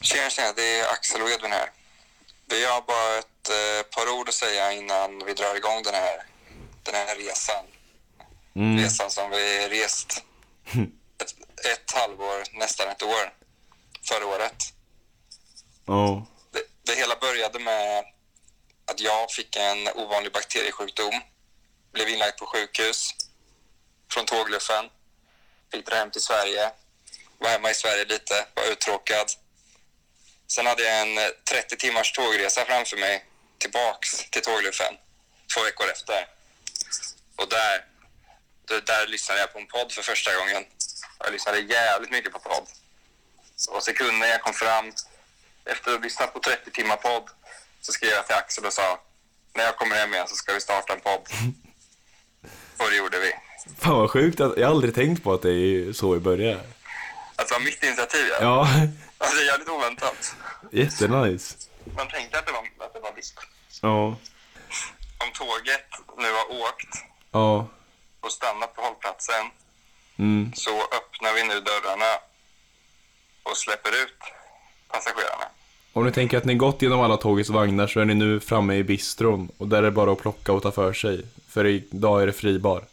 Tjena, tjena. Det är Axel Wedvin här. Vi har bara ett eh, par ord att säga innan vi drar igång den här, den här resan. Mm. Resan som vi rest ett, ett halvår, nästan ett år, förra året. Ja. Det, det hela började med att jag fick en ovanlig bakteriesjukdom. Blev inlagd på sjukhus från tågluffen. Fick dra hem till Sverige. Var hemma i Sverige lite, var uttråkad. Sen hade jag en eh, 30 timmars tågresa framför mig tillbaks till tågluffen två veckor efter. Och där, där- där lyssnade jag på en podd för första gången. Jag lyssnade jävligt mycket på podd. Och sekunden jag kom fram efter att ha lyssnat på 30 timmar podd så skrev jag till Axel och sa när jag kommer hem igen så ska vi starta en podd. Och det gjorde vi. Fan vad sjukt, att- jag har aldrig tänkt på att det är så i början. Alltså det var mitt initiativ ja. Ja, Alltså, det är jävligt oväntat. jättenice. Man tänkte att det var, att det var visst. Ja. Om tåget nu har åkt Ja. och stannat på hållplatsen Mm. så öppnar vi nu dörrarna och släpper ut passagerarna. Om ni tänker att ni gått genom alla tågets vagnar så är ni nu framme i bistron och där är det bara att plocka och ta för sig. För idag är det fribar.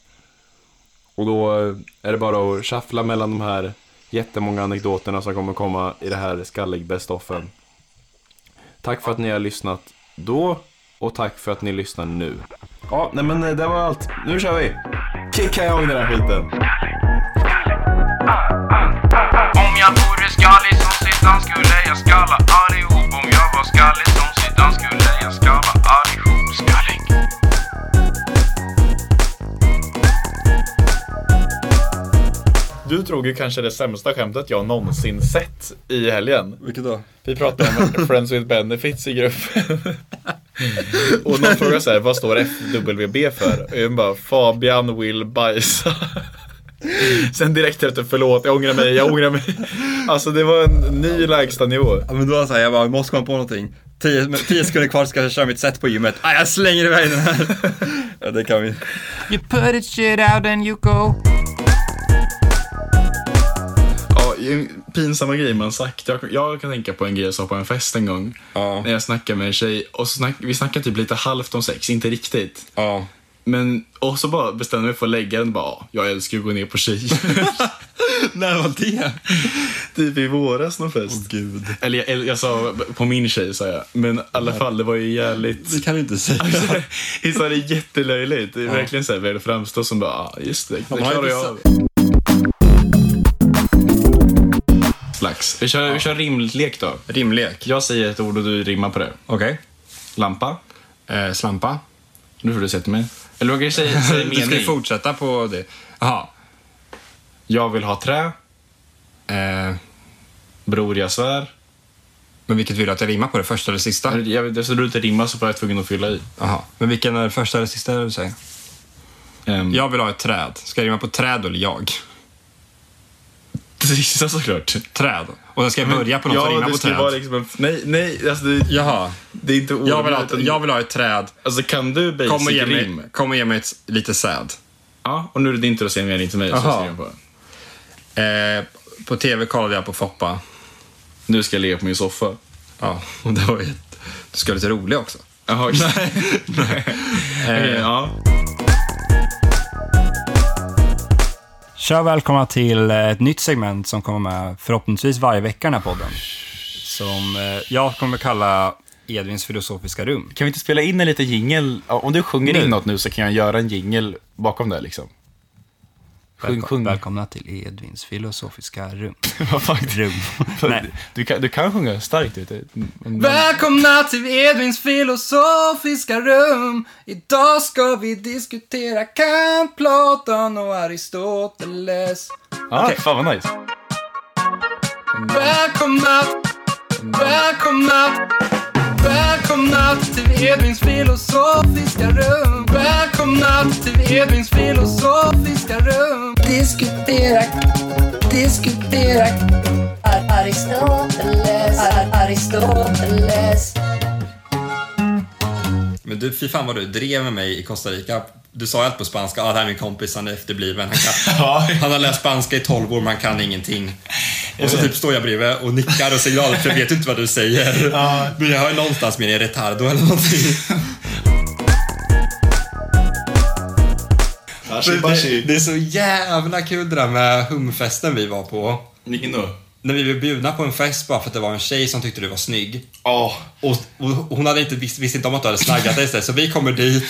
Och då eh, är det bara att shuffla mellan de här jättemånga anekdoterna som kommer komma i det här skallig best offen. Tack för att ni har lyssnat då och tack för att ni lyssnar nu. Ja, nej men eh, det var allt. Nu kör vi! Kicka igång den här skiten! Om jag vore skallig som Zidane skulle jag skalla allihop Om jag var skallig som Zidane skulle jag skalla allihop Skallig Du drog ju kanske det sämsta skämtet jag någonsin sett i helgen. Vilket då? Vi pratade om Friends with Benefits i gruppen. Och någon frågade så här, vad står FWB för? Och jag bara, Fabian vill bajsa. Sen direkt efter, förlåt, jag ångrar mig, jag ångrar mig. Alltså det var en ny lägstanivå. Ja, men då säger jag bara, jag måste komma på någonting. Tio, men tio sekunder kvar ska jag köra mitt set på gymmet. Ah, jag slänger iväg den här. ja, det kan vi. You put it shit out and you go. Ja, pinsamma grejer man sagt. Jag, jag kan tänka på en grej jag sa på en fest en gång. Ja. När jag snackade med en tjej och så snack, vi snackade typ lite halvt om sex, inte riktigt. Ja. Men, och så bara bestämde jag mig för att lägga den och bara, "Ja, jag älskar att gå ner på tjejer. När var det? typ i våras någon fest. Gud. Eller jag, eller jag sa, på min tjej sa jag. Men i alla fall, det var ju jävligt... Det kan du inte säga. Jag sa det jättelöjligt. Det är verkligen så här, vi hade framstått som bara, "Ah, just det, det man har klarar jag inte av. Slags. Vi kör, vi kör rimlek då. Rimlek. Jag säger ett ord och du rimmar på det. Okej. Lampa. Eh, slampa. Nu får du säga till mig. Eller du kan ju säga, säga Du ska ju mening. fortsätta på det. Jaha. Jag vill ha trä. Eh, Bror, jag svär. men vilket vill du att jag rimmar på? Det första eller sista? Jag, eftersom du inte rimmar så var jag tvungen att fylla i. Jaha. Men vilken är det första eller sista du säger? Mm. Um, Jag vill ha ett träd. Ska jag rimma på träd eller jag? Det sista såklart. Träd. Och jag ska jag börja på något som rimmar det på skulle träd? vara liksom en... Nej, nej, alltså det, Jaha. det är inte ord. Jag vill, ha ett, utan- jag vill ha ett träd. Alltså kan du basic Kom och ge rim? mig, kom och ge mig ett, lite säd. Ja, och nu är det din tur att säga en mening till mig. Så Jaha. jag ska rimma på. den. Eh, på tv kollade jag på Foppa. Nu ska jag ligga på min soffa. Ja, och det var ju... Du ska vara lite rolig också. Jaha, nej. nej. Eh. Okej, ja. Tja och välkomna till eh, ett nytt segment som kommer med förhoppningsvis varje vecka i den här podden. Som eh, jag kommer kalla Edvins filosofiska rum. Kan vi inte spela in en liten jingel? Ja, Om du sjunger Nu. in något nu så kan jag göra en jingel bakom det liksom. Sjung, Välko- sjung. Välkomna till Edvins filosofiska rum. Vad fan? rum. Nej. Du, kan, du kan sjunga starkt. Mm. Vet du. Men- Välkomna till Edvins filosofiska rum. Idag ska vi diskutera Kant, Platon och Aristoteles. Ja, fan vad nice. Välkomna, välkomna, välkomna till Edvins filosofiska rum. Välkomna till Edvins filosofiska rum. Diskutera, diskutera Ar- Aristoteles, Ar- Aristoteles Men du, fy fan vad du drev med mig i Costa Rica. Du sa ju allt på spanska. Ah, det här är min kompis, han är efterbliven. Han, kan, han har läst spanska i 12 år, man kan ingenting. Och så typ står jag bredvid och nickar och signaler för jag vet ju inte vad du säger. Men jag hör någonstans mer i retardo eller någonting. Hashi Det, bashi. det är så jävla kul det där med humfesten vi var på. Vilken då? När vi blev bjudna på en fest bara för att det var en tjej som tyckte du var snygg. Ja. Och, och hon hade inte, visst, visste inte om att du hade snaggat dig så- så vi kommer dit.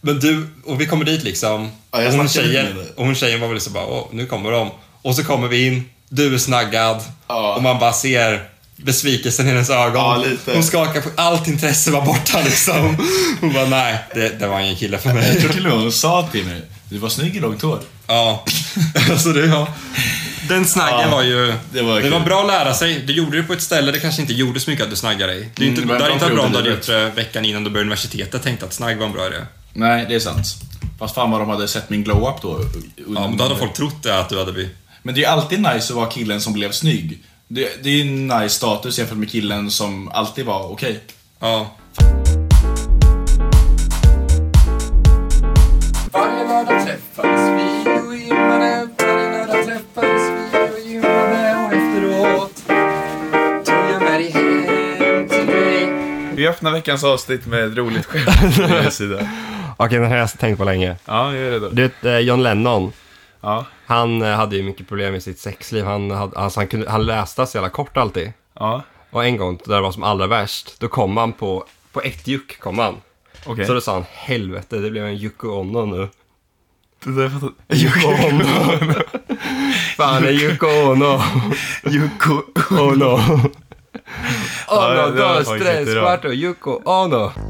Men du, och vi kommer dit liksom. Ja, jag och, hon snackade tjejen, med dig. och hon tjejen var väl liksom bara, Åh, nu kommer de. Och så kommer vi in, du är snaggad. Ja. Och man bara ser besvikelsen i hennes ögon. Ja, lite. Hon skakar på, allt intresse var borta liksom. Hon bara, nej, det, det var ingen kille för Jag mig. tror till och med hon sa till mig, du var snygg i långt hår. Ja, alltså det ja. Den snaggen Ja, var ju... det var det var kul. bra att lära sig. Du gjorde det på ett ställe det kanske inte gjorde så mycket att du snaggade dig. Det är ju inte, Mm, det var en det hade bra inte varit bra om du hade period i gjort det veckan innan du började universitetet tänkte att snagg var en bra idé. Nej, det är sant. Fast fan vad de hade sett min glow-up då. Mm. Ja, men då hade folk trott det att du hade blivit... Men det är ju alltid nice att vara killen som blev snygg. Det, det är ju en nice status jämfört med killen som alltid var okej. Ja. Varje lördag träffades vi och gymmade Varje lördag träffades vi och gymmade Och efteråt tog jag med dig hem till dig Vi öppnar veckans avsnitt med ett roligt skämt från er sida. Okej, den här har jag tänkt på länge. Ja, gör det då. Du vet, eh, John Lennon. Ja. Han eh, hade ju mycket problem med sitt sexliv. Han, hade, alltså, han, kunde, han läste så jävla kort alltid. Ja, Och en gång, där det var som allra värst, då kom han på, på ett juck kom han. okej. Så då sa han, helvete, det blev en Yoko Ono nu. Jocke Ono. Fan, det är Yoko Ono. Jocke Ono. det var Ono, då, faktiskt stress, jättebra. kvart och Yoko Ono.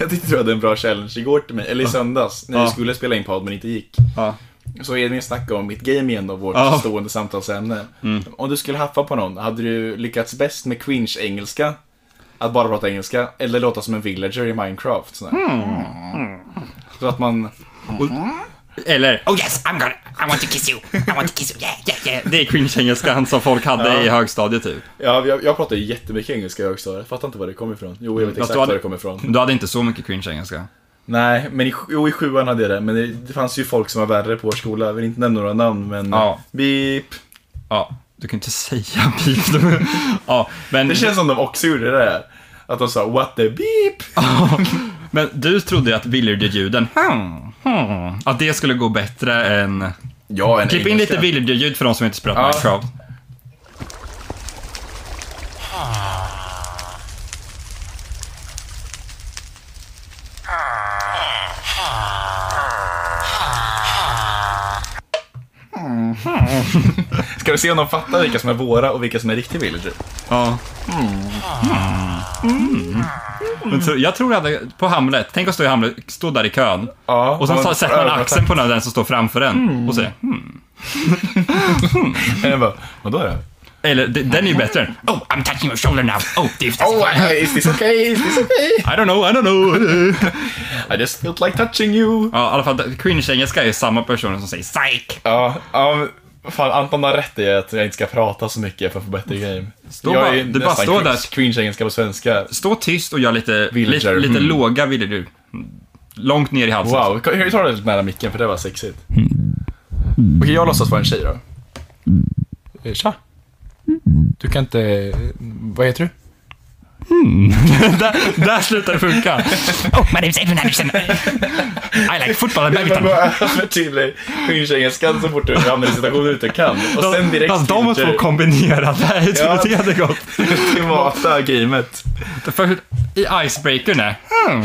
Jag tyckte du hade en bra challenge igår till mig, eller i söndags, när vi skulle spela in podd men inte gick. Ja. Så Edvin snackade om mitt game igen då, vårt stående samtalsämne. Om du skulle haffa på någon, hade du lyckats bäst med cringe-engelska? Att bara prata engelska, eller låta som en villager i Minecraft? Sådär. Så att man... Eller, Oh yes, I'm gonna. I want to kiss you. I want to kiss you. Yeah, yeah, yeah. det är cringe-engelskan som folk hade i högstadiet typ. Ja, jag, jag pratade ju jättemycket engelska i högstadiet, fattar inte var det kom ifrån. Jo, jag vet Fast exakt du hade- var det kom ifrån. Du hade inte så mycket cringe-engelska. Nej, men i, jo, i sjuan hade jag det. Men det, det fanns ju folk som var värre på vår skola. Jag vill inte nämna några namn, men... Ja. Beep. Ja, du kan inte säga pip. Du- Ja, men, Det känns som de också gjorde det där. Att de sa what the beep. men du trodde ju att Villager-ljuden, hmm, hmm, att det skulle gå bättre än... Ja, en Klipp in lite Villager-ljud för de som inte spelat Minecraft. Ska vi se om de fattar vilka som är våra och vilka som är riktiga villager? Ja. Men tro- jag tror jag hade, på Hamlet, tänk att stå i Hamlet, stå där i kön. Ja, Mm. Och sen man- så sätter man övertack. axeln på den, den som står framför en och säger hmm. Jag bara, vadå då? Eller de- den är ju bättre. Oh, I'm touching your shoulder now. Oh, this. Oh, is this okay? Is this okay? I don't know, I don't know. I just felt like touching you. Ja, i alla fall cringe-engelska är samma person som säger "Sa-" Psych. Ja, ja men fan Anton har rätt i att jag inte ska prata så mycket för att få bättre game. Stå jag bara- du bara nästan står cringe- där. cringe-engelska på svenska. Stå tyst och gör lite, lite, Villager, lite mm. låga villager. Långt ner i halsen. Wow, jag tar det lite nära micken för det var sexigt. Mm. Okej, jag låtsas vara en tjej då. Eh, Tja. Du kan inte... eh, Vad heter du? Där, där slutar det funka. Oh, my name's Edwin Anderson. I like football and Man badminton. går över till cringe-engelskan så fort du hamnar i situationer du inte kan. Och sen direkt Fast de till två kombinerade, jag tror Ja. det hade gått. privata gamet. Först i icebreakern är hmm.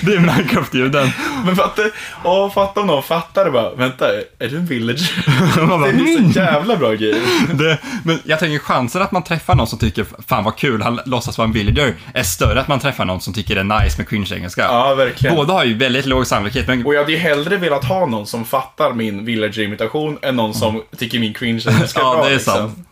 Det är Minecraft-ljuden. Men fatta, åh, fatta om någon fattar det bara. Vänta, är du en villager? Man bara, Det är "Mm." så jävla bra game. Det- Men jag tänker chansen att man träffar någon som tycker fan vad kul, han låtsas vara en villager, är större att man träffar någon som tycker det är nice med cringe-engelska. Ja, verkligen. Båda har ju väldigt låg sannolikhet, men Och jag hade ju hellre velat ha någon som fattar min villager-imitation än någon som tycker min cringe är ganska Ja, bra. det är liksom. sant.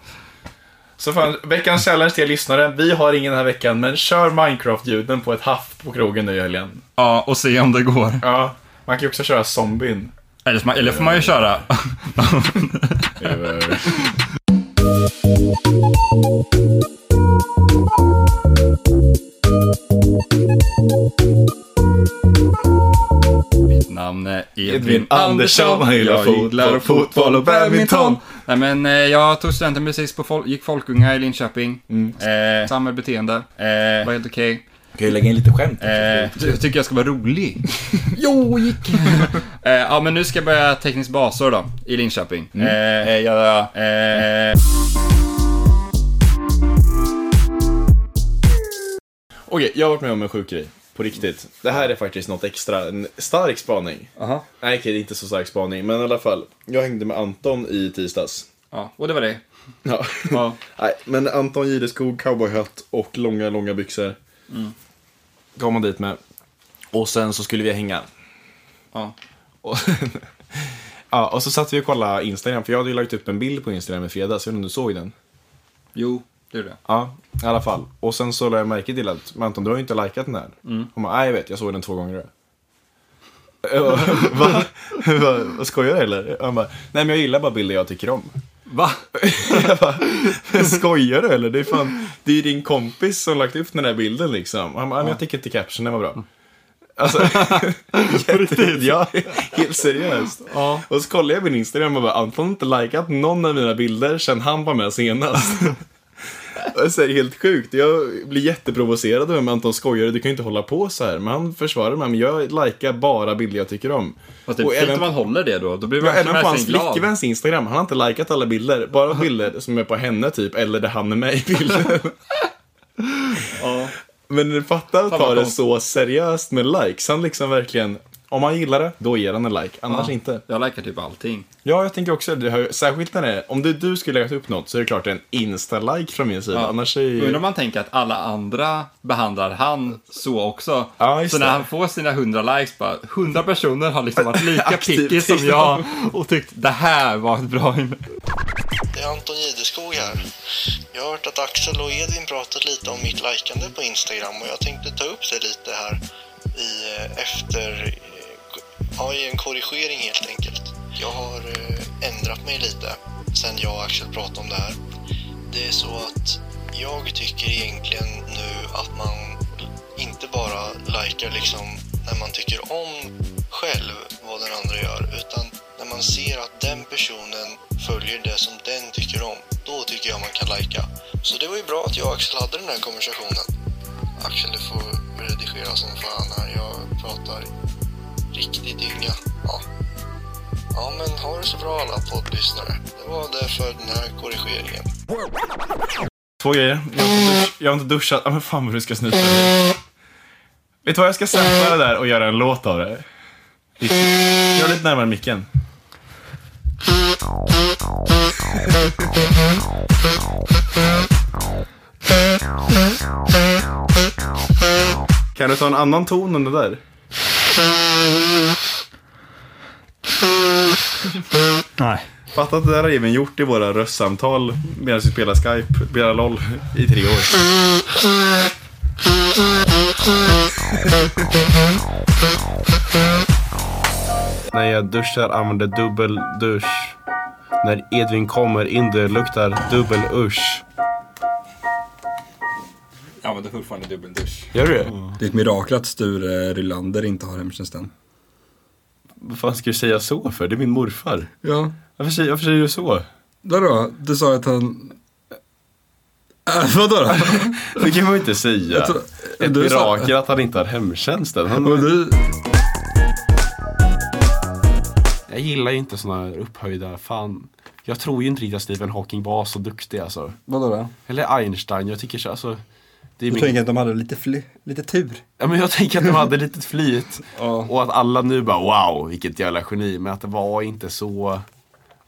Så fan, veckans challenge till er lyssnare. Vi har ingen den här veckan, men kör Minecraft-ljuden på ett haff på krogen nu i helgen. ja, och se om det går. Ja, man kan ju också köra zombien. Eller, så man- eller får man ju köra... Mitt namn är Edvin, Edvin Andersson. Han gillar Jag fotboll, fotboll och badminton. Nej men eh, jag tog studenten precis på fol- gick folkunga i Linköping. Eh, samma beteende. Eh, var helt okej. Kan ju lägga in lite skämt. Eh, ty- tycker jag ska vara rolig. jo, gick. eh, ja, men nu ska jag börja teknisk basår då, i Linköping. Mm. Eh, eh, jag, eh, Okej, jag har varit med om en sjuk grej. På riktigt. Det här är faktiskt något extra. En stark spaning. Aha. Nej, okej, det är inte så stark spaning. Men i alla fall. Jag hängde med Anton i tisdags. ja, och det var det. Ja. Ja. Nej, men Anton Jideskog, cowboyhatt och långa, långa byxor. Mm. Kom man dit med. Och sen så skulle vi hänga. Ja. Och, ja, och så satt vi och kollade Instagram, för jag hade ju lagt upp en bild på Instagram i fredags. Jag vet inte om du såg den? Jo, det är det. Ja, i alla fall. Och sen så lade jag märke till att men Anton, du har ju inte likat den här. Hon bara, nej jag vet, jag såg den två gånger. Jag bara, Va? Jag bara, Vad Skojar du eller? Han bara, nej men jag gillar bara bilder jag tycker om. Va? Jag bara, "Men skojar du eller? Det är, fan, det är ju din kompis som lagt upp den här bilden liksom. Han bara, "Nej, men jag tycker inte captionen var bra. Alltså, jätte, ja, helt seriöst. Och så kollade jag min Instagram och bara, Anton har inte likat någon av mina bilder sen han var med senast. Och så är det helt sjukt. Jag blir jätteprovocerad över Anton skojar, du kan ju inte hålla på så här. Men han försvarar mig, men jag likar bara bilder jag tycker om. Fast det typ är fint om man håller det då. Då blir man Ja, även på verkligen hans glad. flickväns Instagram. Han har inte likat alla bilder. Bara bilder som är på henne typ, eller där han är med i bilden. Ja. Men fatta att Fan, ta vad det konstigt. så seriöst med likes. Han liksom verkligen, om han gillar det, då ger han en like. Annars Ja. inte. Jag likar typ allting. Ja, jag tänker också, det har, särskilt när det är, om det är du skulle lägga upp något så är det klart det är en insta-like från min sida. Ja. Annars är ju... Undrar om man tänker att alla andra behandlar han så också. Ja, just så när det. han får sina 100 likes, bara 100 personer har liksom varit lika Aktivt, picky som jag och tyckt det här var ett bra inlägg. Det är Anton Jideskog här. Jag har hört att Axel och Edvin pratat lite om mitt likande på Instagram och jag tänkte ta upp det lite här i eh, efter... eh, Ja, i en korrigering helt enkelt. Jag har eh, ändrat mig lite sen jag och Axel pratade om det här. Det är så att jag tycker egentligen nu att man inte bara likar liksom när man tycker om själv vad den andra gör utan när man ser att den personen följer det som den tycker om. Då tycker jag man kan lajka. Så det var ju bra att jag och Axel hade den här konversationen. Axel, du får redigera som fan här. Jag pratar riktigt dynga. Ja. ja, men ha det så bra alla poddlyssnare. Det var därför den här korrigeringen. Två grejer. Jag har inte, dusch, jag har inte duschat. Ah, men fan vad du ska snyta Vet du vad, jag ska sampla det där och göra en låt av det. Gör lite närmare micken. Kan du ta en annan ton än det där? Nej. Fatta att det där har Even gjort i våra röstsamtal medan vi spelar Skype, spelar LOL i tre år. När jag duschar använder dubbel dusch. När Edvin kommer in det luktar dubbel usch. Jag använder fortfarande dubbeldusch. Gör du det? Det är ett mirakel att Sture Rylander inte har hemtjänsten. Vad fan ska du säga så för? Det är min morfar. Ja, Varför säger, varför säger du så? vadå? Du sa att han... Äh, vadå då? Det kan man ju inte säga. tror- Ett du sa- mirakel att han inte har hemtjänsten. Han... Och du... Jag gillar ju inte såna här upphöjda, fan. Jag tror ju inte riktigt att Stephen Hawking var så duktig alltså. Vadå då? Eller Einstein, jag tycker så, alltså. Det är Du min... tänker att de hade lite, fly, lite tur? ja, men jag tänker att de hade litet flyt. Ja. Och att alla nu bara wow, vilket jävla geni. Men att det var inte så,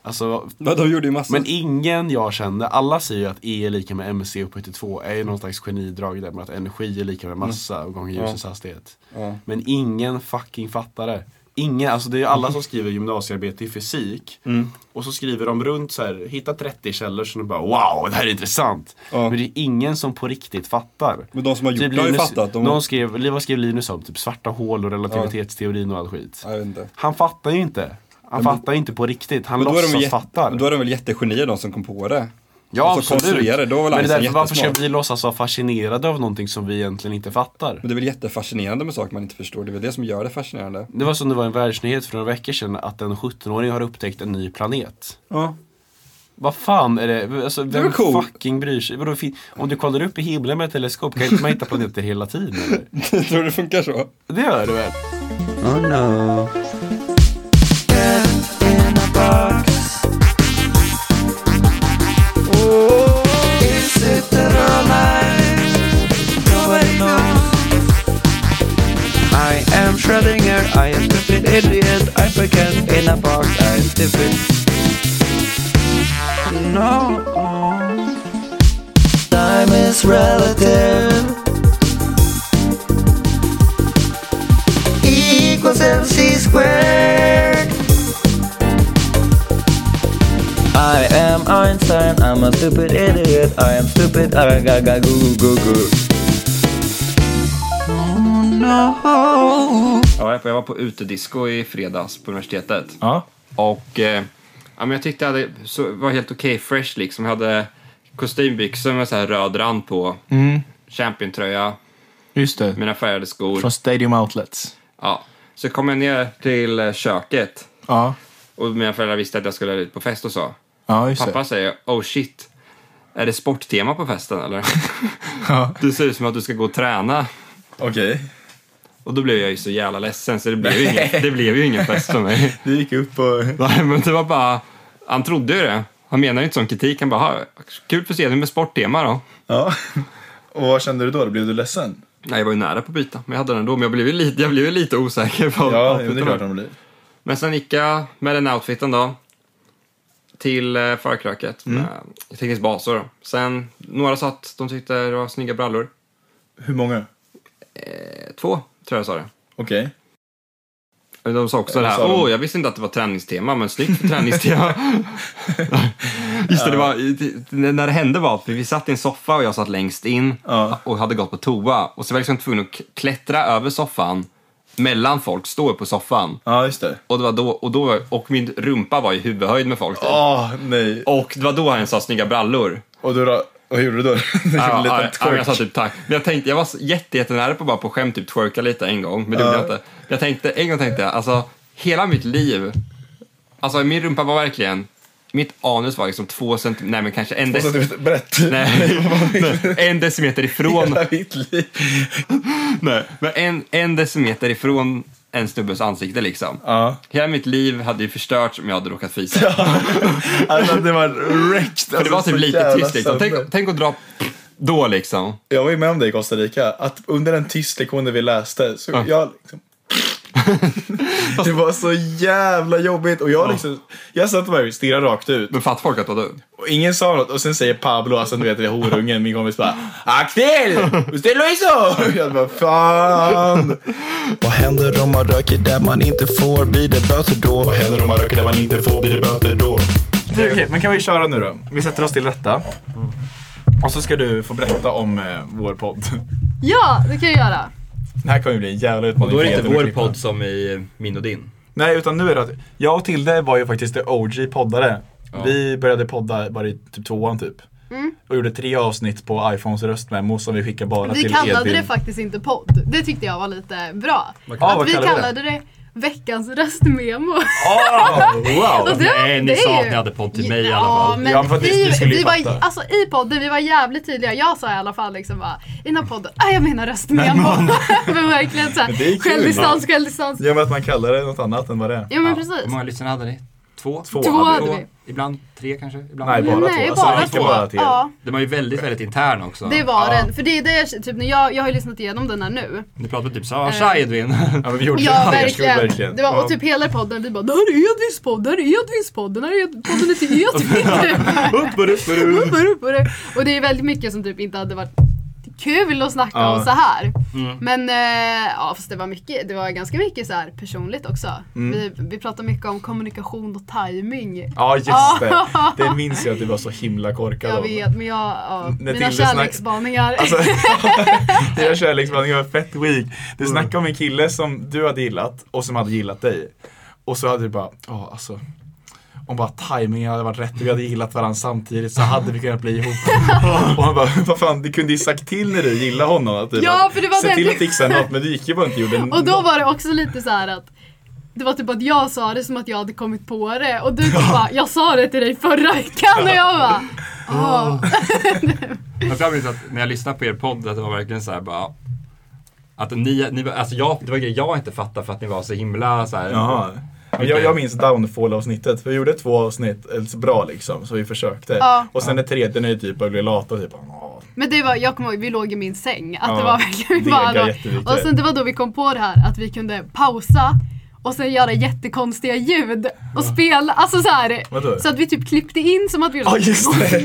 alltså. Ja, de gjorde ju massa. Men ingen jag kände, alla säger ju att E är lika med MC upphöjt till 2 är ju någon slags genidrag där med att energi är lika med massa och gånger ljusets hastighet. Mm. Ja. Men ingen fucking fattar det. Ingen, alltså det är ju alla som skriver gymnasiearbete i fysik. Mm. Och så skriver de runt så här, hitta 30 källor som de bara wow, det här är intressant. Ja. Men det är ingen som på riktigt fattar. Men de som har gjort det har ju fattat. De... någon skrev, vad skrev Linus om? Typ svarta hål och relativitetsteorin och all skit. Ja, Jag vet inte. Han fattar ju inte. Han men- fattar ju inte på riktigt. Han Men då, är de låtsas väl jätte- fattar. då är de väl jättegenier de som kom på det? Ja, och så konstruerade, då Men var det är Einstein därför, varför ska jättesmart. vi låtsas vara fascinerade av någonting som vi egentligen inte fattar? Men det är väl jättefascinerande med saker man inte förstår. Det är väl det som gör det fascinerande. Det var som det var en världsnyhet för några veckor sedan att en 17-åring har upptäckt en ny planet. Ja. Vad fan är det? Alltså, Det vem är väl coolt. fucking bryr sig? Vadå, fin- Om du kollar upp i himlen med ett teleskop kan inte man hitta planeter hela tiden eller? Tror du det funkar så? Det gör det väl? Oh no. I am Schrödinger, I am stupid idiot, I forget in a box, I am stupid. No. Time is relative. E equals MC squared. I am Einstein, I'm a stupid idiot, I am stupid, I ga ga goo goo goo. No. Ja, jag jag var på utedisco i fredags på universitetet. Och eh, ja, men jag tyckte jag hade, så, var helt okej fresh liksom. Jag hade kostymbyxor med så här röd rand på, Mm, championtröja, just det. mina färgade skor. Från Stadium Outlets. Ja. Så kom jag ner till eh, köket Ja, och mina föräldrar visste att jag skulle ut på fest och så. ja just Pappa det. säger oh shit, är det sporttema på festen eller? Ja. Du ser ut som att du ska gå och träna. Okej. Och då blev jag ju så jävla ledsen så det blev ju ingen, det blev ju ingen fest för mig. Du gick upp och... Nej, men det var bara... Han trodde ju det. Han menar ju inte sån kritik. Han bara, "Ha, kul för Edvin med sporttema då. Ja. Och vad kände du då? Blev du ledsen? Nej, jag var ju nära på att byta, men jag hade den ändå. Men jag blev ju lite, jag blev ju lite osäker Ja, på på jo, det är outfiten. klart de blir. Men sen gick jag med den outfiten då till eh, förkröket Mm. med teknisk basor. Då. Sen, några sa att de tyckte det var snygga brallor. Hur många? Eh, två, tror jag sa det. Okej. Men De sa också Eller det här, sa de- åh, jag visste inte att det var träningstema, men snyggt för träningstema. Just det, det var, det- när det hände var att vi satt i en soffa och jag satt längst in och hade gått på toa. Och så var jag liksom tvungen att k- klättra över soffan mellan folk, stå upp på soffan. Ja, just det. Och, det var då, och, då, och min rumpa var i huvudhöjd med folk. typ. Åh, nej. Och det var då han sa snygga brallor. Och du då? Vad gjorde du då? Du gjorde en Ja, liten ja, ja, men jag sa twerk. typ tack. Men jag, tänkte, jag var så jätte, jättenära på att bara på skämt typ twerka lite en gång, men det gjorde Ja. jag inte. Jag tänkte, en gång tänkte jag, alltså hela mitt liv, alltså min rumpa var verkligen, mitt anus var liksom två centimeter, nej men kanske en Två decimeter. centimeter brett. Nej, nej, en decimeter ifrån. Hela mitt liv. Nej, men en, en decimeter ifrån en snubbes ansikte liksom. Hela mitt liv hade ju förstörts om jag hade råkat fisa. Alltså det var wrecked. För det var Alltså, typ så lite jävla tyst liksom. Tänk, sönder. tänk att dra då liksom. Jag var ju med om det i Costa Rica, att under den tystlektionen vi läste så jag liksom... det var så jävla jobbigt och jag liksom, jag satt bara och stirrade rakt ut. Men fatt folk att det var du? Och ingen sa något och sen säger Pablo, alltså du vet det är horungen, min kompis bara Axel! Usted lo hizo! Och Jag bara fan! Vad händer om man röker där man inte får? Blir det böter då? Vad händer om man röker där man inte får? Blir det böter då? Okej, men kan vi köra nu då? Vi sätter oss till rätta. Och så ska du få berätta om eh, vår podd. Ja, det kan jag göra. Det här kommer ju bli en jävla utmaning. Då är det inte för Edvin att vår klippa. podd som i min och din. Nej, utan nu är det att jag och Tilde var ju faktiskt the OG-poddare. Vi började podda bara i typ tvåan typ. Mm. Och gjorde tre avsnitt på iPhones röstmemo som vi skickade bara Vi till kallade Edvin. det faktiskt inte podd. Det tyckte jag var lite bra. Vad- att Ah, vad vi kallade vi det? kallade det? veckans röstmemo. Ah, wow. Och det var- Nej, ni det är sa ju- att ni hade podd till mig i alla Ja, fall. men vi, vi var, alltså, i podden, vi var jävligt tydliga. Jag sa i alla fall liksom bara, i den här podden, ah, jag menar röstmemo. men verkligen Men det är såhär, kul, självdistans, va? självdistans. Ja, men att man kallar det något annat än vad det är. Ja men precis. många lyssnare hade ni? Två? Två Två hade vi. hade Ibland tre kanske? Ibland. Nej, bara Nej, två. Alltså, bara vi skickar två. bara till er. Ja. Den var ju väldigt, väldigt intern också. Det var den. För det är det jag, typ, när jag, jag har ju lyssnat igenom den här nu. Ni pratade typ så här, tja Eh. Edvin. Ja, men vi Ja verkligen. Det var, och typ hela podden, vi bara det här är Edvins podd, det här är Edvins podd, den här är Ed- podden är till Edvin. Upp och upp och upp. och det är väldigt mycket som typ inte hade varit kul att snacka Ja. om så här. Mm. Men eh, ja, fast det var, mycket, det var ganska mycket så här personligt också. Mm. Vi, vi pratade mycket om kommunikation och timing. Ja, just det. Det minns jag att du var så himla korkad Jag av. vet, men jag, ja, mina När Tilde snack- kärleksbaningar. Alltså, Dina kärleksbandningar var fett weak. Du Mm. snackade om en kille som du hade gillat och som hade gillat dig. Och så hade du bara, ja alltså. Om bara tajmingen hade varit rätt och vi hade gillat varandra samtidigt så hade vi kunnat bli ihop. Och han bara, vad fan, du kunde ju sagt till när du gillade honom. Typ, Ja, för det var Se det- till att fixa något, men du gick ju bara inte och gjorde Och då något. var det också lite så här att det var typ att jag sa det som att jag hade kommit på det och du typ bara “jag sa det till dig förra veckan” och jag bara “ah”. Jag framhöll att när jag lyssnade på er podd att det var verkligen så här bara att ni, ni var- alltså jag, det var grejer jag inte fattade för att ni var så himla så här. Jaha. Men Jag, jag minns downfall-avsnittet. Vi gjorde två avsnitt alltså, bra liksom, så vi försökte. Ja. Och sen det tredje när vi typ började bli lata. Typ, "Åh, Men det var, jag kommer ihåg, vi låg i min säng. Att Ja, det var verkligen vi dega bara... jättemycket. Och sen det var då vi kom på det här att vi kunde pausa och sen göra jättekonstiga ljud och spela, alltså så här. Vadå? Så att vi typ klippte in som att vi gjorde Ja, just det.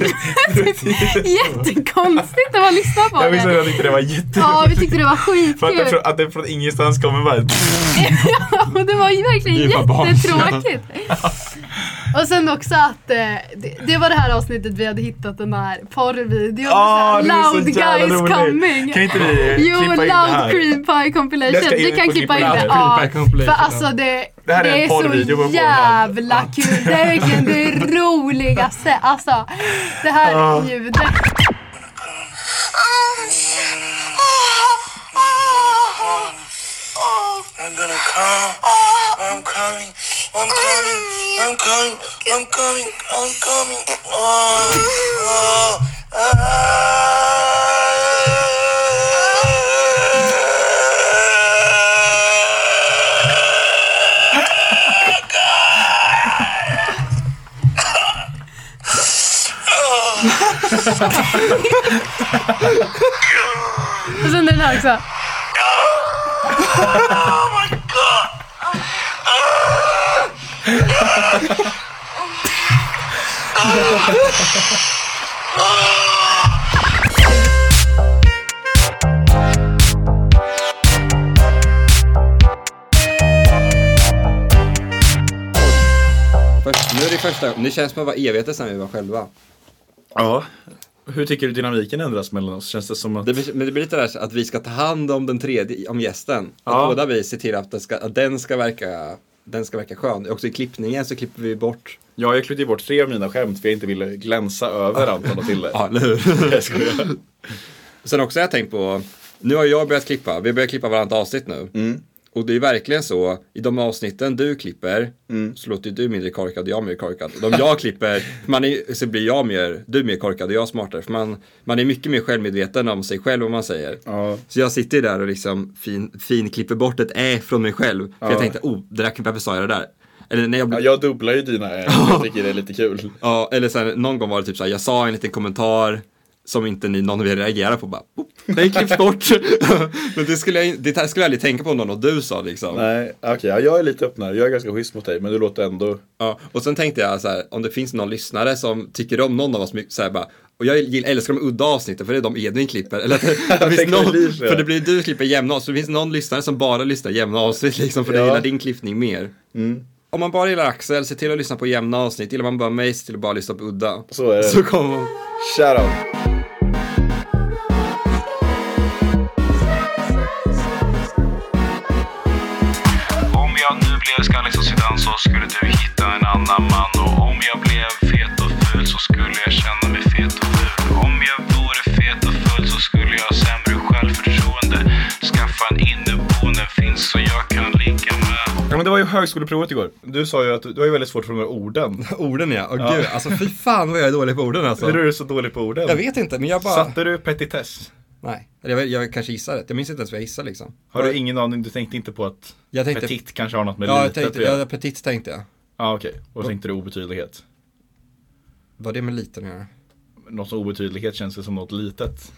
jättekonstigt när man lyssnar på jag minns att det. jag tyckte det var jätteroligt. Ja, vi tyckte det var För att, jag skitkul. tror att det från ingenstans kommer bara... Och det var ju verkligen Det är bara jättetråkigt. Och sen också att eh, det, det var det här avsnittet vi hade hittat den här porrvideon. Ah, så det är här, så loud jävla guys roligt. coming. Kan inte vi Jo, klippa in det loud här? cream pie Jag ska compilation. in Vi kan på klippa in klippa det. det. Ja, Cream pie compilation, för ja. alltså det, Det här är en porrvideo på så Pornhub. jävla kul. Det är verkligen det roligaste. Alltså, det här Ja. ljudet. I'm gonna come. I'm coming. I'm coming. I'm coming. I'm coming. I'm coming. Oh, oh, Och sen den här också. Först, nu är det första Nu känns som att vara evigheter sedan vi var själva. Ja. Hur tycker du dynamiken ändras mellan oss? Känns det som att... Det blir, men det blir lite där att vi ska ta hand om den tredje, om gästen. Ja. Att båda vi ser till att, den ska, att den, ska verka, den ska verka skön. Också i klippningen så klipper vi bort. Ja, jag klippte ju bort tre av mina skämt för jag inte ville glänsa över Anton och Tille. Ja, eller hur? Jag skojar. Sen också har jag tänkt på, nu har jag börjat klippa, vi börjar klippa varannat avsnitt nu. Mm. Och det är verkligen så, i de avsnitten du klipper Mm. så låter ju du mindre korkad och jag mer korkad. Och De jag klipper, man är, så blir jag mer, du mer korkad och jag smartare. För man, man är mycket mer självmedveten om sig själv om man säger. Så jag sitter ju där och liksom fin, fin klipper bort ett ä från mig själv. För Ja. jag tänkte, oh, det där, varför sa jag det där? Eller när jag blev Ja, jag dubblar ju dina ä. Jag tycker det är lite kul. Ja, eller sen någon gång var det typ så här, jag sa en liten kommentar som inte ni, någon av er reagerade på bara, boop, den klipps bort. Men det skulle, jag, det här skulle jag aldrig tänka på om någon och du sa liksom. Nej, okej. ja, jag är lite öppnare. Jag är ganska schysst mot dig, men du låter ändå... Ja, och sen tänkte jag så här, om det finns någon lyssnare som tycker om någon av oss mycket, så här bara, och jag gill- älskar de udda avsnitten för det är de Edvin klipper. Eller att det, det finns Tänk någon, vad det blir så. för det blir du klipper jämna avsnitt, så det finns någon lyssnare som bara lyssnar jämna avsnitt liksom, för Ja. Mm. du gillar din klippning mer. Om man bara gillar Axel, se till att lyssna på jämna avsnitt. Gillar man bara mig, se till att bara lyssna på udda. Så är det. Så kommer man. Shoutout. Om jag nu blev skallig som Zidane så skulle du hitta en annan man. Och om jag blev fet och ful så skulle jag känna mig fet och ful. Om jag vore fet och ful så skulle jag ha sämre självförtroende. oh. Skaffa en inneboende finns så jag kan ligga med. Ja, men det var ju högskoleprovet igår. Du sa ju att du, du har ju väldigt svårt för de här orden. orden ja, åh gud. Alltså fy fan vad jag är dålig på orden alltså. Hur är du så dålig på orden? Jag vet inte, men jag bara... Satte du petitess? Nej, eller jag, jag kanske gissar rätt. Jag minns inte ens vad jag gissade liksom. Har du ingen aning? Du tänkte inte på att Jag tänkte- petit kanske har något med ja, jag litet tänkte, att göra? ja, petit tänkte jag. Ja, okej. Och så tänkte du obetydlighet? Vad det med liten att göra? Något som obetydlighet känns det som något litet.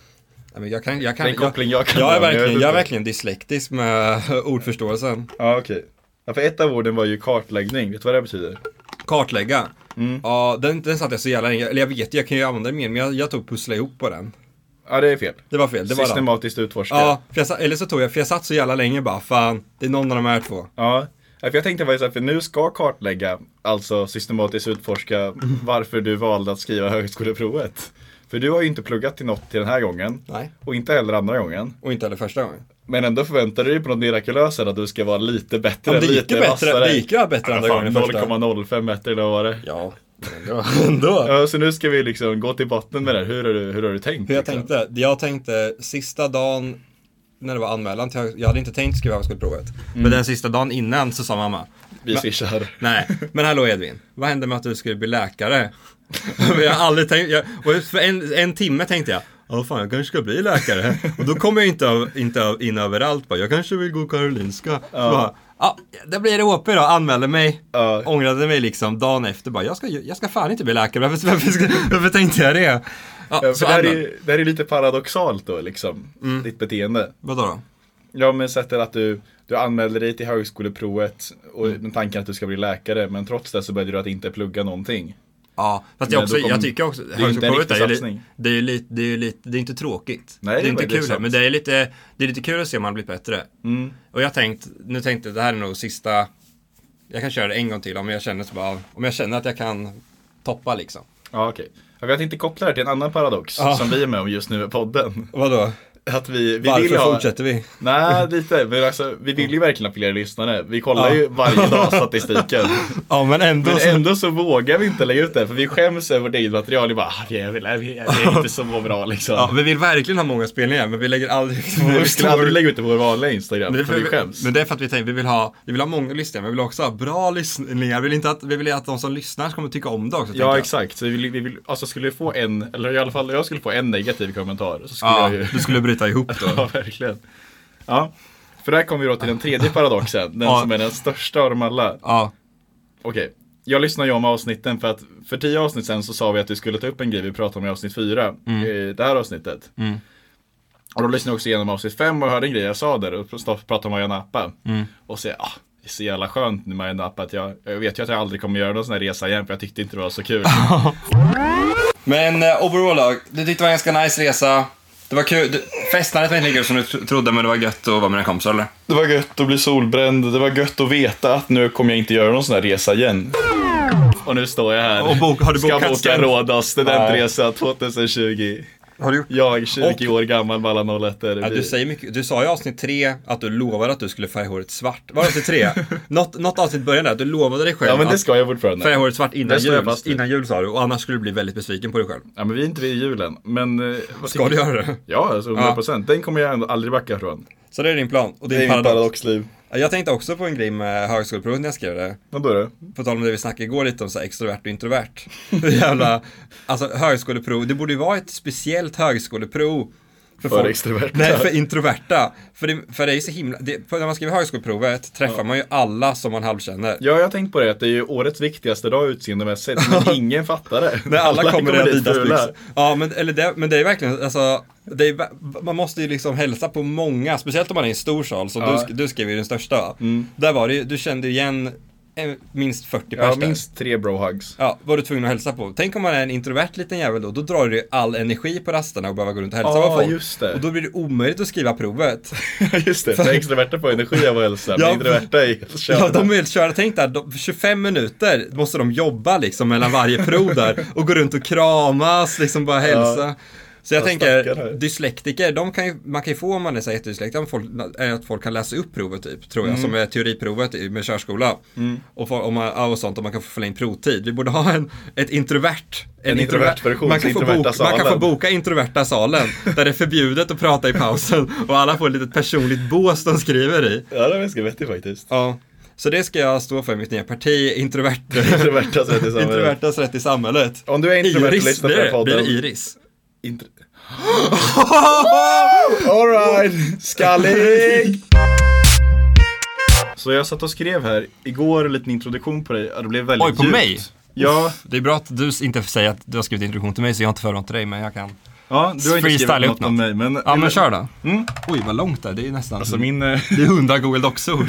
Nej, men jag kan, jag kan, det är en koppling jag, kan jag är dra, men vet verkligen, jag är inte. verkligen dyslektisk med ordförståelsen. Ja, okej. Ja, för ett av orden var ju kartläggning. Vet du vad det betyder? Kartlägga. Mm. Ja, den, den satt jag så jävla länge. Eller jag vet, jag kan ju använda den mer, men jag, jag tog pussla ihop på den. Ja, det är fel. Det var fel. Det var den. Systematiskt utforska. Ja, för jag, sa- eller så tog jag, för jag satt så jävla länge bara, fan, det är någon av de här två. Ja, ja, för jag tänkte faktiskt att för nu ska kartlägga, alltså systematiskt utforska varför du valde att skriva högskoleprovet. För du har ju inte pluggat till något till den här gången. Nej. Och inte heller andra gången. Och inte heller första gången. Men ändå förväntar du dig på något mirakulöst här att du ska vara lite bättre. Ja, det gick lite ju bättre- det gick ju bättre andra fan, gången än första. 0,05 bättre eller vad var det? Ja, ändå. Ja, så nu ska vi liksom gå till botten med det här. Hur har du, hur har du tänkt? Hur jag liksom? tänkte? Jag tänkte sista dagen när det var anmälan till hög- Jag hade inte tänkt skriva högskoleprovet. Men Mm. den sista dagen innan så sa mamma. Vi "Men- swishar." Nej, men hallå Edvin. Vad hände med att du skulle bli läkare? jag har aldrig tänkt, jag, och för en, en timme tänkte jag. Ja, fan, jag kanske ska bli läkare. Och då kommer jag inte, av, inte av, in överallt bara. Jag kanske vill gå Karolinska. Så Ja. bara, ja, det blir HP då. Anmälde mig. Ångrade mig liksom dagen efter bara. Jag ska, jag ska fan inte bli läkare. Varför, varför, ska- varför tänkte jag det? Ja, Ja, så Mm. för det, här är, anmäl- ju- det här är lite paradoxalt då liksom, ditt beteende. Vadå då? Ja men sättet att du, du anmälde dig till högskoleprovet och Mm. med tanken att du ska bli läkare men trots det så började du att inte plugga någonting. Ja, Fast jag, också, jag tycker också, det är ju inte en högskoleprovet riktig är ju li- satsning. det är ju lite, det är ju lite, det är inte tråkigt. Nej, det är det är inte väldigt kul, sant. men det är, lite, det är lite kul att se om man blir bättre. Mm. Och jag tänkt, nu tänkte jag, det här är nog sista, jag kan köra det en gång till om jag känner, så bara, om jag känner att jag kan toppa liksom. Ja okej. Ja, Jag tänkte koppla det till en annan paradox Ja. som vi är med om just nu i podden. Vadå? Att vi, vi Varför vill ha... fortsätter vi? Nej, lite. Men alltså, vi vill ju verkligen ha fler lyssnare. Vi kollar Ja. ju varje dag statistiken. Ja men ändå, Men så- ändå så vågar vi inte lägga ut det för vi skäms över vårt eget material. Vi bara, ah, vi är, vi är, vi är, vi är inte så bra liksom. Ja, vi vill verkligen ha många spelningar, men vi lägger aldrig Vi skulle aldrig lägga ut det på vår vanliga Instagram, men det, är för vi skäms. men det är för att vi tänker, vi vill ha, vi vill ha många lyssningar, men vi vill också ha bra lyssningar. Vi vill, inte att, vi vill att de som lyssnar kommer tycka om det också. tänker Ja jag. exakt, så vi vill, vi vill, alltså skulle vi få en, eller i alla fall jag skulle få en negativ kommentar så skulle Ja, jag ju... du skulle bryta ihop då. ja, verkligen. Ja, för där kommer vi då till den tredje paradoxen, den Ja. som är den största av dem alla. Ja. Okej, jag lyssnar ju om avsnitten för att för tio avsnitt sen så sa vi att vi skulle ta upp en grej vi pratade om i avsnitt fyra, Mm. i det här avsnittet. Mm. Och då lyssnade jag också igenom avsnitt fem och hörde en grej jag sa där och pratade om Maja Napa. Mm. Och så, ah, det är så jävla skönt nu Maja Napa att jag, jag vet ju att jag aldrig kommer göra någon sån här resa igen för jag tyckte inte det var så kul. Men eh, overall då, du tyckte det var en ganska nice resa. Det var kul. Du, festandet var inte lika kul som du tro- trodde, men det var gött att vara med dina kompisar eller? Det var gött att bli solbränd, det var gött att veta att nu kommer jag inte göra någon sån här resa igen. Och nu står jag här. Och bok- har du bokat Ska boka student- Rhodos studentresa 2020. Har du gjort? Jag, 20 år gammal med alla 01 Ja, du, säger mycket, du sa i avsnitt tre att du lovade att du skulle färga håret svart. Var det avsnitt tre? något, något avsnitt började där, att du lovade dig själv Ja, men det att ska jag fortfarande. färga håret svart innan Det står jag jul. fast vid. Innan jul sa du, och annars skulle du bli väldigt besviken på dig själv. Ja men vi är inte vid julen, men... eh, vad Ska tycker- du göra det? Ja, alltså 100%. Den kommer jag ändå aldrig backa från. Så det är din plan och din Det är mitt paradox. paradoxliv. Ja, Jag tänkte också på en grej med högskoleprovet när jag skrev det. Vad då? det? På tal om det vi snackade igår lite om så här extrovert och introvert. Hur jävla, alltså högskoleprov, det borde ju vara ett speciellt högskoleprov. För extroverta. Nej, för introverta. För det, för det är så himla, det, för när man skriver högskoleprovet träffar man ju alla som man halvkänner. Ja, jag har tänkt på det, att det är ju årets viktigaste dag utseendemässigt, men ingen fattar det. När alla, kommer, i dit fula. Adidas-byxor. Ja, men, eller det, men det är verkligen, alltså, det är, va- man måste ju liksom hälsa på många, speciellt om man är i en stor sal, som Ja. Mm. du, sk- du skrev ju den största. va? Där var det ju, du kände igen eh, minst 40 Ja, pers där. minst tre brohugs. Ja, var du tvungen att hälsa på. Tänk om man är en introvert liten jävel då, då drar du ju all energi på rasterna och behöver gå runt och hälsa Ja, på folk. just det. Och då blir det omöjligt att skriva provet. Just det, för extroverta får energi av att hälsa, Ja, men introverta är helt körda. Ja, de är helt körda. Tänk där, de, 25 minuter måste de jobba liksom mellan varje prov där och gå runt och kramas, liksom bara hälsa. Ja. Så jag Ja, tänker, stackare. dyslektiker, de kan ju, man kan ju få om man är så här jättedyslektad, om folk, är att folk kan läsa upp provet typ, tror jag, Mm. som är teoriprovet i- med körskola. Mm. Och, få- om man, ja, och sånt, om man kan få förlängd provtid. Vi borde ha en, ett introvert, En introvert version man kan, till få introverta boka, man kan få salen. boka introverta salen, där det är förbjudet att prata i pausen och alla får ett litet personligt bås de skriver i. Ja, det var ganska vettigt faktiskt. Ja, så det ska jag stå för i mitt nya parti, introverta. Introvertas rätt i samhället. Introvertas rätt i samhället. Om du är introvert och Iris, lyssnar på blir den här podden. det- Blir det Iris? Intro... Alright, skallig! Så jag satt och skrev här igår en liten introduktion på dig, ja, det blev väldigt Oj, på djupt. mig? Ja. Uff, Det är bra att du inte säger att du har skrivit introduktion till mig så jag har inte förberett dig men jag kan Ja, du har inte skrivit freestyla något upp om mig, men... Ja men kör då. Mm. Oj vad långt det är, det är nästan Alltså min... eh, Det är hundra Google Docs-ord.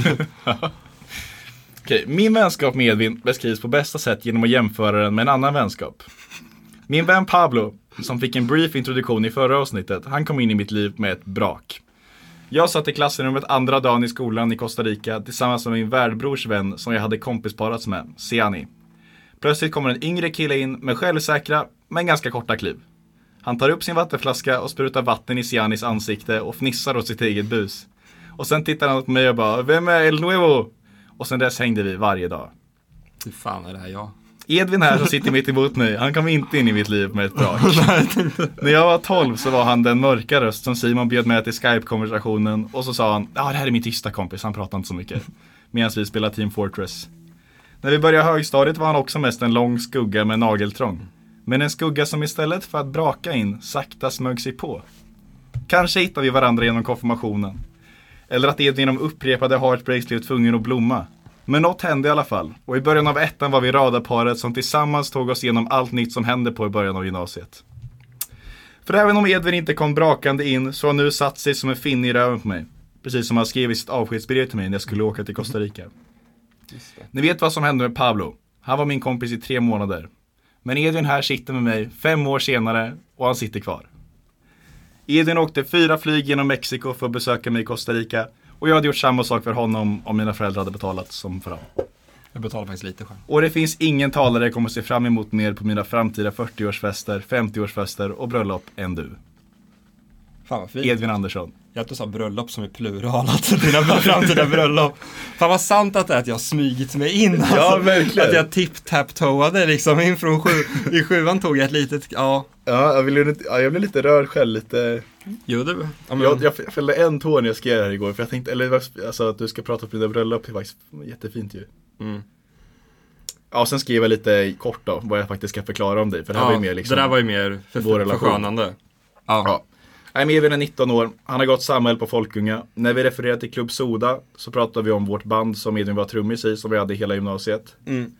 Okej, min vänskap med Edvin beskrivs på bästa sätt genom att jämföra den med en annan vänskap. Min vän Pablo, som fick en brief introduktion i förra avsnittet, han kom in i mitt liv med ett brak. Jag satt i klassrummet andra dagen i skolan i Costa Rica tillsammans med min värdbrors vän som jag hade kompisparats med, Siani. Plötsligt kommer en yngre kille in med självsäkra, men ganska korta kliv. Han tar upp sin vattenflaska och sprutar vatten i Sianis ansikte och fnissar åt sitt eget bus. Och sen tittade han på mig och bara, vem är El Nuevo? Och sen dess hängde vi varje dag. Fy fan är det här jag? Edvin här som sitter mitt emot mig, han kom inte in i mitt liv med ett brak. När jag var 12 så var han den mörka röst som Simon bjöd med till Skype-konversationen och så sa han, ja ah, det här är min tysta kompis, han pratar inte så mycket. Medan vi spelade Team Fortress. När vi började högstadiet var han också mest en lång skugga med nageltrång. Men en skugga som istället för att braka in sakta smög sig på. Kanske hittade vi varandra genom konfirmationen. Eller att Edvin genom upprepade heartbreaks blev tvungen att blomma. Men något hände i alla fall. Och i början av ettan var vi radarparet som tillsammans tog oss igenom allt nytt som hände på i början av gymnasiet. För även om Edvin inte kom brakande in så har han nu satt sig som en finne i röven på mig. Precis som han skrev i sitt avskedsbrev till mig när jag skulle åka till Costa Rica. Ni vet vad som hände med Pablo. Han var min kompis i tre månader. Men Edvin här sitter med mig fem år senare och han sitter kvar. Edvin åkte fyra flyg genom Mexiko för att besöka mig i Costa Rica. Och jag hade gjort samma sak för honom om mina föräldrar hade betalat som för honom. Jag betalar faktiskt lite själv. Och det finns ingen talare jag kommer se fram emot mer på mina framtida 40-årsfester, 50-årsfester och bröllop än du. Fan vad fint. Edvin Andersson. Jag tror du sa bröllop som är pluralat, dina framtida bröllop. Fan vad sant att det är att jag har smugit mig in. Alltså. Ja, verkligen. Att jag tipp-tap-toade liksom in från sju, i sjuan tog jag ett litet, ja. Ja, jag, vill, ju- ja, jag blev lite rörd själv, lite Jo du. Ja, men- Jag, jag fällde en tår när jag skrev det här igår för jag tänkte, eller alltså att du ska prata om dina bröllop är faktiskt jättefint ju. Mm. Ja, och sen skrev jag lite kort då vad jag faktiskt ska förklara om dig. För det här Ja, var ju mer liksom det där var ju mer för- vår relation. förskönande. Ja. Nej, men Evin är 19 år, han har gått samhäll på Folkunga. När vi refererar till Klubb Soda så pratar vi om vårt band som Edvin var trummis i, som vi hade hela gymnasiet. Mm.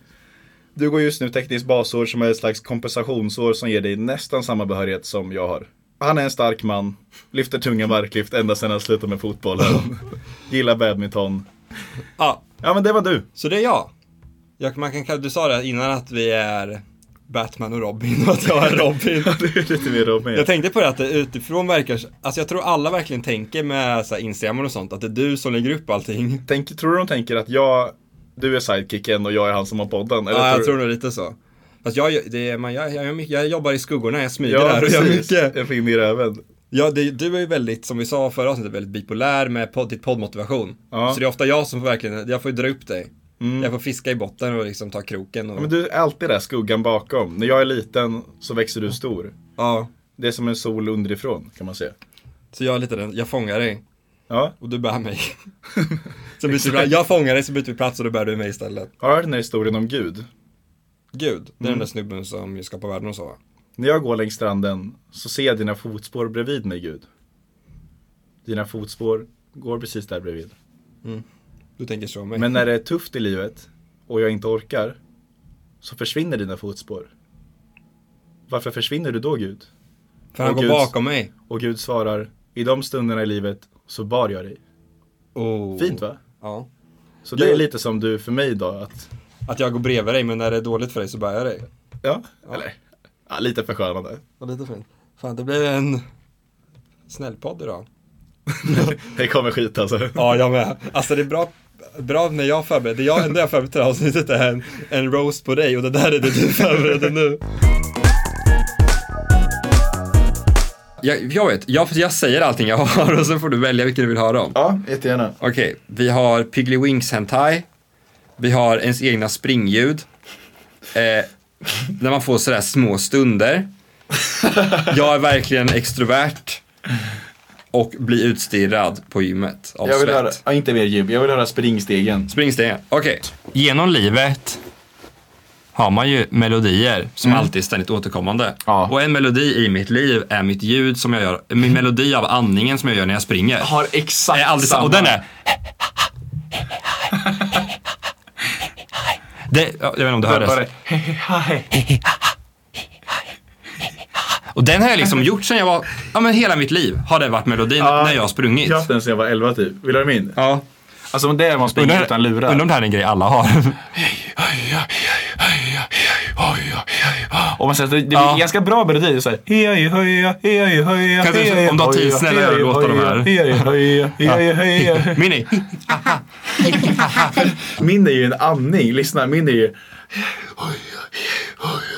Du går just nu tekniskt basår som är ett slags kompensationsår som ger dig nästan samma behörighet som jag har. Han är en stark man, lyfter tunga marklyft ända sedan han slutade med fotbollen. Gillar badminton. Ja. ja, men det var du. Så det är jag. jag man kan, du sa det innan att vi är Batman och Robin och att jag är Robin. det är lite mer Robin. Jag tänkte på det att det utifrån verkar, alltså jag tror alla verkligen tänker med så här Instagram och sånt, att det är du som lägger upp allting. Tänk, tror du de tänker att jag, du är sidekicken och jag är han som har podden? ja, jag tror- tror nog lite så. Fast jag, det är, man, jag, jag, gör mycket- jag jobbar i skuggorna, jag smyger Ja, där och gör precis. mycket. Jag får in i röven. Ja, det, du är ju väldigt, som vi sa förra avsnittet, väldigt bipolär med podd, ditt poddmotivation. Ja. Mm. Så det är ofta jag som får verkligen, jag får ju dra upp dig. Jag får fiska i botten och liksom ta kroken. Och... Ja, men du är alltid där skuggan bakom. När jag är liten så växer du stor. Ja. Det är som en sol underifrån kan man säga. Så jag är lite den, jag fångar dig. Ja. Och du bär mig. så byter vi, plats. jag fångar dig så byter vi plats och då bär du mig istället. Har du hört den här historien om Gud? Gud, det är den Mm. där snubben som skapar världen och så va? När jag går längs stranden så ser jag dina fotspår bredvid mig Gud. Dina fotspår går precis där bredvid. Mm. Du tänker så om mig. Men när det är tufft i livet och jag inte orkar så försvinner dina fotspår. Varför försvinner du då Gud? För han Och går Gud- bakom mig. Och Gud svarar, i de stunderna i livet så bar jag dig. Oh. Fint va? Ja. Så det är Gud. lite som du för mig då att... Att jag går bredvid dig men när det är dåligt för dig så bär jag dig. Ja, eller? Ja, lite förskönande. Ja, lite fint. Fan, det blev en snällpodd idag. Det kommer skit alltså. Ja, jag med. Alltså det är bra, bra när jag förbereder. Det jag, enda jag förberett till det här avsnittet är en, en roast på dig och det där är det du förbereder nu. Jag, jag vet, jag, jag säger allting jag har och sen får du välja vilken du vill höra om. Ja, jättegärna. Okej, vi har Piggly Wings Hentai. Vi har ens egna springljud. Eh, när man får sådär små stunder. Jag är verkligen extrovert. Och blir utstirrad på gymmet av Jag vill svett. höra, ja, inte mer gym, jag vill höra springstegen. Springstegen, okej. Genom livet har man ju melodier som alltid är ständigt återkommande. Och en melodi i mitt liv är mitt ljud som jag gör, min melodi av andningen som jag gör när jag springer. Har exakt är alltid samma. Eh, Och samma. den är... Det, jag vet inte om du hördes. Och den har jag liksom gjort sen jag var, ja men hela mitt liv har det varit melodin när jag har sprungit. Jag har haft den sedan jag var 11 typ. Vill du ha min? Ja. Alltså det är man springer Undrar- utan lurar. Undrar om det här är en grej alla har. Och man säger, att det det blir ganska bra melodi. Så här, hej, höja, hej, höja, Kan du- hej, om du har tid, höja, snälla, hej, låt höja, dem här. hej, höja, hej, höja. Mini. Min är ju en andning. Lyssna, min är ju...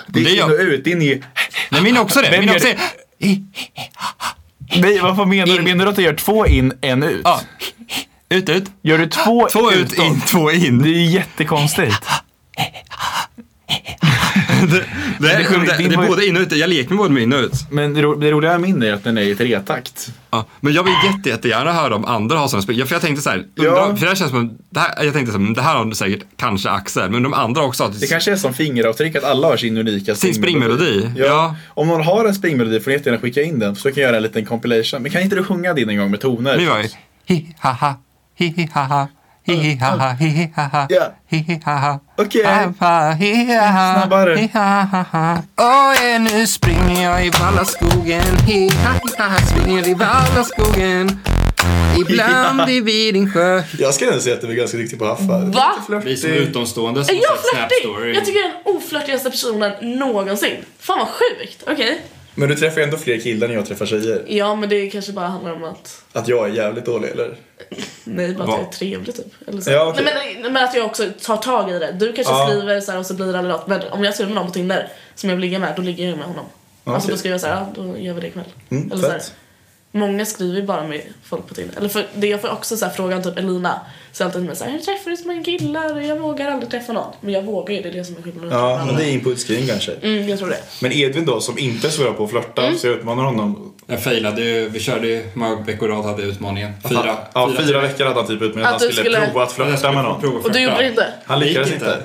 Det är in och ut, in i... Nej, min är också det. Vem Min är gör- också det. Nej, vad fan menar du? Menar du att du gör två in, en ut? Ja. Ut, ut. Gör du två, Två ut, utåt? in, två in. Det är ju jättekonstigt. Det, är- det, det, är både in och ut. Jag leker med både med in och ut. Men det, ro, det roliga med min är att den är i tretakt. Ja, men jag vill jätte, jättegärna höra om andra har sådana spel. Ja, För jag tänkte så här, undra, för det här känns som, det här, jag tänkte så här, men det här har säkert kanske Axel, men de andra också har Det kanske är som fingeravtryck att alla har sin unika Sin springmelodi, Ja. Om någon har en springmelodi får ni jättegärna skicka in den så kan jag göra en liten compilation. Men kan inte du sjunga din en gång med toner? Nu var jag- Hi ha ha, hi hi ha ha, hi hi ha ha, hi hi ha ha, hi hi ha ha. Okej. Snabbare. Hi ha ha ha. Åh, ja, nu springer jag i Vallaskogen. Hi ha hi ha, ha, springer i Vallaskogen. Ibland i Vidingsjö. Jag skulle ändå säga att du är ganska duktig på att haffa. Va? Vi som är utomstående Är jag flörtig? Jag tycker jag är den oflörtigaste personen någonsin. Fan vad sjukt. Okej. Men du träffar ju ändå fler killar än jag träffar tjejer. Ja men det kanske bara handlar om att... Att jag är jävligt dålig eller? Nej, bara att Va? jag är trevlig typ. Eller så. Ja, okej. Nej, men, men att jag också tar tag i det. Du kanske Ja. skriver så här och så blir det aldrig något. Men om jag skriver med någon på Tinder som jag vill ligga med, då ligger jag med honom. Ja, Alltså okej. då skriver jag så här, ja, då gör vi det ikväll. Mm, Eller så här. fett. Många skriver ju bara med folk på Tinder. Eller för, det jag får också så här, frågan typ Elina säger alltid till mig så här, hur träffar du så många killar? Och Jag vågar aldrig träffa någon. Men jag vågar ju, det är det som är skillnaden. Ja, men det är input screen kanske. Mm, jag tror det. Men Edvin då som inte är så bra på att flörta Mm. så jag utmanar honom. Jag failade ju, vi körde ju, hur många veckor i rad hade jag utmaningen? Fyra. Ja, fyra, veckor hade han typ ut med att Att han du skulle, skulle- prova att flörta med någon. Och du gjorde det inte? Han lyckades inte.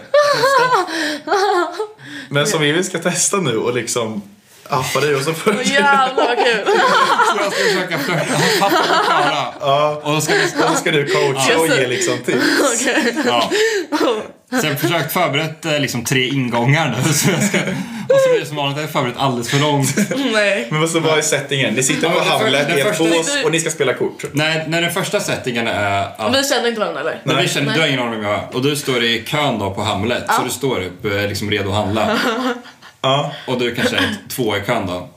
Men som Edvin ska testa nu och liksom appa dig och så får du... Jävlar vad kul! Jag ska försöka flörta. Pappa och Klara. Ja, och då ska, vi, då ska du coacha och ge liksom tips. Okej. Ja. Så jag har försökt förberett eh, liksom tre ingångar nu. Så jag ska, och så blir det som vanligt, jag har förberett alldeles för långt. Nej. Men vad så vad är settingen? Ni sitter på Ja, men den för- Hamlet i den en första- bås och ni ska spela kort. Nej, när den första settingen är att Och vi känner inte varandra eller? Nej. Vi känner, du har ingen aning om vem jag är. Och du står i kön då på Hamlet, så Ja. du står upp eh, liksom redo att handla. Och du kanske är två i kön då.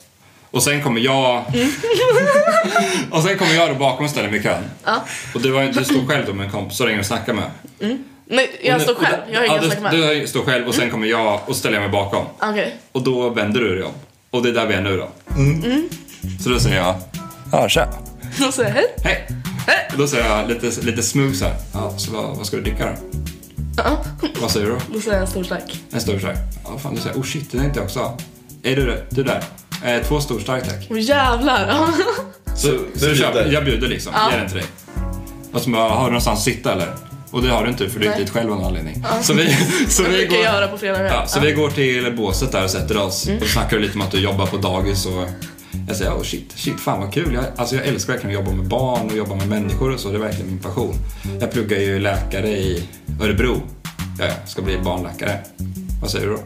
Och sen kommer jag, och sen kommer jag då bakom och ställer mig i kön. Ja. Och du, har, du står själv då med en kompis, så ringer du och snackar med. Mm. Nej, jag Och nu- står och där- själv. Jag har ingen att snacka ja, med. Mm. du, du står själv och sen kommer jag och ställer mig bakom. Okej. Och då vänder du dig om. Och det är där vi är nu då. Mm. Så då säger jag, ja tja. Då säger jag hej. Hej! Och då säger jag lite, lite smooth så här. Ja, så vad, vad ska du dricka då? Ja. Vad säger du då? Då säger jag en stor tack. En stor stark. Ja, fan du säger, oh shit, det tänkte jag också ha. Är du, du där? Eh, två stor stark tack. Åh jävlar. Ja. Så, så du köper, bjuder? jag bjuder liksom, Ja. ger den till dig. Och så bara, har du någonstans att sitta eller? Och det har du inte för du gick Nej. dit själv av någon anledning. Ja. Så vi, så jag vi brukar går... göra på fredag med. Ja, så vi går till båset där och sätter oss Mm. och snackar lite om att du jobbar på dagis och jag säger oh shit, shit fan vad kul. Jag, alltså jag älskar verkligen att jobba med barn och jobba med människor och så. Det är verkligen min passion. Jag pluggar ju läkare i Örebro. Ja, jag ska bli barnläkare. Vad säger du då?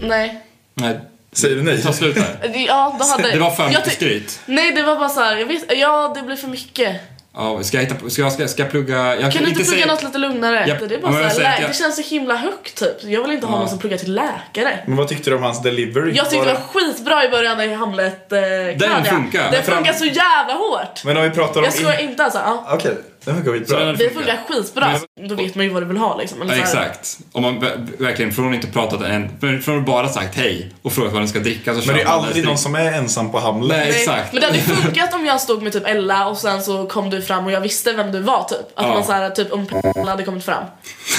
Nej. Nej. Säger du nej? Ta slut där. Ja, då hade... Det var för jag mycket ty- skryt. Nej, det var bara så här, jag vet, ja det blir för mycket. Ja, ska jag hitta på, ska jag, ska, jag- ska jag plugga? Jag kan du inte plugga säga- något lite lugnare? Japp. Det är Ja, bara men jag så säger här, att lä- jag- det känns så himla högt typ. Jag vill inte ha Ja. någon som pluggar till läkare. Men vad tyckte du om hans delivery? Jag Var tyckte det var skitbra i början i Hamlet eh, Claudia. funkar. Den Men fram- funkar så jävla hårt. Men om vi pratar om... Jag skojar in- inte alltså. Ja. Okej, den funkar skitbra. Det funkar skitbra. Då vet man ju vad du vill ha liksom. Eller Ja, så här- exakt. Om man ver- verkligen, från att inte pratat än, men från att bara sagt hej och frågat vad den ska dricka så kör Men det är man den aldrig direkt. någon som är ensam på Hamlet. Nej, exakt. Men det hade ju funkat om jag stod med typ Ella och sen så kom du fram och jag visste vem du var typ. Att Ja. man såhär, typ om Pella hade kommit fram.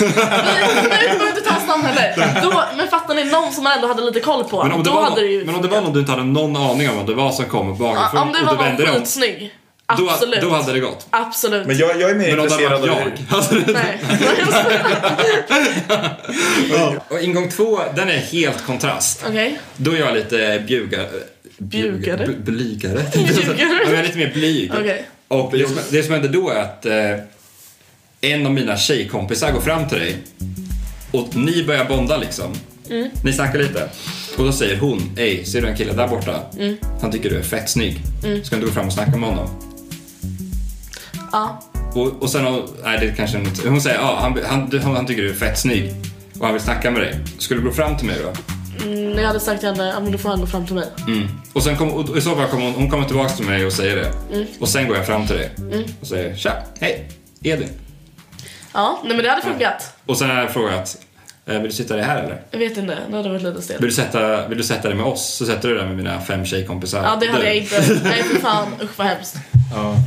Nej, men vi behöver inte ta hans namn heller. Då, men fattar ni, någon som man ändå hade lite koll på. Men om, det då var hade det ju... någon, men om det var någon du inte hade någon aning om vad det var som kom bakifrån Ja, om det och var du vände någon dig om, skitsnygg. då, Absolut. då hade det gått. Absolut. jag, är mer men om det hade varit intresserad av jag. Alltså, ja. Och ingång två, den är helt kontrast. Okej. Då är jag lite bjuga, Bjugare? b- blygare. Ja, men alltså, jag är lite mer blyg. Okej. Och det som, det som händer då är att eh, en av mina tjejkompisar går fram till dig och ni börjar bonda liksom. Mm. Ni snackar lite. Och då säger hon, ey, ser du en kille där borta? Mm. Han tycker du är fett snygg. Mm. Ska inte du gå fram och snacka med honom? Ja. Och, och sen, har- nej det är kanske inte, hon säger, ja, han, han, du- han tycker du är fett snygg och han vill snacka med dig. Skulle du gå fram till mig då? Mm, jag hade sagt till henne, ja men då får han gå fram till mig. Mm. Och sen kom, och i så fall kommer hon, hon kommer tillbaka till mig och säger det. Mm. Och sen går jag fram till dig Mm. och säger tja, hej, Edvin. Ja, nej men det hade funkat. Och sen har jag frågat, eh, vill du sitta dig här eller? Jag vet inte, det hade varit lite stelt. Vill du, sätta, vill du sätta dig med oss? Så sätter du dig där med mina fem tjejkompisar. Ja, det hade Du. jag inte. Nej, för fan. Usch vad hemskt. Ja.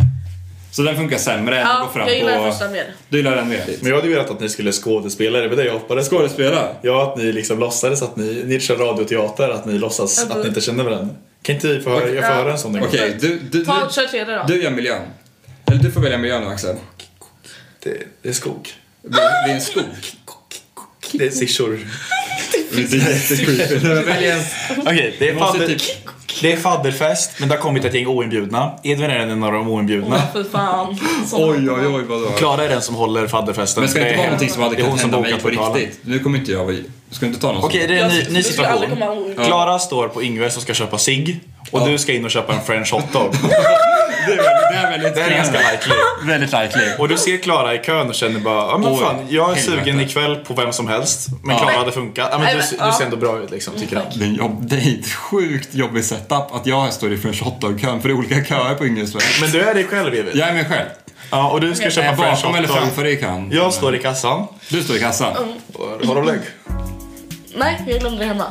Så den funkar sämre än att gå Ja, fram jag gillar den på... första mer. Du gillar den mer? Men jag hade ju velat att ni skulle skådespela, det var det jag hoppades Skådespela? Ja, att ni liksom låtsades att ni, ni kör radioteater, att ni låtsas att ni inte känner varandra. Kan inte vi få höra, jag får höra en sån en gång? Okej, du, du, du, Ta, kör tredje då. du gör miljön. Eller du får välja miljön nu Axel. Det, är skog. Det, det är en skog. Det är siffror. Det är jättesjukt. Välj en. Okej, det, är Du måste typ- fadder, det är fadderfest, men det har kommit ett gäng oinbjudna. Edvin är en av de oinbjudna. Åh, fy fan. Så- Oj, oj, oj, vadå? Klara är den som håller fadderfesten. Men ska det inte är vara hen- någonting som hade det är hon kunnat hända som mig bokar på lokalen. riktigt? Nu kommer inte jag... Ska du inte ta någon Okej, det är en ny, ny Jag skulle aldrig situation. komma ihåg. Ja. Klara står på Ingves och ska köpa sig och du ska in och köpa en french hotdog. Det är, det är väldigt Det är ganska Mm. likely. Väldigt likely. Och du ser Klara i kön och känner bara, ja men Oj, fan, jag är helvete. sugen ikväll på vem som helst. Men Ja. Klara hade funkat. Ja, men du, Nej, men, du ja. ser ändå bra ut liksom, tycker jag. Det är, en jobb, det är ett sjukt jobbig setup att jag står i French hotdog-kön, för det är olika köer på Yngresväg. Men du är dig själv, Evil. Jag är mig själv. Ja, och du ska köpa Är jag french bakom eller hotdog. framför dig i kön? Jag står i kassan. Du står i kassan. Mm. Har du lägg? Nej, jag glömde det hemma.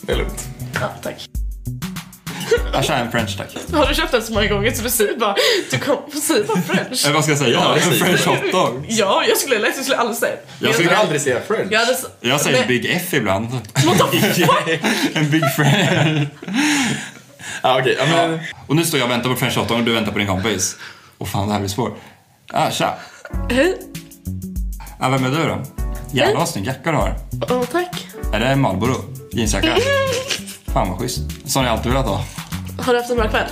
Det är lugnt. Ja, tack. Jag kör en French tack. Har du köpt den så många gånger så du säger bara, du kom, säger bara french. Eller vad ska jag säga? Ja, en precis. French hotdog. Ja, jag skulle lätt, jag skulle aldrig säga Jag skulle aldrig säga french. Jag, hade, Jag säger Nej. Big F ibland. en Big French. ah, okay, ja. Och nu står jag och väntar på French hotdog och du väntar på din kompis. Och fan, det här blir svårt. Ah, tja. Hej. Ah, vem är du då? Jävlar vad snygg jacka du har. Åh, tack. Är det Marlboro? Jeansjacka? Fan vad schysst. Sån har jag alltid velat ha. Har du haft en bra kväll?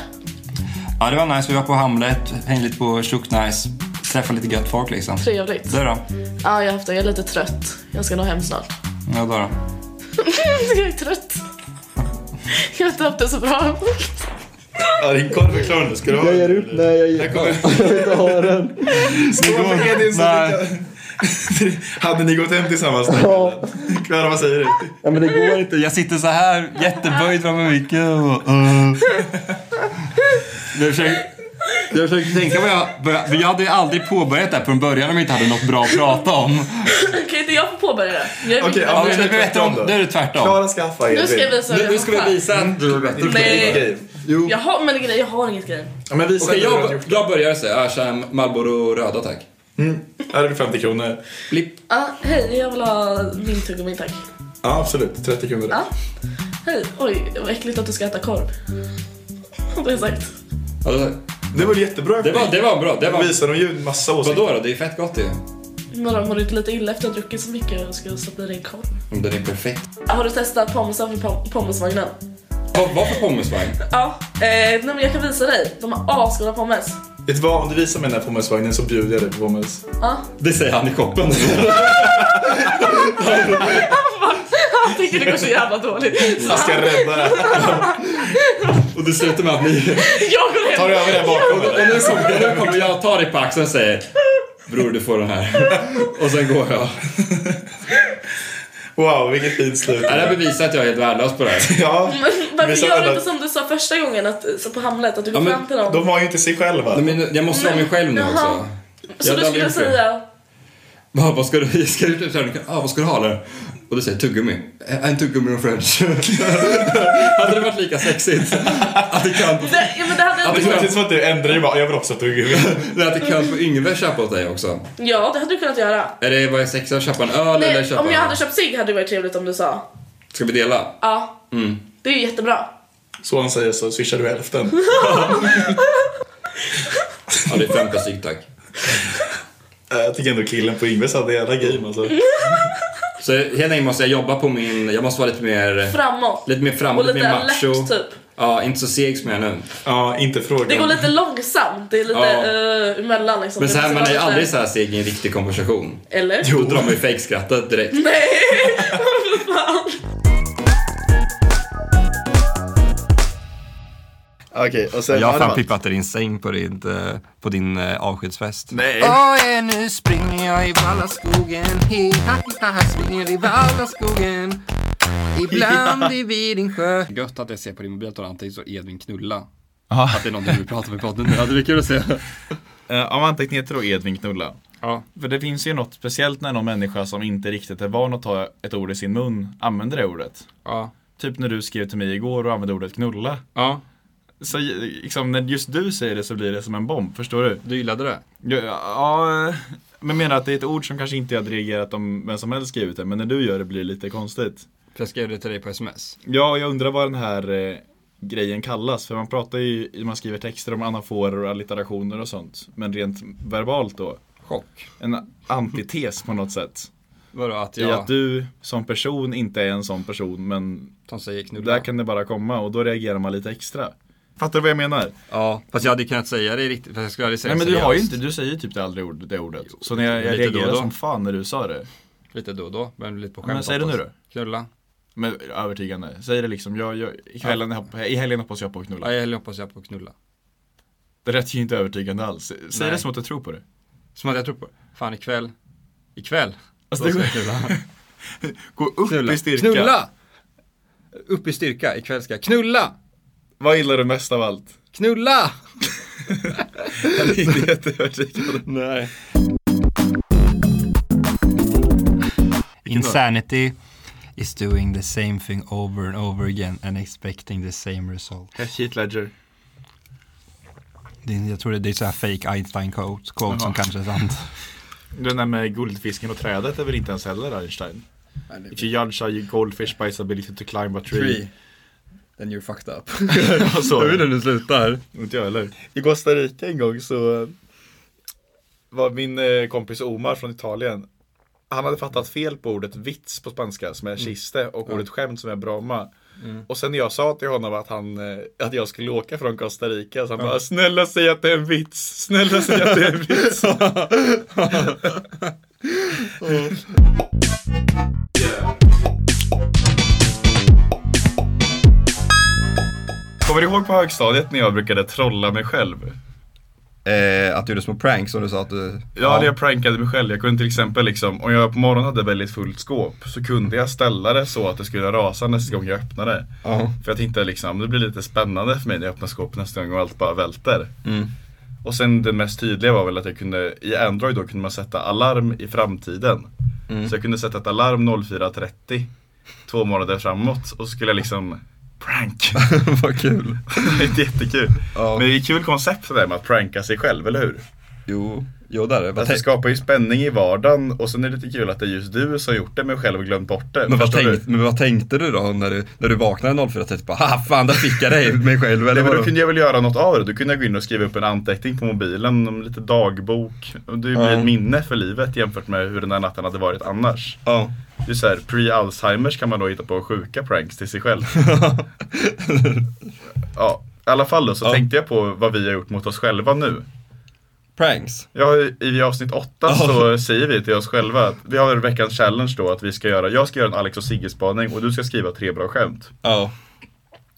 Ja, det var nice. Vi var på Hamlet, hängde lite på Tjock Nice, träffade lite gött folk liksom. Trevligt. Du då? Ja, jag har haft det. Jag är lite trött. Jag ska nog hem snart. Ja, då då. jag är trött. Jag har inte haft det så bra. Ja, din korv är klar nu. Ska du ha Jag ger upp. Nej, jag ger upp. Jag vill inte ha den. Skål för Edvin så Hade ni gått hem tillsammans den Ja. kvällen? Klara, vad säger du? Ja, men det går inte. Jag sitter så här jätteböjd framför micken och... Uh. Jag försöker, jag försöker tänka vad jag... börja- men Jag hade ju aldrig påbörjat det här från början om jag inte hade något bra att prata om. kan inte jag få påbörja det? Jag är ja, men nu, är det tvärtom, nu är det tvärtom. Klara skaffa Nu ska jag visa Nu, nu ska vi visa att du Mm. är bättre. Nej. Jo. Jag har, men grejen, jag har inget grej. Ja, men visa Okej, hur du har jag, jag börjar säga. Jag kör Marlboro röda tack. Mm. Här är det 50 kronor. Blipp. Ah, hej, jag vill ha min tuggummi tack. Ja, absolut. 30 kronor. Ja. Hej, oj, vad äckligt att du ska äta korv. Det har jag sagt. Det var jättebra. Alltså, Det var, det var bra. Det var... Visar de ju massa åsikter. Vadå då? Det är fett gott ju. Några mår inte lite illa efter att ha druckit så mycket och ska stoppa i dig en korv. Om Den är perfekt. Ah, Har du testat pommesen från pom- pommesvagnen? Vad vad för pommesvagn? Ja, eh, nej, men jag kan visa dig. De har asgoda pommes. Vet du vad? Om du visar mig den här pommesvagnen så bjuder jag dig på pommes. Ja. Det säger han i koppen. Han tycker det går så jävla dåligt. Så Jag ska han- rädda det Och det slutar med att ni... Jag går hem. Tar du över det bakom? Och nu kommer, nu kommer jag ta dig på axeln och säger Bror du får den här. Och sen går jag. Wow, vilket fint slut. Det här bevisar att jag är helt värdelös på det här. Ja. Men Men varför så gör du rädda- inte som du sa första gången att, så på Hamlet? Att du går Ja, men fram till dem? De var ju inte sig själva. Nej, men jag måste vara mig själv nu Jaha. också. Så Jag hade du skulle aldrig gjort det. säga... Va, vad ska du, ska du, ska du, ah, vad ska du ha eller? Och du säger tuggummi. Eh, En tuggummi och french. Hade det varit lika sexigt? Att det kan på, Det, ja, men det hade Det jag känns inte som att du ändrar dig bara. Jag vill också ha tuggummi. nej, att det kan på Yngve köpa åt dig också? Ja, det hade du kunnat göra. Är det vad är sexigt att köpa en öl eller Nej, köpa om jag hade köpt cigg hade det varit trevligt om du sa. Ska vi dela? Ja, Mm. det är ju jättebra. Så han säger så swishar du hälften. Ja, det är 50 stygg tack. Eh, Jag tycker ändå killen på Yngves hade jävla game alltså. Så helt enkelt måste jag jobba på min, jag måste vara lite mer... Framåt. Lite mer framåt, Och lite, lite mer macho. alert, typ. Ja, inte så seg som jag är nu. Ja, inte frågan. Det går lite långsamt. Det är lite Ja. eh, emellan liksom. Men Det så här, man måste vara är ju lite- aldrig så här seg i en riktig konversation. Eller? Jo. Då drar man ju fejkskrattet direkt. Nej! Vad fan. Okej, och jag har fan pippat i din säng på din, eh, på din eh, avskedsfest. Nej. Åh, ja, nu springer jag i Vallaskogen. He, ha, ha, ha, springer i Vallaskogen. Ibland i Vidingsjö. Gött att jag ser på din mobil att du har antecknat så Edvin knulla. Aha. Att det är någonting vi pratar med podden nu. Ja, det blir kul att se. Eh, Av anteckningar till då Edvin knulla. Ja. För det finns ju något speciellt när någon människa som inte riktigt är van att ta ett ord i sin mun använder det ordet. Ja. Typ när du skrev till mig igår och använde ordet knulla. Ja. så, liksom, när just du säger det så blir det som en bomb, förstår du? Du gillade det? Ja, ja men jag menar att det är ett ord som kanske inte jag hade reagerat om vem som helst skrivit det, men när du gör det blir det lite konstigt. För jag skrev det till dig på sms. Ja, och jag undrar vad den här eh, grejen kallas, för man pratar ju, man skriver texter om anaforer och allitterationer och sånt, men rent verbalt då. Chock. En antites på något sätt. Vadå, att I jag- att du som person inte är en sån person, men där kan det bara komma och då reagerar man lite extra. Fattar du vad jag menar? Ja, fast jag hade kunnat säga det riktigt, fast jag skulle aldrig säga Nej men du seriöst. har ju inte, du säger ju typ det aldrig ord, det ordet. så när jag, jag lite reagerar då och då. som fan när du sa det. Lite då och då, men lite på skämt. Men säg det nu hoppas. då. Knulla. Men övertygande, säg det liksom. Jag, jag, i, helgen, I helgen hoppas jag på att knulla. Ja, i helgen hoppas jag på att knulla. Det lät ju inte övertygande alls. Säg Nej. det som att du tror på det. Som att jag tror på det. Fan ikväll. Ikväll. Alltså, då det ska jag går- knulla. Gå upp Knulla. i styrka. Knulla! Upp i styrka. Ikväll ska jag knulla! Vad gillar du mest av allt? Knulla! Jag är inte jätteövertygande. Nej. Insanity is doing the same thing over and over again and expecting the same result. Heath Ledger. Det, är- jag tror det, det är så här fake Einstein quote, quote som Jaha. kanske är sant. Den där med guldfisken och trädet är väl inte ens heller Einstein? If you judge a goldfish by its ability to climb a tree. Tree. Then you're fucked up. så. Jag vet inte hur det slutar. Inte jag heller. I Costa Rica en gång så eh, var min eh, kompis Omar från Italien. Han hade fattat fel på ordet vits på spanska som är kiste och ordet skämt som är bromma. Mm. Och sen när jag sa till honom att, han, eh, att jag skulle åka från Costa Rica så han Ja. bara snälla säg att det är en vits, snälla säg att det är en vits. Kommer du ihåg på högstadiet när jag brukade trolla mig själv? Eh, att du gjorde små pranks som du sa att du... Ja, när jag prankade mig själv. Jag kunde till exempel liksom, om jag på morgonen hade väldigt fullt skåp så kunde jag ställa det så att det skulle rasa nästa gång jag öppnade. Ja. För jag tänkte liksom, det blir lite spännande för mig när jag öppnar skåpet nästa gång och allt bara välter. Mm. Och sen den mest tydliga var väl att jag kunde, i Android då kunde man sätta alarm i framtiden. Mm. Så jag kunde sätta ett alarm 04.30 två månader framåt och så skulle jag liksom prank. Vad kul. det är jättekul. Men det är ett kul koncept det där med att pranka sig själv, eller hur? Jo, jo där är Alltså, det skapar ju spänning i vardagen och sen är det lite kul att det är just du som gjort det men själv glömt bort det. Men vad, Förstår du? tänkt, men vad tänkte du då när du, när du vaknade 04.30? Bara, "Ha, fan, där fick jag dig, mig själv Nej, eller men då vadå? kunde jag väl göra något av det. Då kunde jag gå in och skriva upp en anteckning på mobilen, om lite dagbok. Och Det blir Ja. ett minne för livet jämfört med hur den här natten hade varit annars. Ja. Det är så här, pre-Alzheimers kan man då hitta på sjuka pranks till sig själv. ja, i alla fall då så tänkte jag på vad vi har gjort mot oss själva nu. Pranks? Ja, i, i avsnitt åtta så säger vi till oss själva att vi har veckans challenge då att vi ska göra, jag ska göra en Alex och Sigge-spaning och du ska skriva tre bra skämt. Ja.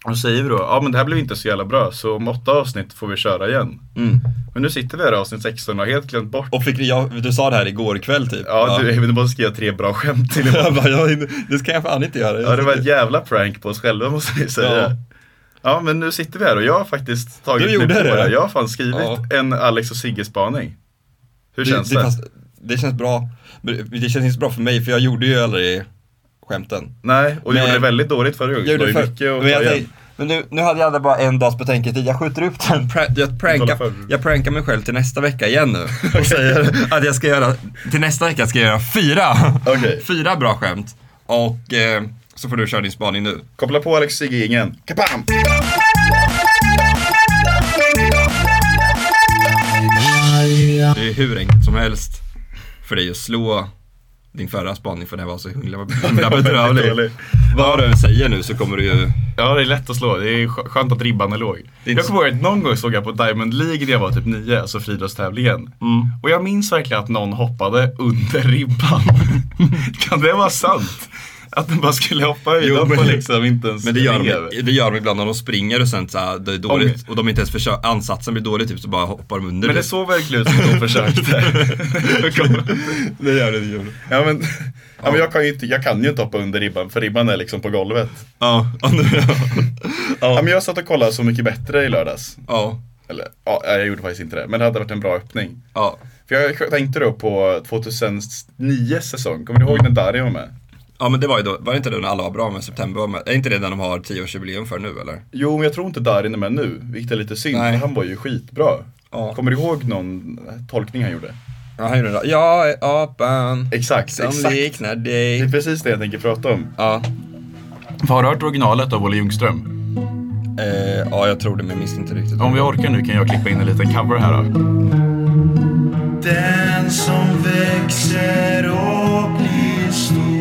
Och så säger vi då, ja men det här blev inte så jävla bra så om åtta avsnitt får vi köra igen. Mm. Men nu sitter vi här i avsnitt 16 och har helt glömt bort. Och fick, jag, du sa det här igår kväll typ. Ja, du, du måste skriva tre bra skämt till jag bara, jag, Det ska jag fan inte göra. Ja, det var ett jävla prank på oss själva måste vi säga. Ja. Ja. men nu sitter vi här och jag har faktiskt tagit Du gjorde mig på det? här. Jag har fan skrivit Ja. en Alex och Sigge-spaning. Hur känns det? Det, fast, det känns bra. Men Det känns inte så bra för mig för jag gjorde ju aldrig skämten. Nej, och du gjorde det väldigt dåligt förra gången. Jag gjorde det var ju mycket att men jag ta igen. tänkte- men nu, nu hade jag bara en dags betänketid. Jag skjuter upp den. Pra- Jag prankar, jag prankar mig själv till nästa vecka igen nu. Och säger att jag ska göra, till nästa vecka ska jag göra fyra. Fyra bra skämt. Och eh, så får du köra din spaning nu. Koppla på Alex Sigge-ingen. Kabam! Det är hur enkelt som helst för dig att slå din förra spaning för den var så himla, himla bedrövlig. Vad du än säger nu så kommer du ju... Ja, det är lätt att slå. Det är skö- skönt att ribban är låg. Jag kommer ihåg att någon gång såg jag på Diamond League när jag var typ nio, alltså friidrottstävlingen. Och jag minns verkligen att någon hoppade under ribban. kan det vara sant? Att den bara skulle hoppa Jo, utanpå men- liksom, inte ens Men det gör, de, skrev. det gör de ibland när de springer och sen så här, det är dåligt och de inte ens försöker, ansatsen blir dålig typ så bara hoppar de under. Men det typ. såg verkligen ut som att de försökte. det gör det, det gör det. Ja, men, ja, men jag, kan ju inte, jag kan ju inte hoppa under ribban för ribban är liksom på golvet. Ja, ja. men jag satt och kollade Så mycket bättre i lördags. Ja. Eller, ja, jag gjorde faktiskt inte det. Men det hade varit en bra öppning. Ja. För jag tänkte då på 2009 säsong. Kommer du ihåg när Dario var med? Ja men det var ju då, var det inte då när alla var bra med september? var med- Är inte det den de har 10-årsjubileum för nu eller? Jo, men jag tror inte Darin är med nu, vilket är lite synd, för han var ju skitbra. Kommer du ihåg någon tolkning han gjorde? Ja, han gjorde det. Jag är apan exakt, som exakt. liknar Det dig. är precis det jag tänker prata om. Ja. Har du hört originalet av Olle Ljungström? eh, ja, jag tror det, men jag minns inte riktigt. Om vi orkar nu kan jag klippa in en liten cover här då. Den som växer och blir stor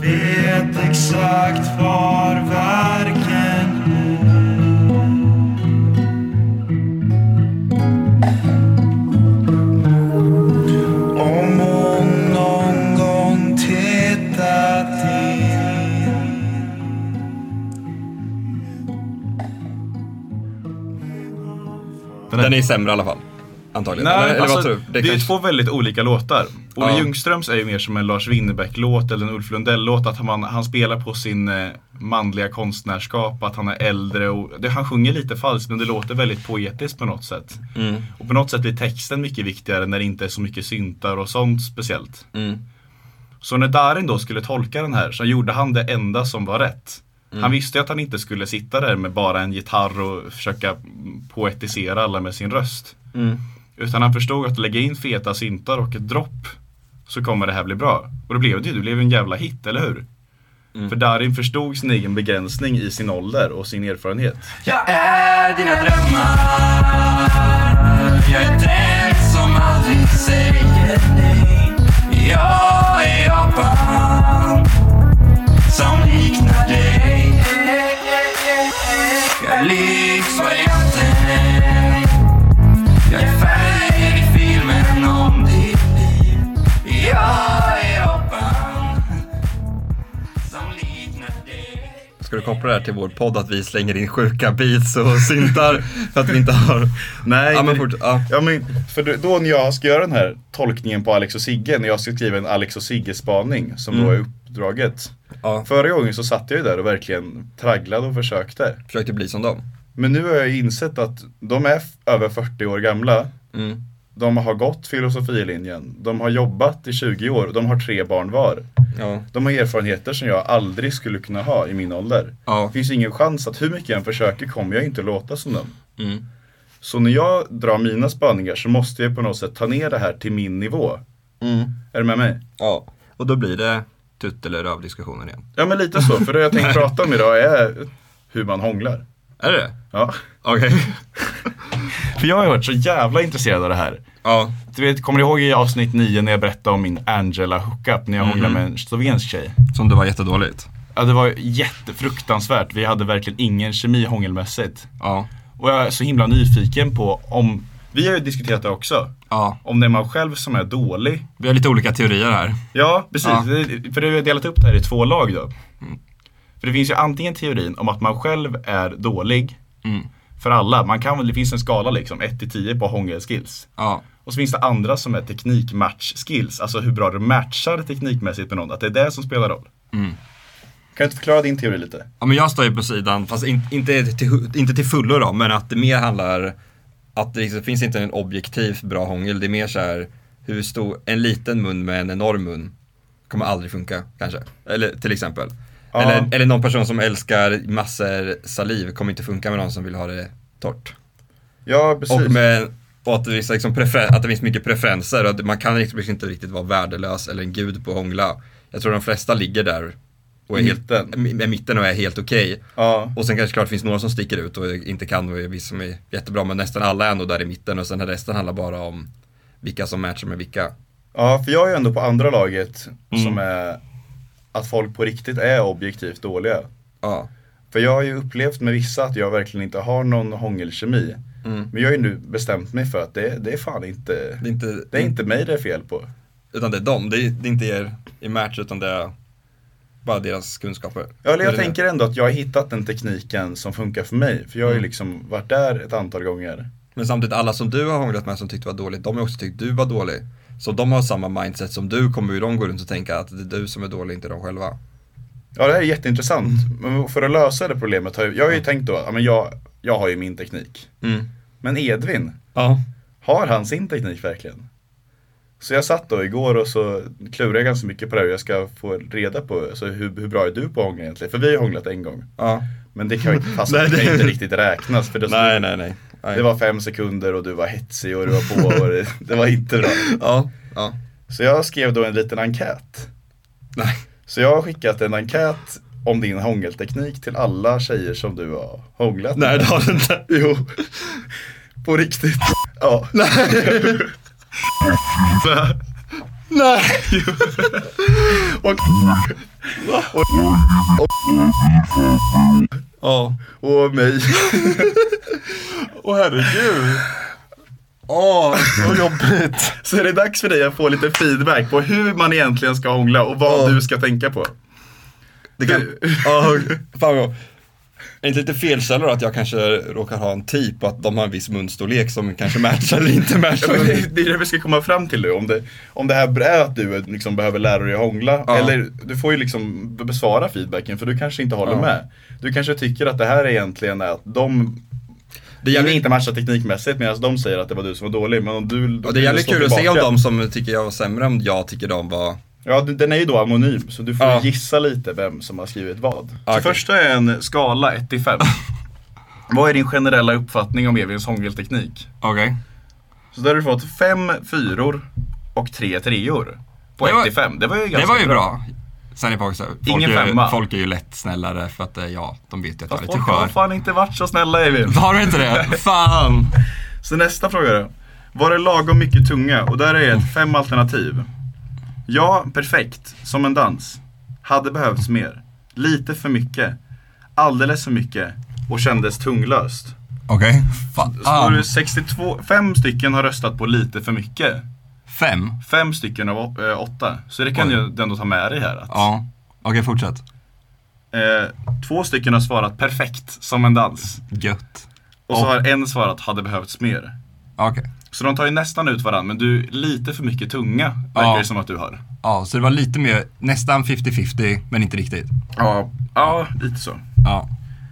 Vet exakt var verken är. Om hon någon gång tittat in Den, är sämre i alla fall. Antagligen. Nej, eller, eller vad alltså, tror det, du? är två väldigt olika låtar. Olle Ja. Ljungströms är ju mer som en Lars Winnerbäck-låt eller en Ulf Lundell-låt. Att man, han spelar på sin eh, manliga konstnärskap, att han är äldre. Och, det, han sjunger lite falskt men det låter väldigt poetiskt på något sätt. Mm. Och på något sätt blir texten mycket viktigare när det inte är så mycket syntar och sånt speciellt. Mm. Så när Darin då skulle tolka den här så gjorde han det enda som var rätt. Mm. Han visste ju att han inte skulle sitta där med bara en gitarr och försöka mm, poetisera alla med sin röst. Mm. Utan han förstod att lägga in feta syntar och ett dropp så kommer det här bli bra. Och det blev det ju. Det blev ju en jävla hit, eller hur? Mm. För Darin förstod sin egen begränsning i sin ålder och sin erfarenhet. Jag är dina drömmar Jag är den som aldrig säger nej Jag är apan som liknar dig Jag är lik varianten Jag är färg i filmen om ditt liv Jag är apan som liknar dig Ska du koppla det här till vår podd att vi slänger in sjuka beats och syntar för att vi inte har... Nej, ja, men men- fort, ja. Ja men, för då- då när jag ska göra den här tolkningen på Alex och Sigge, när jag ska skriva en Alex och Sigge-spaning som då Mm. är uppdraget. Förra gången så satt jag ju där och verkligen tragglade och försökte. Försökte bli som dem. Men nu har jag insett att de är f- över 40 år gamla. Mm. De har gått filosofilinjen, de har jobbat i 20 år, de har tre barn var. Ja. De har erfarenheter som jag aldrig skulle kunna ha i min ålder. Det finns ingen chans att hur mycket jag än försöker kommer jag inte låta som dem. Mm. Så när jag drar mina spaningar så måste jag på något sätt ta ner det här till min nivå. Är du med mig? Ja, och då blir det tutt eller röv-diskussionen igen. Ja men lite så, för det jag tänkte prata om idag är hur man hånglar. Är det Ja. Okej. för jag har varit så jävla intresserad av det här. Ja. Du vet, kommer du ihåg i avsnitt 9 när jag berättade om min Angela hookup när jag hånglade med en slovensk tjej? Som det var jättedåligt. Ja, det var jättefruktansvärt. Vi hade verkligen ingen kemi hångelmässigt. Ja. Och jag är så himla nyfiken på om, vi har ju diskuterat det också. Ja. Om det är man själv som är dålig. Vi har lite olika teorier här. Ja, Mm. precis. Ja. Det- För vi har delat upp det här i två lag då. För det finns ju antingen teorin om att man själv är dålig Mm. för alla. Man kan, väl- det finns en skala liksom, 1-10 på hångelskills. Ja. Och så finns det andra som är teknikmatch-skills, alltså hur bra du matchar teknikmässigt med någon. Att det är det som spelar roll. Mm. Kan du inte förklara din teori lite? Ja, men jag står ju på sidan, fast in, inte, till, hu- inte till fullo då, men att det mer handlar att det liksom finns inte en objektiv bra hångel. Det är mer så här, hur stor, en liten mun med en enorm mun kommer aldrig funka kanske. Eller till exempel. Ja. Eller, eller någon person som älskar massor saliv kommer inte funka med någon som vill ha det torrt. Ja, precis. Och, med, och att, det finns liksom prefer, att det finns mycket preferenser och att man kan liksom inte riktigt vara värdelös eller en gud på att hångla. Jag tror de flesta ligger där och är Mitten. helt, med mitten och är helt okej. Ja. Och sen kanske klart finns några som sticker ut och inte kan och är vissa som är jättebra men nästan alla är ändå där i mitten och sen resten handlar bara om vilka som matchar med vilka. Ja, för jag är ju ändå på andra laget som är att folk på riktigt är objektivt dåliga. Ja. För jag har ju upplevt med vissa att jag verkligen inte har någon hångelkemi. Mm. Men jag har ju nu bestämt mig för att det, det är fan inte Det är inte, det är inte mig det är fel på. Utan det är dem, det är, det är inte er i match utan det är bara deras kunskaper. Ja, eller jag Eller- tänker ändå att jag har hittat den tekniken som funkar för mig. För jag har ju liksom varit där ett antal gånger. Men samtidigt, alla som du har hånglat med som tyckte var dåligt, de har också tyckt du var dålig. Så de har samma mindset som du, kommer ju de gå runt och tänka att det är du som är dålig, inte de själva. Ja, det här är jätteintressant. Men för att lösa det Mm. problemet har jag, jag har ju tänkt då att ja, men jag, jag har ju min teknik. Men Edvin, Har han sin teknik verkligen? Så jag satt då igår och så klurade jag ganska mycket på det här och jag ska få reda på alltså, hur, hur bra är du på att hångla egentligen? För vi har ju hånglat en gång. Ja. Men det kan ju inte, fast Nej, det kan det- ju inte riktigt räknas. För det, Nej, nej, nej. Nej. det var fem sekunder och du var hetsig och du var på och det, det var inte bra. Ja, ja. Så jag skrev då en liten enkät. Nej. Så jag har skickat en enkät om din hångelteknik till alla tjejer som du har hånglat Nej, det har du inte. Jo. På riktigt. Ja. Nej. Nej! och, och, och, Ja. Och mig. Åh herregud. Åh, vad jobbigt. Så är det dags för dig att få lite feedback på hur man egentligen ska hångla och vad du ska tänka på. Det kan, ja, fan vad. Är inte lite felkälla då att jag kanske råkar ha en typ och att de har en viss munstorlek som kanske matchar eller inte Ja, matchar? men det- det är det vi ska komma fram till nu. Om det, om det här är att du liksom behöver lära dig att hångla. Ja. Eller du får ju liksom b- besvara feedbacken för du kanske inte håller Ja. med. Du kanske tycker att det här egentligen är att de det gäller inte matcha teknikmässigt medan de säger att det var du som var dålig. Men om du, Och det är jävligt kul att se om de som tycker jag var sämre om jag tycker de var... Ja, d- den är ju då anonym så du får gissa lite vem som har skrivit vad. Så Okej. första är en skala 1 till 5. vad är din generella uppfattning om Evins hångelteknik? Okej. Så där har du fått fem fyror och tre treor. På Det var- 1 till 5. Det var ju ganska det var ju bra. Sen är folk, så- folk Ingen är, femma. Folk är ju lätt snällare för att eh, ja, de vet ju att jag är lite Folk har skör. fan inte varit så snälla Evin. Har du inte det? Fan! Så nästa fråga då. Var det lagom mycket tunga? Och där Mm. är ett fem alternativ. Ja, perfekt. Som en dans. Hade behövts mer. Lite för mycket. Alldeles för mycket. Och kändes tunglöst. Okej. Så har Ah. du 62, fem stycken har röstat på lite för mycket. Fem? Fem stycken av å- eh, åtta. Så det kan Oj. ju du ändå ta med dig här. Att, Ja. Okej, fortsätt. eh, två stycken har svarat perfekt, som en dans. Gött. Och så Och- har en svarat hade behövts mer. Okej. Så de tar ju nästan ut varandra, men du, lite för mycket tunga verkar Ja. det som att du har. Ja, så det var lite mer, nästan 50-50, men inte riktigt. Ja, ja lite så. Ja.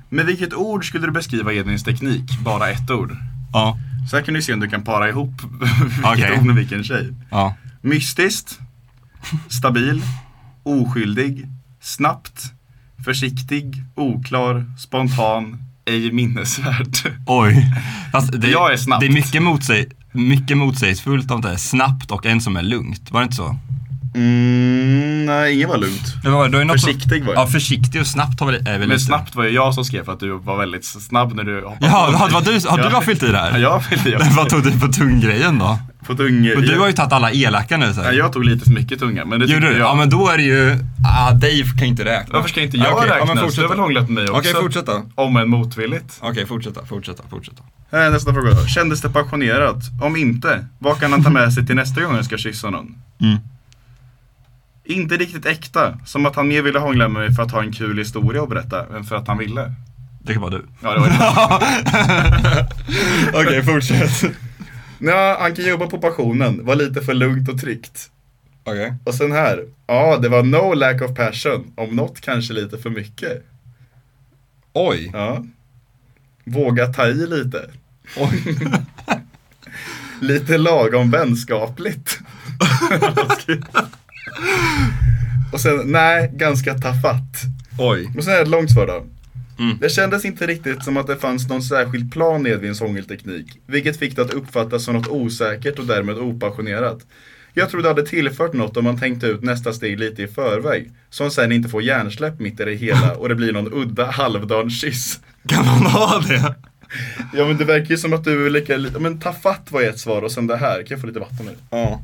Med vilket ord skulle du beskriva Edvins teknik? Bara ett ord. Ja. Så här kan du se om du kan para ihop vilket Okej. ord med vilken tjej. Ja. Mystiskt, stabil, oskyldig, snabbt, försiktig, oklar, spontan, ej minnesvärd. Oj. Fast det, Jag är snabbt. Det är mycket, motsäg, mycket motsägelsefullt om det är snabbt och en som är lugnt. Var det inte så? Mm, nej, inget var lugnt. Det var, det var något Försiktig var jag. Ja, försiktig och snabbt har väl, är väl Men lite- snabbt var ju jag som skrev för att du var väldigt snabb när du hoppade Ja, på. har, har, du, har Ja. du bara fyllt i det här? Ja, jag fyllde i. Vad tog du på tunggrejen då? På tunggrejen? Men du har ju tagit alla elaka nu. Så här. Nej, jag tog lite för mycket tunga. Men det Gjorde tyckte du? jag. Ja, men då är det ju... Ah, Dave kan inte räkna. Varför ska inte jag Okej, räknas? Ja, men du har fortsätt väl då. hånglat med mig också? Okej, fortsätt då. Om än motvilligt. Okej, fortsätta, fortsätta, fortsätta. Här är nästa fråga då. Kändes det passionerat? Om inte, vad kan han ta med sig till nästa gång han ska kyssa någon? Mm. Inte riktigt äkta. Som att han mer ville hångla med mig för att ha en kul historia att berätta än för att han ville. Det kan vara du. Ja, det var det. Okej, fortsätt. Nja, han kan jobba på passionen. Var lite för lugnt och tryggt. Okej. Och sen här. Ja, det var no lack of passion. Om något kanske lite för mycket. Oj. Ja. Våga ta i lite. Oj. lite lagom vänskapligt. och sen, nej, ganska tafatt. Oj. Och sen är det ett långt svar då. Det kändes inte riktigt som att det fanns någon särskild plan i Edvins hångelteknik, vilket fick det att uppfattas som något osäkert och därmed opassionerat. Jag tror det hade tillfört något om man tänkte ut nästa steg lite i förväg, som sen inte får hjärnsläpp mitt i det hela och det blir någon udda halvdan kyss. Kan man ha det? Ja men det verkar ju som att du är lika lite, men tafatt var ju ett svar och sen det här, kan jag få lite vatten nu? Ja.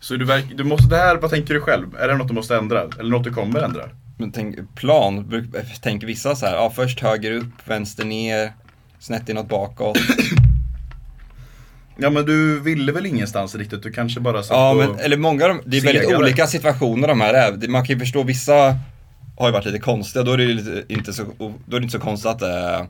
Så du, verk, du måste, det här, vad tänker du själv? Är det något du måste ändra? Eller något du kommer ändra? Men tänk, plan, bruk- äh, tänker vissa så här, ja, först höger upp, vänster ner, snett inåt bakåt. Ja men du ville väl ingenstans riktigt, du kanske bara satt Ja, och... men, eller många av dem, det är väldigt segare. olika situationer de här är. Det- Man kan ju förstå, vissa har ju varit lite konstiga, då är det ju lite, inte, så, o- då är det inte så konstigt att det,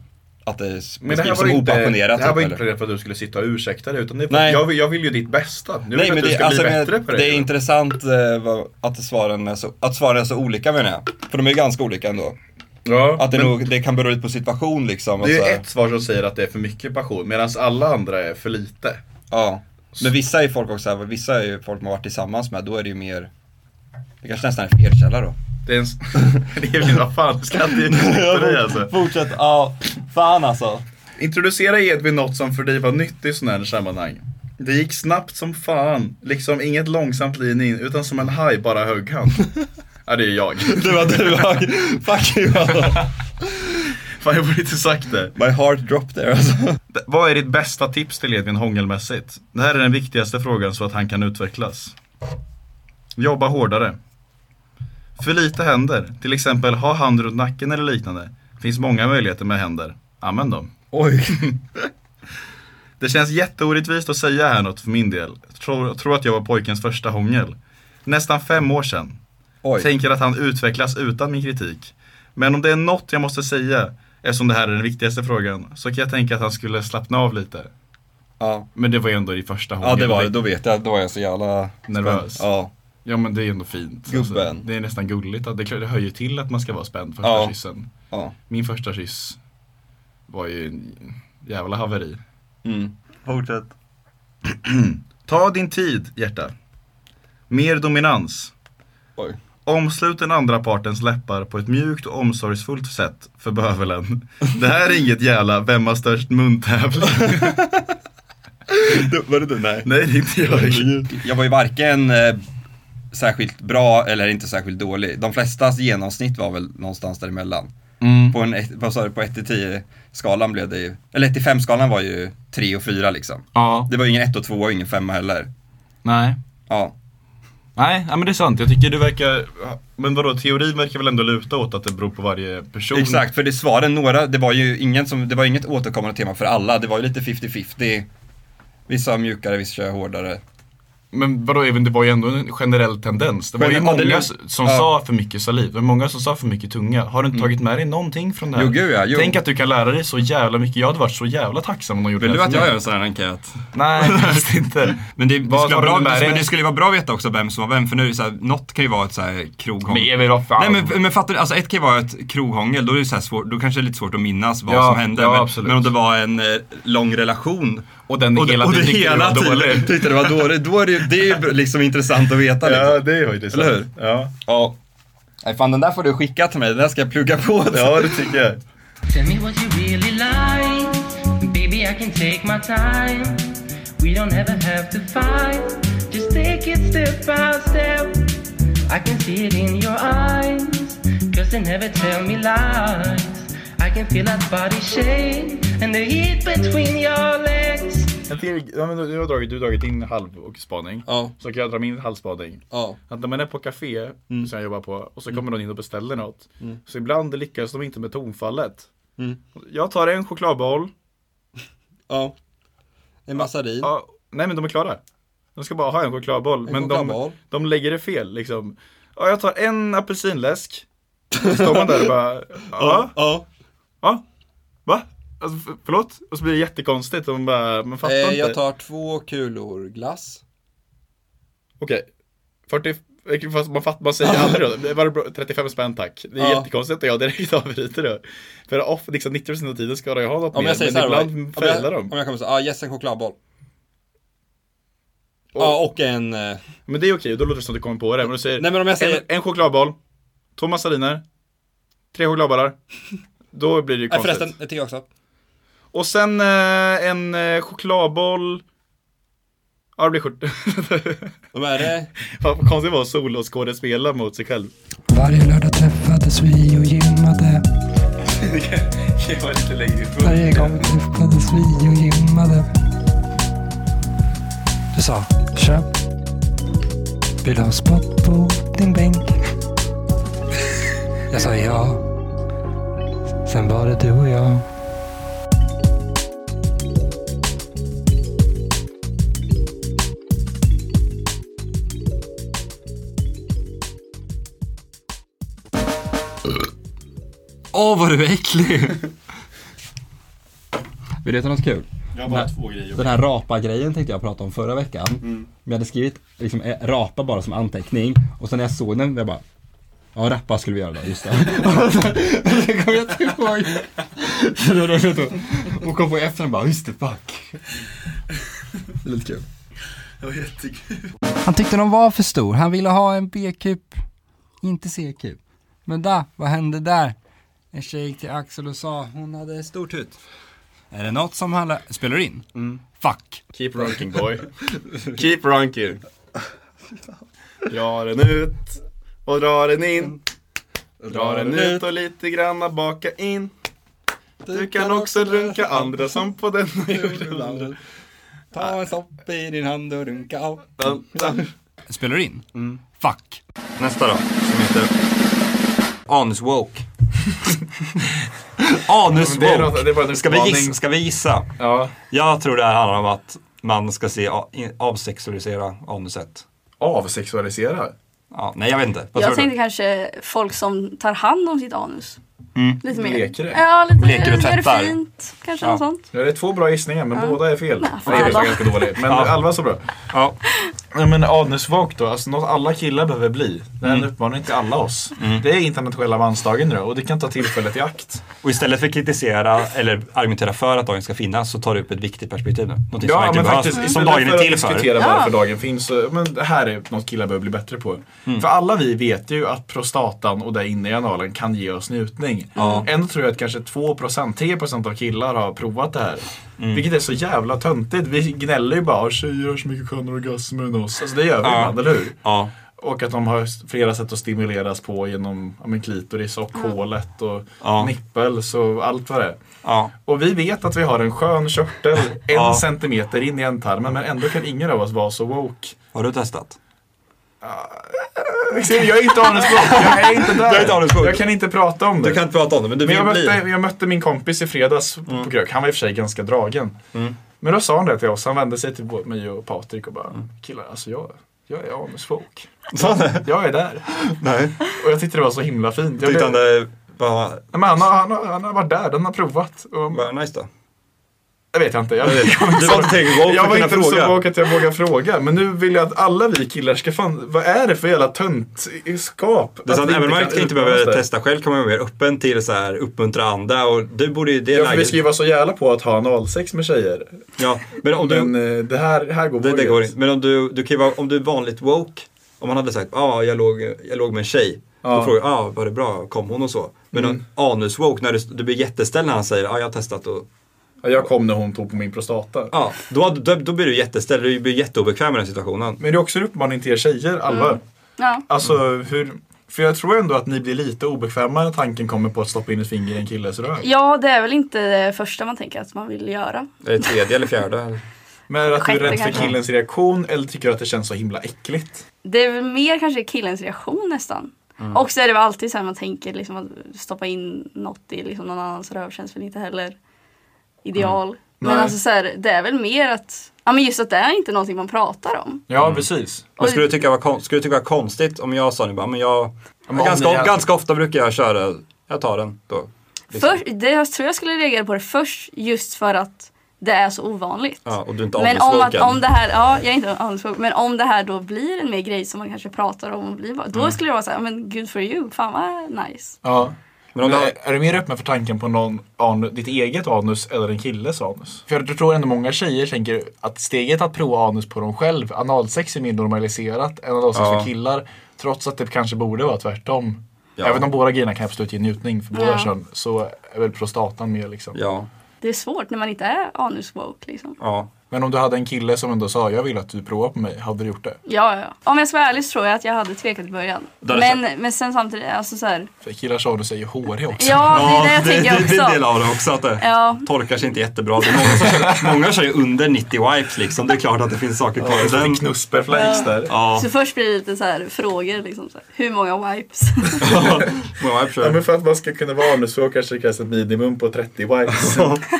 att det s- Men det här beskrivs var som ju inte, det opassionerat. här var typ, inte eller? planerat för att du skulle sitta och ursäkta dig utan det är för, Nej. jag, vill, jag vill ju ditt bästa. Nu vill Nej, jag men att du det, ska alltså, bli men bättre på det. det är intressant eh, vad- att svaren, är så, att svaren är så olika menar jag. För de är ju ganska olika ändå. Ja, att det, men- nog, det kan bero lite på situation liksom. Det Alltså- är ett svar som säger att det är för mycket passion medan alla andra är för lite. Ja. Men vissa är folk också, vissa är ju folk man har varit tillsammans med, då är det ju mer, det kanske nästan är en felkälla då. Det är en, det är väl, vad fan, ska inte Ja, dig fort- alltså. Fortsätt, ja, fan alltså. Introducera Edvin något som för dig var nytt i sådana här sammanhang. Det gick snabbt som fan, liksom inget långsamt lin in, utan som en haj bara högg han. ja, det är jag. Det var du, haj. Fuck you alltså. Fan, jag borde inte sagt det. My heart dropped there alltså. Vad är ditt bästa tips till Edvin hångelmässigt? Det här är den viktigaste frågan så att han kan utvecklas. Jobba hårdare. För lite händer, till exempel ha hand runt nacken eller liknande. Finns många möjligheter med händer. Använd dem. Oj. Det känns jätteorättvist att säga här något för min del. Tror, tror att jag var pojkens första hångel. Nästan fem år sedan. Oj. Tänker att han utvecklas utan min kritik. Men om det är något jag måste säga, eftersom det här är den viktigaste frågan, så kan jag tänka att han skulle slappna av lite. Ja. Men det var ju ändå i första hångel. Ja det var det, då vet jag, då var jag så jävla Nervös. spänd. Ja. Ja men det är ändå fint. Alltså, Gubben. det är nästan gulligt. Att det, är klart- det hör ju till att man ska vara spänd första Ja. kyssen. Ja. Min första kyss var ju en jävla haveri. Mm. Fortsätt. Ta din tid, hjärta. Mer dominans. Oj. Omslut den andra partens läppar på ett mjukt och omsorgsfullt sätt för bövelen. Det här är inget jävla vem har störst muntävling. Var det du? Nej. Nej, det är inte jag. Jag var ju varken eh, särskilt bra eller inte särskilt dålig. De flestas genomsnitt var väl någonstans däremellan. Mm. På, en, ett- vad sa du, på 1 till 10 skalan blev det ju, eller 1 till 5 skalan var ju 3 och 4 liksom. Ja. Det var ju ingen 1 och 2 och ingen 5 heller. Nej. Ja. Nej, ja, men det är sant. Jag tycker du verkar... Men vadå, teorin verkar väl ändå luta åt att det beror på varje person? Exakt, för det svaren några, det var ju ingen som, det var inget återkommande tema för alla. Det var ju lite 50-50. Vissa mjukare, vissa hårdare. Men vadå Evin, det var ju ändå en generell tendens. Det var ju Men- ja, det många låg- som ja. Mm. sa för mycket saliv, det var många som sa för mycket tunga. Har du inte tagit med dig någonting från det här? Jo, gud, ja, jo. Tänk att du kan lära dig så jävla mycket. Jag hade varit så jävla tacksam om de gjorde Vill det du här att för jag mig. gör en sån här enkät? Nej, faktiskt inte. Men det, det, Vad skulle tar vara du bra, med dig? men det skulle ju vara bra att veta också vem som var vem, för nu är det så här, något kan ju vara ett så här kroghångel. Men Emil, vad fan? Nej men, men fattar du, alltså ett kan ju vara ett kroghångel, då, är det så här svårt, då kanske det är lite svårt att minnas vad Ja, som hände. ja, men, absolut. men om det var en eh, lång relation och den hela och det tiden tyckte du hela var tiden dålig. tyckte det var dåligt, då är det ju det är ju liksom intressant att veta. Liksom. Ja, det är faktiskt Eller hur? sant. Ja. ja. Nej fan den där får du skicka till mig, den där ska jag plugga på. Ja, det tycker jag. Tell me what you really like. Baby, I can take my time. We don't ever have to fight. Just take it step by step. I can see it in your eyes. Cause they never tell me lies. I can feel that body shake and the heat between your legs. Jag tänker- ja, men du, du, har dragit, du har dragit din halv och spaning. Så kan jag dra min halvspaning. Ja. Att när man är på café, som jag jobbar på, och så kommer någon in och beställer något. Mm. Så ibland lyckas de inte med tonfallet. Mm. Jag tar en chokladboll. Ja. En massarin. Ja, nej men de är klara. De ska bara ha en chokladboll. En men chokladboll. de, de lägger det fel liksom. Ja, jag tar en apelsinläsk. Så står man där och bara, ja. Ja. Ja. Va? Alltså, f- förlåt? Och så blir det jättekonstigt och man bara, man fattar Eh, inte. jag tar två kulor glass. Okej. 40, fast man, fatt, man säger aldrig då. Det var bra- 35 spänn tack. Det är Ja. jättekonstigt att jag direkt avbryter då. För off, liksom 90% av tiden ska jag ha något Om mer. jag säger men så här, ibland då, om jag, failar de. Om jag kommer så här, ah, yes en chokladboll. Ja, och en... eh, Men det är okej, då låter det som att du kommer på det. Men du säger, Nej, men om jag säger- en, en chokladboll, två massariner, tre chokladbollar. Då blir det ju Nej konstigt. förresten, det tycker jag också. Och sen eh, en eh, chokladboll. Ja, det blir skjort. Vad är det? Fan, vad konstigt det var att soloskådespela mot sig själv. Varje lördag träffades vi och gymmade. Det var lite längre Varje gång träffades vi och gymmade. Du sa, tja. Vill du ha spott på din bänk? Jag sa ja. Sen var det du och jag. Åh, vad du är äcklig! Vill du veta något kul? Jag har bara Den här- två grejer. Den här rapa-grejen tänkte jag prata om förra veckan. Mm. Men jag hade skrivit liksom, eh, rapa bara som anteckning och sen när jag såg den, jag bara Ja, rappa skulle vi göra då, just det. det kommer jag inte ihåg. Så då, då, då, då. Och kom på efter och bara, just det, fuck. Det är lite kul. Det var jättekul. Han tyckte de var för stor. Han ville ha en B-kup, inte C-kup. Men där, vad hände där? En tjej gick till Axel och sa, hon hade stor tut. Är det något som handlar... Spelar du in? Fuck. Keep runking boy. Keep runking. Dra den ut och dra den in. Dra den ut och lite granna baka in. Du kan också runka andra som på denna jorden. Ta en sopp i din hand och runka av. Spelar du in? Mm. Fuck. Nästa då, som heter Anus woke. Anus Det är woke. något- det är bara en ska, vi utmaning. gissa, ska vi gissa? Ja. Jag tror det här handlar om att man ska se a- in- avsexualisera anuset. Avsexualisera? Ja, nej, jag vet inte. Vad Jag tror tänkte kanske folk som tar hand om sitt anus. du? Mm. Lite mer. Ja, lite Leker och mer tvättar. fint. Kanske Ja. något sånt. Ja, det är två bra gissningar, men Ja. båda är fel. Nej, Nej, fan det då. är ganska dåligt. Men Ja. Alva så bra. Ja. Nej, men anusvåk då, alltså något alla killar behöver bli. Det här är en Mm. uppmaning till alla oss. Mm. Det är internationella mansdagen nu och det kan ta tillfället i akt. Och istället för att kritisera eller argumentera för att dagen ska finnas så tar du upp ett viktigt perspektiv nu. Någonting som Ja, verkligen men faktiskt. behövs, som istället dagen är Mm. att till för. diskutera varför dagen finns. eh, Men det här är något killar behöver bli bättre på. Mm. För alla vi vet ju att prostatan och där inne i analen kan ge oss njutning. Ja. Ändå tror jag att kanske 2%, 3% av killar har provat det här. Mm. Vilket är så jävla töntigt. Vi gnäller ju bara tjejer har så mycket skönare orgasmer än oss. Alltså det gör vi Ja. ibland, eller hur? Ja. Och att de har flera sätt att stimuleras på genom ja, men klitoris och hålet och nippels och allt vad det är. Och vi vet att vi har en skön körtel en Ja. centimeter in i ändtarmen men ändå kan ingen av oss vara så woke. Har du testat? Jag är inte anusbok, jag är inte där. Du är inte anusbok. jag kan inte prata om det. Du kan inte prata om det, men du jag, vill bli. Mm. mötte, jag mötte min kompis i fredags på krök, han var i och för sig ganska dragen. Men då sa han det till oss, han vände sig till både mig och Patrik och bara Mm. Killar, alltså jag, jag är anusfolk. Jag är där. Nej. Och jag tyckte det var så himla fint. Jag Tyckte han det var... Nej, men han, har, han, har, han har varit där, han har provat. Och... Vad nice då? Det vet jag inte. Jag, Jag vet. jag, Du var inte tillräckligt woke jag för var att inte kunna fråga. så woke att jag vågar fråga. Men nu vill jag att alla vi killar ska fan, vad är det för jävla töntskap? Det är sant, vi även om man kan inte, inte utmana oss behöver där. testa själv kan man vara mer öppen till så här uppmuntra andra och du borde ju i det Ja, för vi läget... ska ju vara så jävla på att ha analsex med tjejer. Ja, men om du... Men eh, det här, här går det, det vågat. går inte. Men om du, du kan ju vara, om du är vanligt woke, om man hade sagt ja, ah, jag, låg, jag låg med en tjej. Ja. Då frågar jag, ah, var det bra, kom hon och så. Men Mm. om anus-woke, när du, du blir jätteställd när han säger, ah, jag har testat och... Ja, jag kom när hon tog på min prostata. Ja, då, då, då blir du jätteställd, du blir jätteobekväm i den situationen. Men det är också en uppmaning till er tjejer, alla. Mm. Ja. Alltså hur, för jag tror ändå att ni blir lite obekväma när tanken kommer på att stoppa in ett finger i en killes röv. Ja, det är väl inte det första man tänker att man vill göra. Är det tredje eller fjärde? Eller? Men är det att du är Sjätte rädd för kanske. killens reaktion eller tycker du att det känns så himla äckligt? Det är väl mer kanske killens reaktion nästan. Mm. Och så är det väl alltid så här man tänker liksom att stoppa in något i liksom någon annans röv känns väl inte heller ideal. Men Mm. Nej. alltså så här, det är väl mer att, ja men just att det är inte någonting man pratar om. Ja, precis. Men skulle du tycka var, kon- skulle du tycka var konstigt om jag sa nu bara, men jag... om ganska, ni hade- ganska ofta brukar jag köra, jag tar den då. Liksom. För, det, jag tror jag skulle reagera på det först just för att det är så ovanligt. Ja, och du är inte Men om, att, anuswoken. om det här, ja jag är inte anuswoken, men om det här då blir en mer grej som man kanske pratar om och blir, då Mm. skulle jag vara såhär, men good for you, fan vad nice. Ja. Men om du är du mer öppen för tanken på någon anu, ditt eget anus eller en killes anus? För jag tror ändå många tjejer tänker att steget att prova anus på dem själv, analsex är mer normaliserat än analsex Ja. för killar. Trots att det kanske borde vara tvärtom. Ja. Även om båda grejerna kan absolut ge njutning för båda Ja. kön så är väl prostatan mer liksom. Ja. Det är svårt när man inte är anuswoke liksom. ja. Men om du hade en kille som ändå sa jag vill att du provar på mig, hade du gjort det? Ja, ja. Om jag ska vara ärlig så tror jag att jag hade tvekat i början. Där är Men, men sen samtidigt, alltså så här, För killars anus är ju håriga också. Ja, det är det jag det, tänker det, det är också. en del av det också. Att det Ja. torkar sig inte jättebra. Det är många, som kör, många kör ju under 90 wipes liksom. Det är klart att det finns saker kvar i så den. Knusperflakes Ja. där. Ja. Så först blir det lite så här frågor liksom. Så här, hur många wipes? Ja, men för att man ska kunna vara anusvåg kanske det krävs ett minimum på 30 wipes.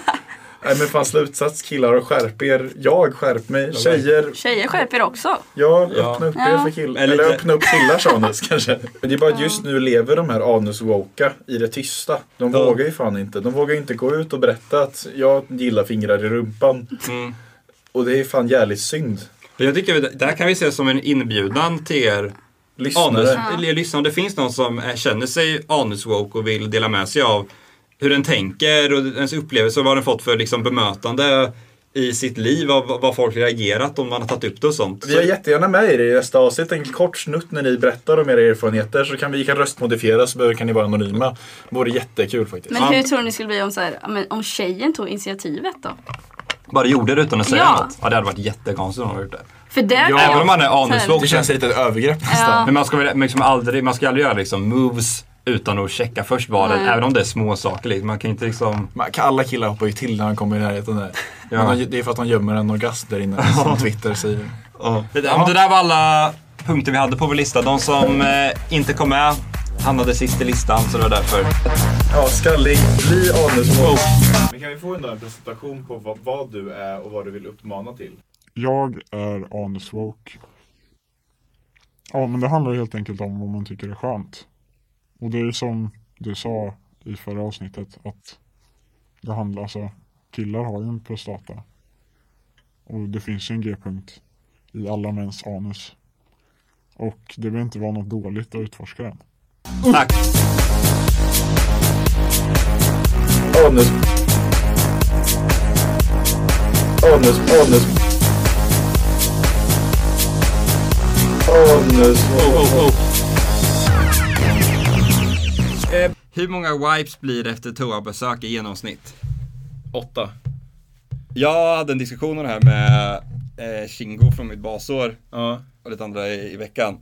Nej men fan slutsats killar och skärp er. Jag skärp mig. Tjejer, Tjejer skärper också. ja öppna upp er Ja. för killar. Eller Eller lite- öppna upp killars anus kanske. Men det är bara att just nu lever de här anuswoka i det tysta. De vågar ju fan inte. De vågar ju inte gå ut och berätta att jag gillar fingrar i rumpan. Och det är fan jävligt synd. Men Jag tycker vi- det här kan vi se som en inbjudan till er Lyssnare. Ja. Anus, lyssna om det finns någon som eh, känner sig anuswoke och vill dela med sig av hur den tänker och ens upplevelse och vad den fått för liksom, bemötande i sitt liv av vad folk reagerat om man har tagit upp det och sånt. Vi har jättegärna med er i nästa avsnitt en kort snutt när ni berättar om era erfarenheter så kan vi kan röstmodifiera så behöver- kan ni vara anonyma. Det vore jättekul faktiskt. Men hur tror ni det skulle bli om, så här, ja, men om tjejen tog initiativet då? Bara gjorde det utan att säga Ja. något. Ja, det hade varit jättekonstigt om man hade gjort det. För där kan Även jag- om man är så här- anusvåg. lite ett övergrepp nästan. Ja. Men man ska, väl liksom aldrig, man ska aldrig göra liksom moves utan att checka först vad det Nej. även om det är små saker. Liksom. Man kan inte liksom... Alla killar hoppar ju till när han kommer i närheten där. Ja. Men de- Det är för att de gömmer en orgasm där inne som Twitter säger. Det, där- men det där var alla punkter vi hade på vår lista. De som eh, inte kom med hamnade sist i listan så det var därför. Ja, skallig. Bli anusmok. Men kan vi få en, då en presentation på vad, vad du är och vad du vill uppmana till? Jag är anuswoke. Ja, men det handlar helt enkelt om vad man tycker är skönt. Och det är som du sa i förra avsnittet att det handlar alltså, killar har ju en prostata. Och det finns ju en G-punkt i alla mäns anus. Och det behöver inte vara något dåligt att utforska den. Tack! Anus. Anus, anus. Anus. Oh, Hur många wipes blir det efter toabesök i genomsnitt? Åtta. Jag hade en diskussion om det här med eh, Shingo från mitt basår och lite andra i, i veckan.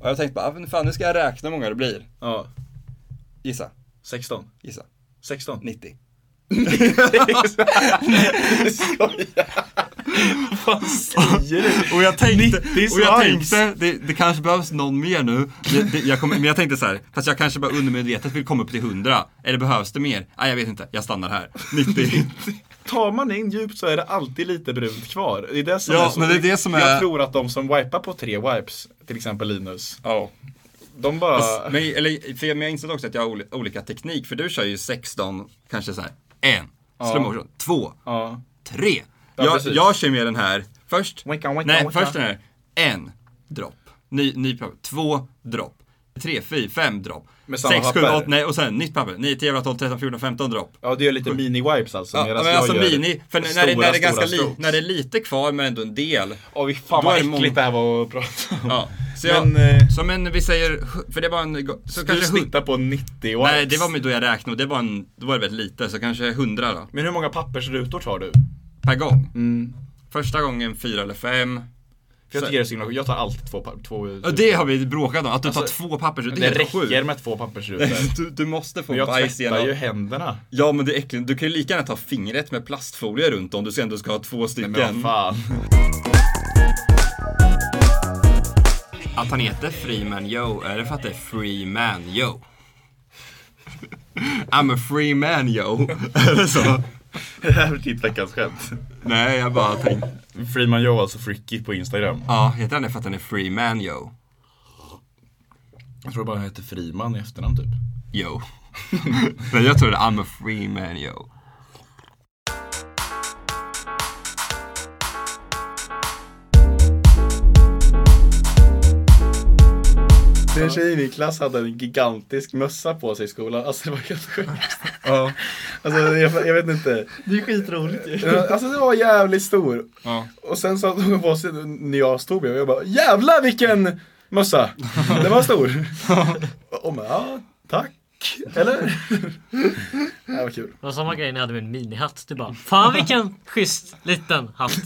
Och jag tänkte bara, ah, men fan nu ska jag räkna hur många det blir. Gissa. 16. Gissa. 16. 90. och jag tänkte, och jag slimes. tänkte det, det kanske behövs någon mer nu. Det, det, jag kommer, men jag tänkte så här, fast jag kanske bara undermedvetet vill komma upp till 100. Eller behövs det mer? Nej, jag vet inte. Jag stannar här. 90. Tar man in djupt så är det alltid lite brunt kvar. Det är det som Ja, är så. men det är det som är- Jag tror att de som wipar på tre wipes, till exempel Linus. Ja. De bara... Fast- Alltså, Men, eller, för jag, men jag insåg också att jag har oli- olika teknik, för du kör ju 16, kanske så här, en, Ja. slow motion, två, Ja. tre. Ja, jag, precis. jag kör med den här, först, wicka, nej, wicka. först den här, en, dropp, ny, ny papper, två, dropp, tre, fyra, fem, dropp, Med samma sex, sju, papper. åtta, nej, och sen nytt papper, nio, tio, elva, tolv, tretton, fjorton, femton dropp. Ja, du gör lite mini-wipes alltså. Ja, medan men jag alltså gör mini, för när, när, det, stora, när, det är ganska stora li, strokes. när det är lite kvar men ändå en del. Åh, vi fan då vad är det många- äckligt det här var att prata om. Ja, så jag, Men, eh, som en, vi säger, hu- för det var en, go- så Du kanske hu- snittar på 90 wipes. Nej, det var med då jag räknade och det var en, då var det väldigt lite, så kanske 100 då. Men hur många pappersrutor tar du? Per gång? Första gången fyra eller fem. För jag tycker det är så himla Jag tar alltid två papper. Två, Ja, det har vi bråkat om, att du tar Alltså, två pappersrutor. det är helt räcker sjukt. med två pappersrutor. du, du måste få Men jag bajs tvättar ju händerna. Ja men det är äckligt, du kan ju lika gärna ta fingret med plastfolie runt om du ska ändå ska ha två stycken. men vad fan. Att han heter Freeman Yo, är det för att det är Freeman Yo? I'm a free man yo. Är det typ så? Det här är ditt veckans skämt. Nej, jag bara tänkte. Freeman Joe, alltså Fricky på Instagram. Ja, heter han det för att han är Freeman yo? Jag tror bara han heter Friman i efternamn typ. Yo. Nej, jag tror det är I'm a free man yo. En tjej i min klass hade en gigantisk mössa på sig i skolan. Alltså det var helt sjukt. Ja. Alltså jag, jag vet inte. Det är skitroligt Ja, Alltså den var jävligt stor. Ja. Och sen så hade hon på sig den när jag stod bredvid. Jag bara jävlar vilken mössa. Den var stor. Och hon bara ja, tack. Eller? Det var kul. Det var samma grej när jag hade min minihatt. Du bara Fan vilken schysst liten hatt.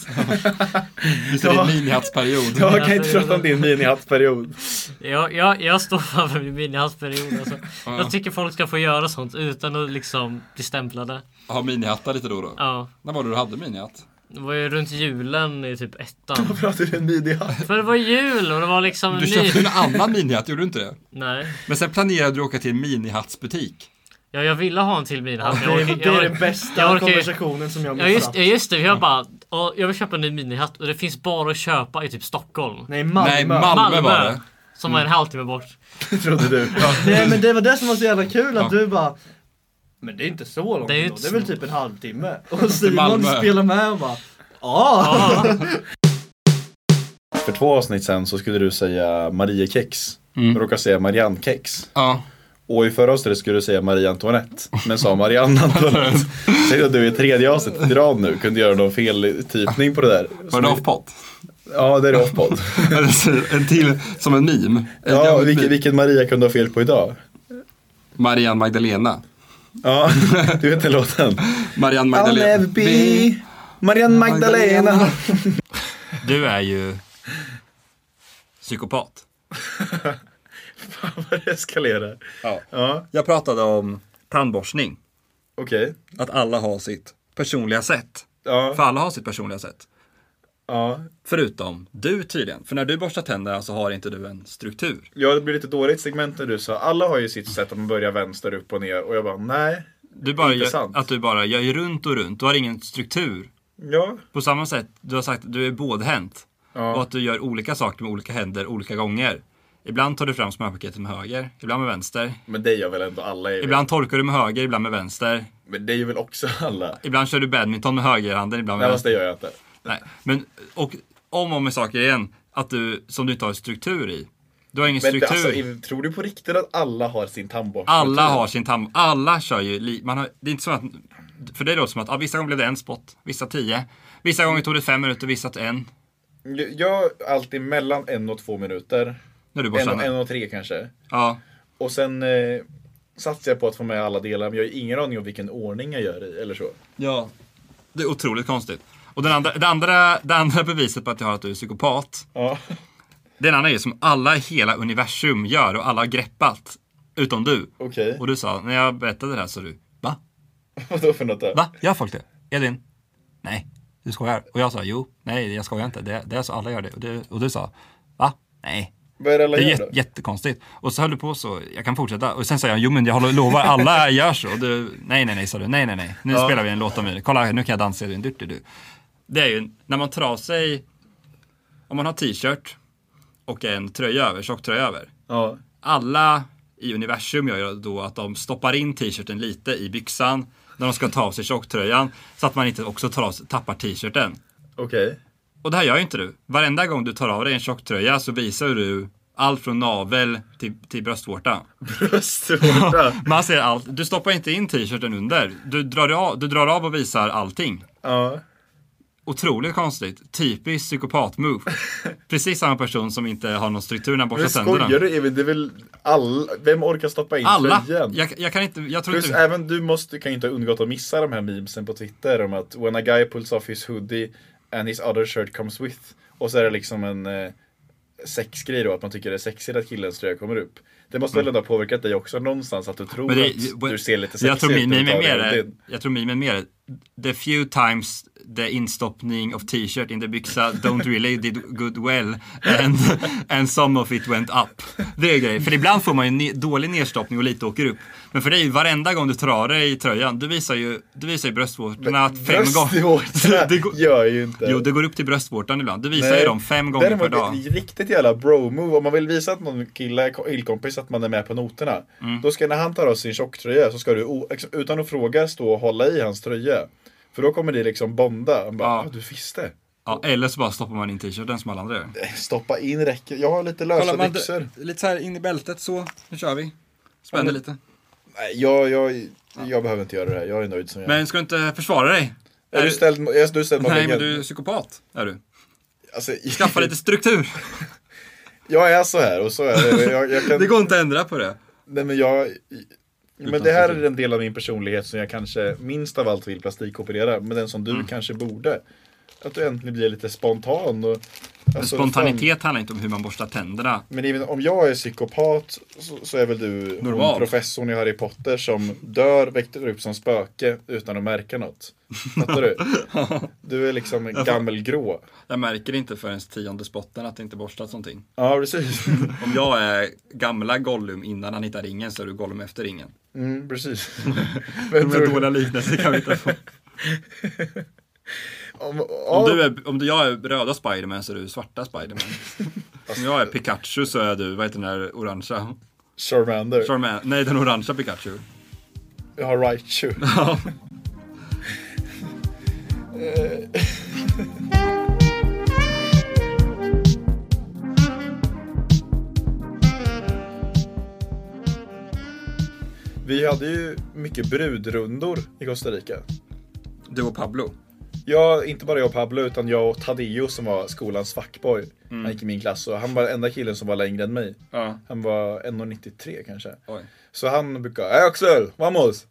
Just det, det är en minihattsperiod. Jag kan inte prata om din minihattsperiod. Jag, jag, jag står för min minihattsperiod. Alltså. Ja. Jag tycker folk ska få göra sånt utan att liksom bli stämplade. Har minihattar lite då och då. Ja. När var det du hade minihatt? Det var ju runt julen i typ ettan. Varför hade du en minihatt? För det var jul och det var liksom Du ny- köpte en annan minihatt, gjorde du inte det? Nej. Men sen planerade du att åka till en minihattsbutik. Ja, jag ville ha en till minihatt. Ja, det är- Jag orkar- det är jag- den bästa jag orkar- konversationen som jag Ja just, missat. ja, just det, jag bara "Ja, Jag vill köpa en ny minihatt och det finns bara att köpa i typ Stockholm. Nej, Malmö. Nej, Malmö var det. Som är en Mm. halvtimme bort. Trodde du. Nej men det var det som var så jävla kul att Ja. du bara Men det är inte så långt Det det är ju är, inte det är så- väl typ en halvtimme Till Och Simon Malmö. spelar med och bara Ja! För två avsnitt sen så skulle du säga Mariekex. Mm. och råkade säga Marianne-kex. Ja. Och i förra avsnittet skulle du säga Marie Antoinette, men sa Marianne Antoinette. Säg att du i tredje avsnittet, i rad nu, kunde göra någon feltypning på det där. Var det off-pot? Ja, det är off-pod. en till, som en meme. En Ja, gammal vilken, meme. vilken Maria kunde ha fel på idag? Marianne Magdalena. Ja, du vet den låten. Marianne I'll Magdalena. never be Marianne Magdalena. Du är ju psykopat. Fan vad det eskalerar. Ja. ja. Jag pratade om tandborstning. Okej. Att alla har sitt personliga sätt. För alla har sitt personliga sätt. Ja. Förutom du tydligen. För när du borstar tänderna så har inte du en struktur. Ja, det blev lite dåligt segment när du sa alla har ju sitt sätt att man börjar vänster upp och ner och jag bara nej. Du bara inte gör, sant. att du bara gör ju runt och runt. Du har ingen struktur. Ja. På samma sätt, du har sagt att du är bådhänt. Ja. Och att du gör olika saker med olika händer olika gånger. Ibland tar du fram smörpaketet med höger, ibland med vänster. Men det gör väl ändå alla? jag Ibland torkar du med höger, ibland med vänster. Men det är väl också alla? Ibland kör du badminton med högerhanden, ibland med Nej, fast vänster. det gör jag inte. Nej, men och om och med saker igen. Att du, som du inte har struktur i. Du har ingen Men struktur. alltså, i- tror du på riktigt att alla har sin tandborste? Alla har sin tand... Alla kör ju... li- Man har, det är inte som att... För det låter som att ah, vissa gånger blev det en spot, vissa tio. Vissa gånger tog det fem minuter, vissa t- en. Jag alltid mellan en och två minuter. När du en, borstar och, en tänderna. och tre kanske. Ja. Och sen eh, satsar jag på att få med alla delar, men jag har ingen aning om vilken ordning jag gör i eller så. Ja. Det är otroligt konstigt. Och den andra, det, andra, det andra beviset på att jag har att du är psykopat. Ja. Det är en annan grej som alla i hela universum gör och alla har greppat. Utom du. Okej. Och du sa, när jag berättade det här så du, va? Vadå för något? Då? Va? Gör folk det? Elin? Nej, du skojar. Och jag sa, jo, nej jag skojar inte. Det, det är så alla gör det. Och du, och du sa, va? Nej. Vad är det alla det är gör jätte, då? jättekonstigt. Och så höll du på så, jag kan fortsätta. Och sen sa jag, jo men jag håller, lovar, alla gör så. Och du, nej, nej, nej, sa du. Nej, nej, nej. Nu Ja. spelar vi en låt om mig. Kolla, här, nu kan jag dansa. i din du, du, du. Det är ju, när man tar av sig, om man har t-shirt och en tröja över, tjock tröja över. Ja. Alla i universum gör ju då att de stoppar in t-shirten lite i byxan när de ska ta av sig tjocktröjan så att man inte också tar av, sig- tappar t-shirten. Okej. Och det här gör ju inte du. Varenda gång du tar av dig en tjocktröja så visar du allt från navel till, till bröstvårta. Bröstvårta? Man ser allt. Du stoppar inte in t-shirten under. Du drar, av, du drar av och visar allting. Ja. Otroligt konstigt. Typiskt psykopat-move. Precis samma person som inte har någon struktur när han borstar Men tänderna. skojar du Emil? Det är väl alla? Vem orkar stoppa in Alla! tröjan? Jag, jag kan inte, jag tror Plus inte... även du måste, kan ju inte ha undgått att missa de här memesen på Twitter om att when a guy pulls off his hoodie and his other shirt comes with. Och så är det liksom en eh, sexgrej då, att man tycker det är sexigt att killens tröja kommer upp. Det måste väl Mm. ändå ha påverkat dig också någonstans att du tror Men det- att du ser lite sexig jag tror ut min när du meme är tar mer, av dig är- din. jag tror meme är mer the few times the instoppning of t-shirt in the byxa don't really did good well and, and some of it went up. Det är grejen. För ibland får man ju ne- dålig nedstoppning och lite åker upp. Men för dig, varenda gång du tar av dig tröjan, du visar ju, du visar ju bröstvårtorna fem gånger. Bröstvårta gör ju inte. Jo, det går upp till bröstvårtan ibland. Du visar Nej. ju dem fem gånger per Däremot, dag. ett riktigt jävla bro-move. Om man vill visa att någon kille, killkompis, att man är med på noterna. Mm. Då ska, när han tar av sin tjocktröja så ska du o- liksom, utan att fråga stå och hålla i hans tröja. För då kommer det liksom bonda. Han bara, ah, du visste. Ja, eller så bara stoppar man in t-shirten som alla andra gör. Eh, Stoppa in räcker. Jag har lite lösa byxor. lite så här in i bältet så. Nu kör vi. Ja, Spänner men- lite. Nej, jag, jag, jag behöver inte göra det här. Jag är nöjd som jag är. Men ska du inte försvara dig? Är du ställd, mo- är du ställd mot Nej, väggen? men du är psykopat. Är du. Alltså, Skaffa lite struktur. Jag är så här och så är det. Jag, jag kan... Det går inte att ändra på det. Nej, men jag... Men Utan det här struktur. är en del av min personlighet som jag kanske minst av allt vill plastikoperera. Men den som du kanske borde. Att du äntligen blir lite spontan. Och, Men alltså, Spontanitet handlar inte om hur man borstar tänderna. Men även om jag är psykopat så, så är väl du hon Normal. professorn i Harry Potter som dör, väckte upp som spöke utan att märka något. Fattar du? Du är liksom en Jag får- gammelgrå. Jag märker inte förrän tionde spotten att det inte borstats någonting. Ja, precis. Om jag är gamla Gollum innan han hittar ringen så är du Gollum efter ringen. Mm, precis. De tror här du- dåliga liknelser kan vi inte få. Om, Om, du är, om du- jag är röda Spiderman så är du svarta Spiderman. Om jag är Pikachu så är du, vad heter den där orangea? Charmander. Charmander. Nej, den orangea Pikachu. Jag har Raichu. Eh, Vi hade ju mycket brudrundor i Costa Rica. Du och Pablo? Ja, inte bara jag och Pablo utan jag och Tadeo som var skolans fuckboy. Han gick i min klass och han var den enda killen som var längre än mig. Ja. Han var 1,93 kanske. Oj. Så han brukade, hey Axel, vamos!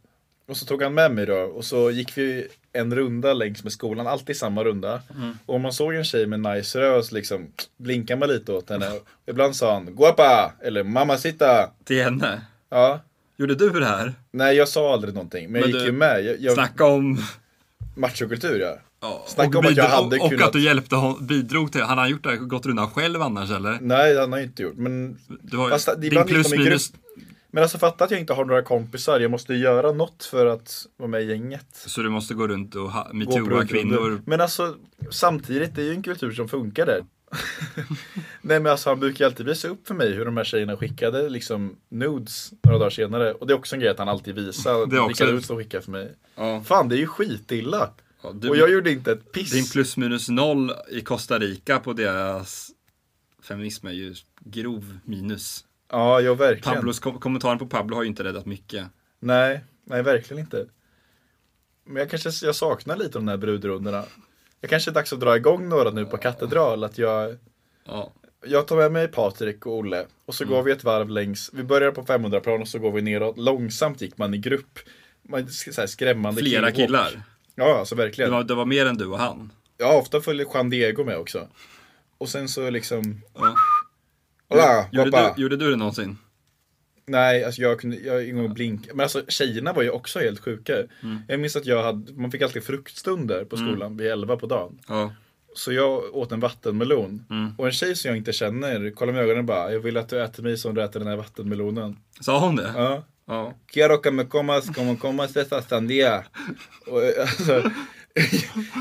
Och så tog han med mig då och så gick vi en runda längs med skolan, alltid samma runda. Mm. Och om man såg en tjej med nice röv så liksom blinkade man lite åt henne. Ibland sa han guapa eller mamacita. Till henne? Ja. Gjorde du det här? Nej, jag sa aldrig någonting. Men, Men jag gick du- ju med. Jag, jag... Snacka om... Machokultur ja. ja. Snacka om att jag bidrog- hade och kunnat... att du hjälpte hon, bidrog till Han har gjort det, här, gått rundan själv annars eller? Nej, han har ju inte gjort. Men Du har, Fast din ibland gick plus de i grupp. minus. Men alltså fatta att jag inte har några kompisar. Jag måste ju göra något för att vara med i gänget. Så du måste gå runt och ha- Gå på metooa runt- kvinnor. Men alltså samtidigt, det är ju en kultur som funkar där. Nej men alltså han brukar ju alltid visa upp för mig hur de här tjejerna skickade liksom nudes några dagar senare. Och det är också en grej att han alltid visar Det är också- vilka nudes de skickar för mig. Fan det är ju skitilla. du- Och jag gjorde inte ett piss. Din plus minus noll i Costa Rica på deras feminism är ju grov minus. Ja, jag verkligen. Pablos, kom- kommentaren på Pablo har ju inte räddat mycket. Nej, nej verkligen inte. Men jag kanske jag saknar lite de här brudrundorna. Jag kanske är dags att dra igång några nu på katedral. Att jag, jag tar med mig Patrik och Olle och så går vi ett varv längs. Vi börjar på 500 plan och så går vi neråt. Långsamt gick man i grupp. Man, så här, skrämmande Flera killhopp. killar. Ja, alltså verkligen. Det var, det var mer än du och han. Ja, ofta följer Juan Diego med också. Och sen så liksom... Hola, Gjorde- gjorde, pappa. du, gjorde du det någonsin? Nej, alltså jag kunde jag har ingen gång blink. Men alltså tjejerna var ju också helt sjuka. Mm. Jag minns att jag hade, man fick alltid fruktstunder på Mm. skolan vid 11 på dagen. Ja. Så jag åt en vattenmelon. Mm. Och en tjej som jag inte känner kollade mig i ögonen och bara, jag vill att du äter mig som du äter den här vattenmelonen. Sa hon det? Ja. Ja. Quiero que me comas como comas esta sandía. Och, eh, alltså,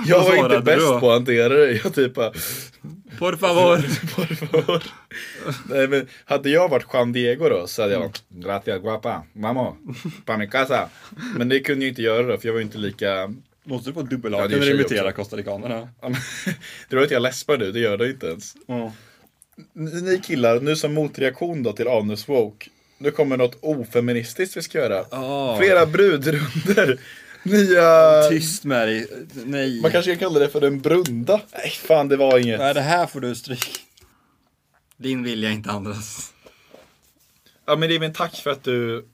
jag Vad var inte svarade du bäst då? på att hantera det. Jag typ bara, Por favor. Por favor. Nej, men hade jag varit Juan Diego då så hade jag varit Gratia guapa, mamo, panicasa. Men det kunde jag inte göra då för jag var ju inte lika... Måste du få dubbelhaken när du imiterar costaricanerna? Det var att jag läspar nu, det gör det inte ens. Ni ni killar, nu som motreaktion då till Anus Woke. Nu kommer något ofeministiskt vi ska göra. Flera brudrunder. Nya... Tyst med dig. Nej. Man kanske kan kalla det för en brunda. Nej, fan det var inget. Nej, det här får du stryk. Din vilja, inte andras. Ja men det är min tack för att du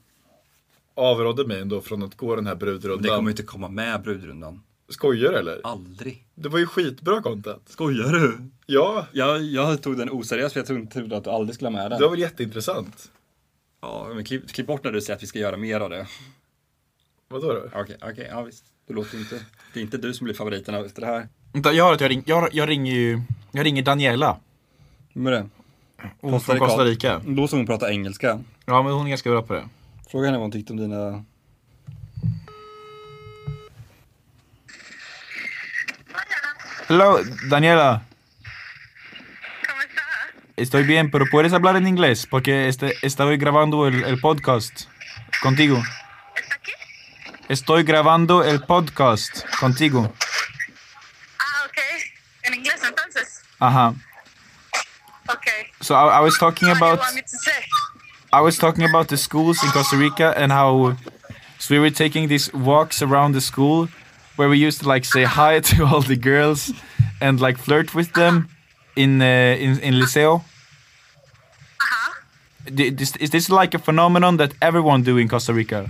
avrådde mig ändå från att gå den här brudrundan. Det kommer inte komma med brudrundan. Skojar du eller? Aldrig. Det var ju skitbra content. Skojar du? Ja. Jag, jag tog den oseriöst för jag trodde- trodde att du aldrig skulle ha med den. Det var väl jätteintressant? Ja, men klipp, klipp bort när du säger att vi ska göra mer av det. Vadå då? Okej, okej, ja visst. Du låter inte... Det är inte du som blir favoriten av- efter det här. Vänta, jag har att jag, ring, jag, jag ringer ju, jag ringer Daniela. Vem är det? Hon från Costa Rica. Då som hon pratar engelska. Ja, men hon är ganska bra på det. Fråga henne vad hon tyckte om dina... Hello, Daniela. Estoy bien, pero puedes hablar en inglés porque este, estoy grabando el, el podcast contigo. Estoy grabando el podcast contigo. Ah, okay. In English, entonces. Ajá. Okay. So I, I was talking What do you about want me to say? I was talking about the schools in Costa Rica and how so we were taking these walks around the school where we used to like say hi to all the girls and like flirt with them in uh, in in liceo. Uh-huh. D- Is is this like a phenomenon that everyone do in Costa Rica?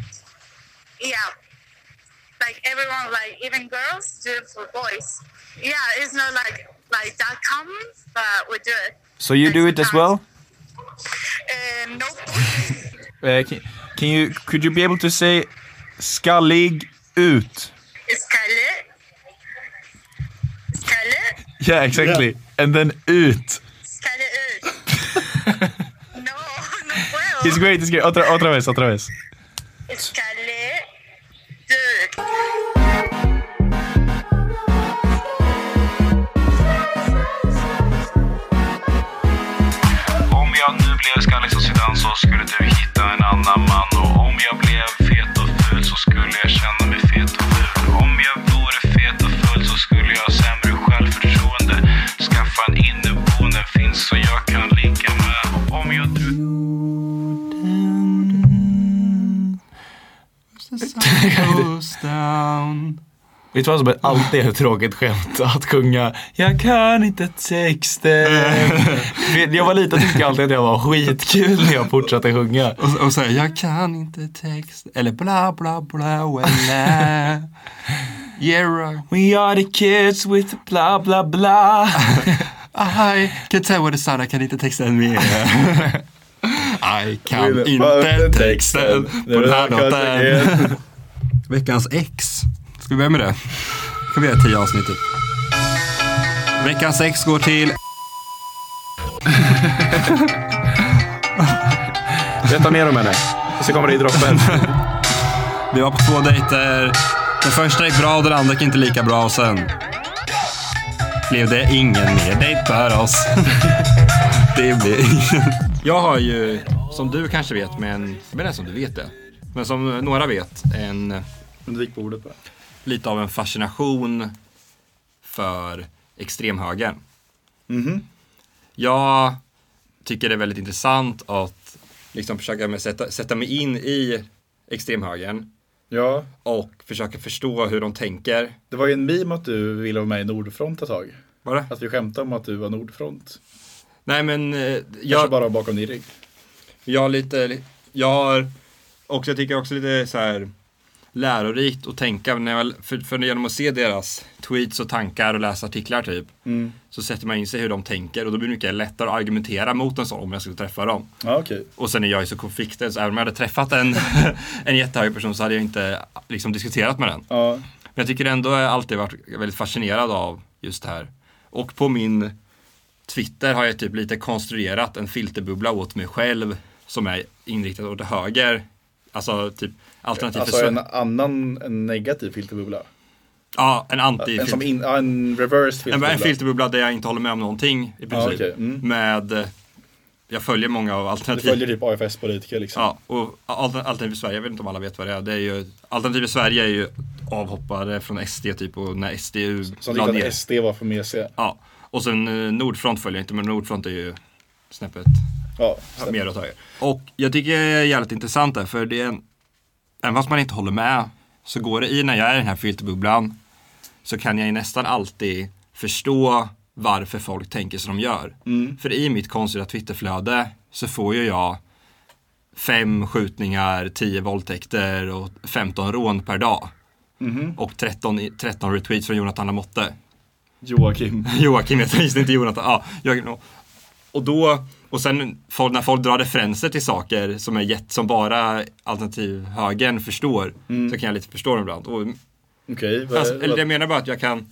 Yeah. Like everyone, like even girls do it for boys. Yeah, it's not like like that common, but we do it. So you do it as well? Uh, nope. Uh, can, can you could you be able to say skallig ut? It's Scarlet. Scarlet. Yeah, exactly. And then ut. Scarlet. no, no well. It's great. It's great. Otra otra vez, otra vez. It's Scarlet. Dude. Om jag nu blev skallig som Zidane så skulle du hitta en annan man. Och om jag blev fet och ful så skulle jag känna mig fet och ful. Om jag vore fet och ful så skulle jag ha sämre självförtroende. Skaffa en inneboende finns så jag kan ligga med. Och om jag... the sun goes down Vet du vad som alltid är ett tråkigt skämt? Att sjunga Jag kan inte texten. När jag var liten tyckte jag alltid att jag var skitkul när jag fortsatte sjunga. Och, och säga jag kan inte text eller bla bla bla eller Yeah We are the kids with bla bla bla I can tell what the sun, I kan inte texten mer I kan Vill inte bara texten texten. på den här Det är kanske låten Veckans ex Ska vi börja med det? Ska vi göra tio avsnitt typ. Veckans ex går till Berätta mer om henne. Och så kommer det i droppen. Vi var på två dejter. Den första gick bra och den andra gick inte lika bra och sen blev det ingen mer dejt för oss. det blir Jag har ju, som du kanske vet, men, men det som du vet det. Men som några vet, en... Undvik bordet bara. Lite av en fascination för extremhögern. Jag tycker det är väldigt intressant att liksom försöka med sätta, sätta mig in i extremhögern. Ja. Och försöka förstå hur de tänker. Det var ju en meme att du ville vara med i Nordfront ett tag. Var det? Att vi skämtade om att du var Nordfront. Nej men... eh, Jag... Kanske bara bakom din rygg. Jag har lite, jag har också, jag tycker också lite så här lärorikt att tänka när jag, för, för genom att se deras tweets och tankar och läsa artiklar typ. Mm. Så sätter man in sig hur de tänker och då blir det mycket lättare att argumentera mot en sån om jag skulle träffa dem. Ja, okej. Och sen är jag ju så konflikträdd så även om jag hade träffat en, en jättehög person så hade jag inte liksom diskuterat med den. Ja. Men jag tycker ändå har jag alltid varit väldigt fascinerad av just det här. Och på min Twitter har jag typ lite konstruerat en filterbubbla åt mig själv som är inriktad åt höger. Alltså typ alternativ Alltså för en Sverige. annan, en negativ filterbubbla. Ja, en anti En, som in, ja, en reverse filterbubbla. En filterbubbla där jag inte håller med om någonting i princip. okej. Mm. Med, eh, jag följer många av Du alternativen. följer typ AFS-politiker liksom. Ja, och alter- Alternativ för Sverige, jag vet inte om alla vet vad det är. Det är ju, alternativ för Sverige är ju avhoppare från SD typ och när SDU Som la tyckte ner. att SD var för mesiga. Ja, och sen eh, Nordfront följer jag inte, men Nordfront är ju snäppet Ja, mer åt höger. Och jag tycker det är jävligt intressant där, för det är en, även fast man inte håller med så går det i när jag är i den här filterbubblan så kan jag ju nästan alltid förstå varför folk tänker som de gör. Mm. För i mitt konstiga Twitterflöde så får ju jag fem skjutningar, tio våldtäkter och 15 rån per dag. Mhm. Och 13, i- 13 retweets från Jonathan Lamotte. Joakim. Joakim heter han, just det, inte Jonathan. Ja, Joakim. Och- Och då, och sen folk, när folk drar referenser till saker som är jätt, som bara alternativhögern förstår, Mm. så kan jag lite förstå dem ibland. Och, Okej, vad- alltså, eller jag menar bara att jag kan,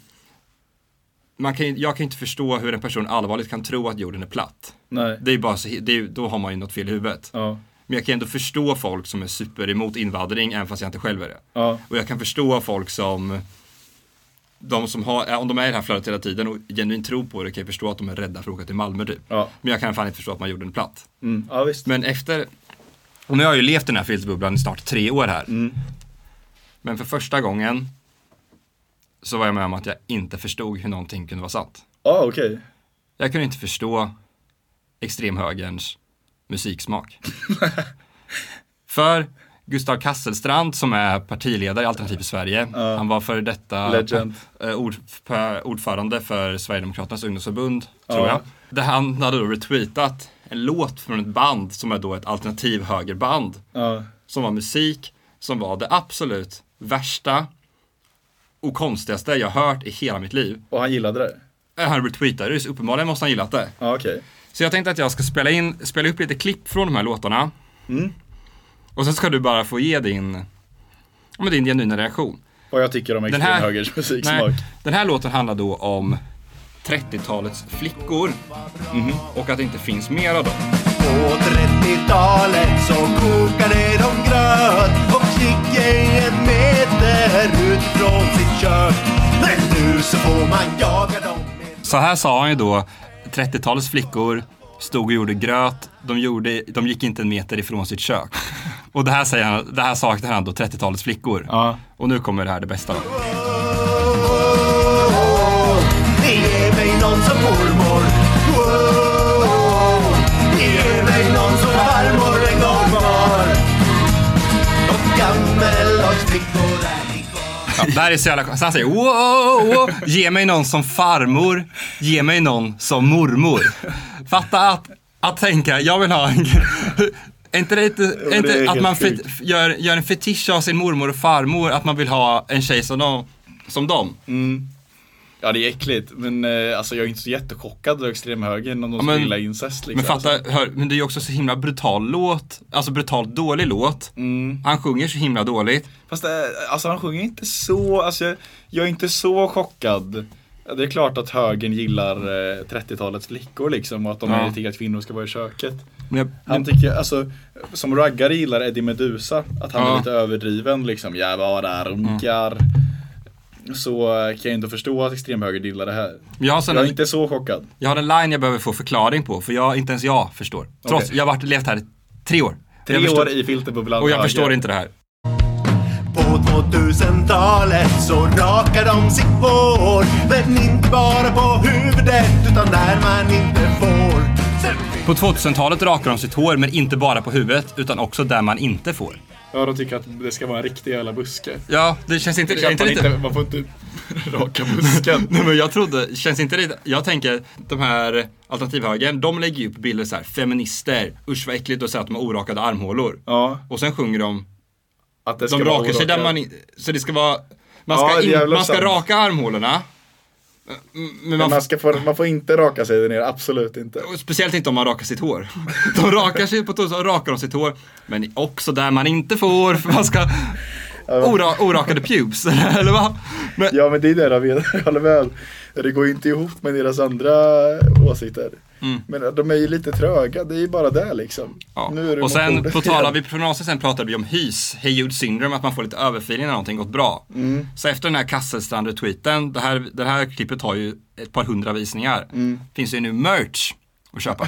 man kan ju- jag kan ju inte förstå hur en person allvarligt kan tro att jorden är platt. Nej. Det är ju bara så, det är, ju- då har man ju något fel i huvudet. Men jag kan ändå förstå folk som är super emot invandring, även fast jag inte själv är det. Ja. Och jag kan förstå folk som de som har, om de är i det här flödet hela tiden och genuint tror på det kan jag förstå att de är rädda för att åka till Malmö typ. Men jag kan fan inte förstå att man gjorde en platt. Mm. Ja, visst. Men efter, och nu har jag ju levt i den här filterbubblan i snart tre år här. Mm. Men för första gången så var jag med om att jag inte förstod hur någonting kunde vara sant. Ja, okej. Jag kunde inte förstå extremhögerns musiksmak. för Gustav Kasselstrand som är partiledare i Alternativ för Sverige, han var före detta Legend. eh, ord, pa- ordförande för Sverigedemokraternas ungdomsförbund, Ja. tror jag. Där han hade då retweetat en låt från ett band som är då ett alternativ högerband Ja. som var musik som var det absolut värsta och konstigaste jag hört i hela mitt liv. Eh, Och han gillade det? Han retweetade det, så uppenbarligen måste han gillat det. Ja, okej. Så jag tänkte att jag ska spela, in, spela upp lite klipp från de här låtarna. Mm. Och sen ska du bara få ge din, ja, men din genuina reaktion. Vad jag tycker om Den här- extremhögerns musiksmak. Nej, den här låten handlar då om 30-talets flickor och att det inte finns mer av dem. På 30-talet så kokade de gröt och gick gänget meter ut från sitt kök. Men nu så får man jaga dem. Så här sa han ju då, 30-talets flickor stod och gjorde gröt, de, gjorde, de gick inte en meter ifrån sitt kök. Och det här, säger han, det här saknar han då, 30-talets flickor. Och nu kommer det här, det bästa då. Ge mig någon som mormor. Wow. Ge mig någon som farmor en gång var. Och gammel och Ja, det här är så jävla konstigt. Han säger wow, wow, ge mig någon som farmor, ge mig någon som mormor. Fatta att, att tänka, jag vill ha en... Är inte det, lite- men är det är inte att helt man fe, sjukt. gör, gör en fetisch av sin mormor och farmor, att man vill ha en tjej som dem? Som dem? Mm. Ja det är äckligt, men eh, alltså, jag är inte så jättechockad av extremhögern om de Ja, skulle men- gilla incest liksom. Men fatta, hör, men det är ju också så himla brutal låt, alltså brutalt dålig låt. Mm. Han sjunger så himla dåligt. Fast eh, alltså han sjunger inte så, alltså jag, jag är inte så chockad. Det är klart att högern gillar eh, 30-talets flickor liksom och att de Ja. ja. tycker att kvinnor ska vara i köket. Men jag, Han tycker, alltså som raggare gillar Eddie Meduza att han Ja. är lite överdriven liksom. Jag bara runkar. Mm. Så eh, kan jag inte förstå att extremhögern gillar det här. Jag har sån- jag är inte så chockad. Jag har en line jag behöver få förklaring på, för jag, inte ens jag förstår. Trots, Okej. jag har varit, levt här i tre år. Tre jag år i filterbubblan Och jag höger. förstår inte det här. På 2000-talet så rakar de sitt hår Men inte bara på huvudet utan där man inte får På 2000-talet rakar de sitt hår, men inte bara på huvudet, utan också där man inte får. Ja, de tycker att det ska vara en riktig jävla buske. Ja, det känns inte... Det kan inte man lite- inte- man får inte raka busken. Nej, men jag trodde, känns inte det, jag tänker de här alternativhögern, de lägger ju upp bilder så här, feminister, usch vad äckligt och säger att de har orakade armhålor. Ja. Och sen sjunger de, att de ska vara rakar sig där orakat. man in- så det ska vara, man Ja, ska, det är in, jävla man ska sant. raka armhålorna. Men Men man- man, ska få, man får inte raka sig ner, absolut inte. Och Speciellt inte om man rakar sitt hår. De rakar sig på torsdag, rakar de sitt hår. Men också där man inte får, för man ska... Ora, orakade pubes, eller vad? Ja men det är det jag menar, jag håller med. Det går ju inte ihop med deras andra åsikter. Mm. Men de är ju lite tröga, det är ju bara det liksom. Nu är det Och mot sen bordet på tal igen. om, vi pronosen sen pratade vi om hys, hey Jude syndrome, att man får lite överfeeling när någonting gått bra. Mm. Så efter den här Kasselstrand-retweeten, det här, det här klippet har ju ett par hundra visningar. Mm. Finns det ju nu merch att köpa.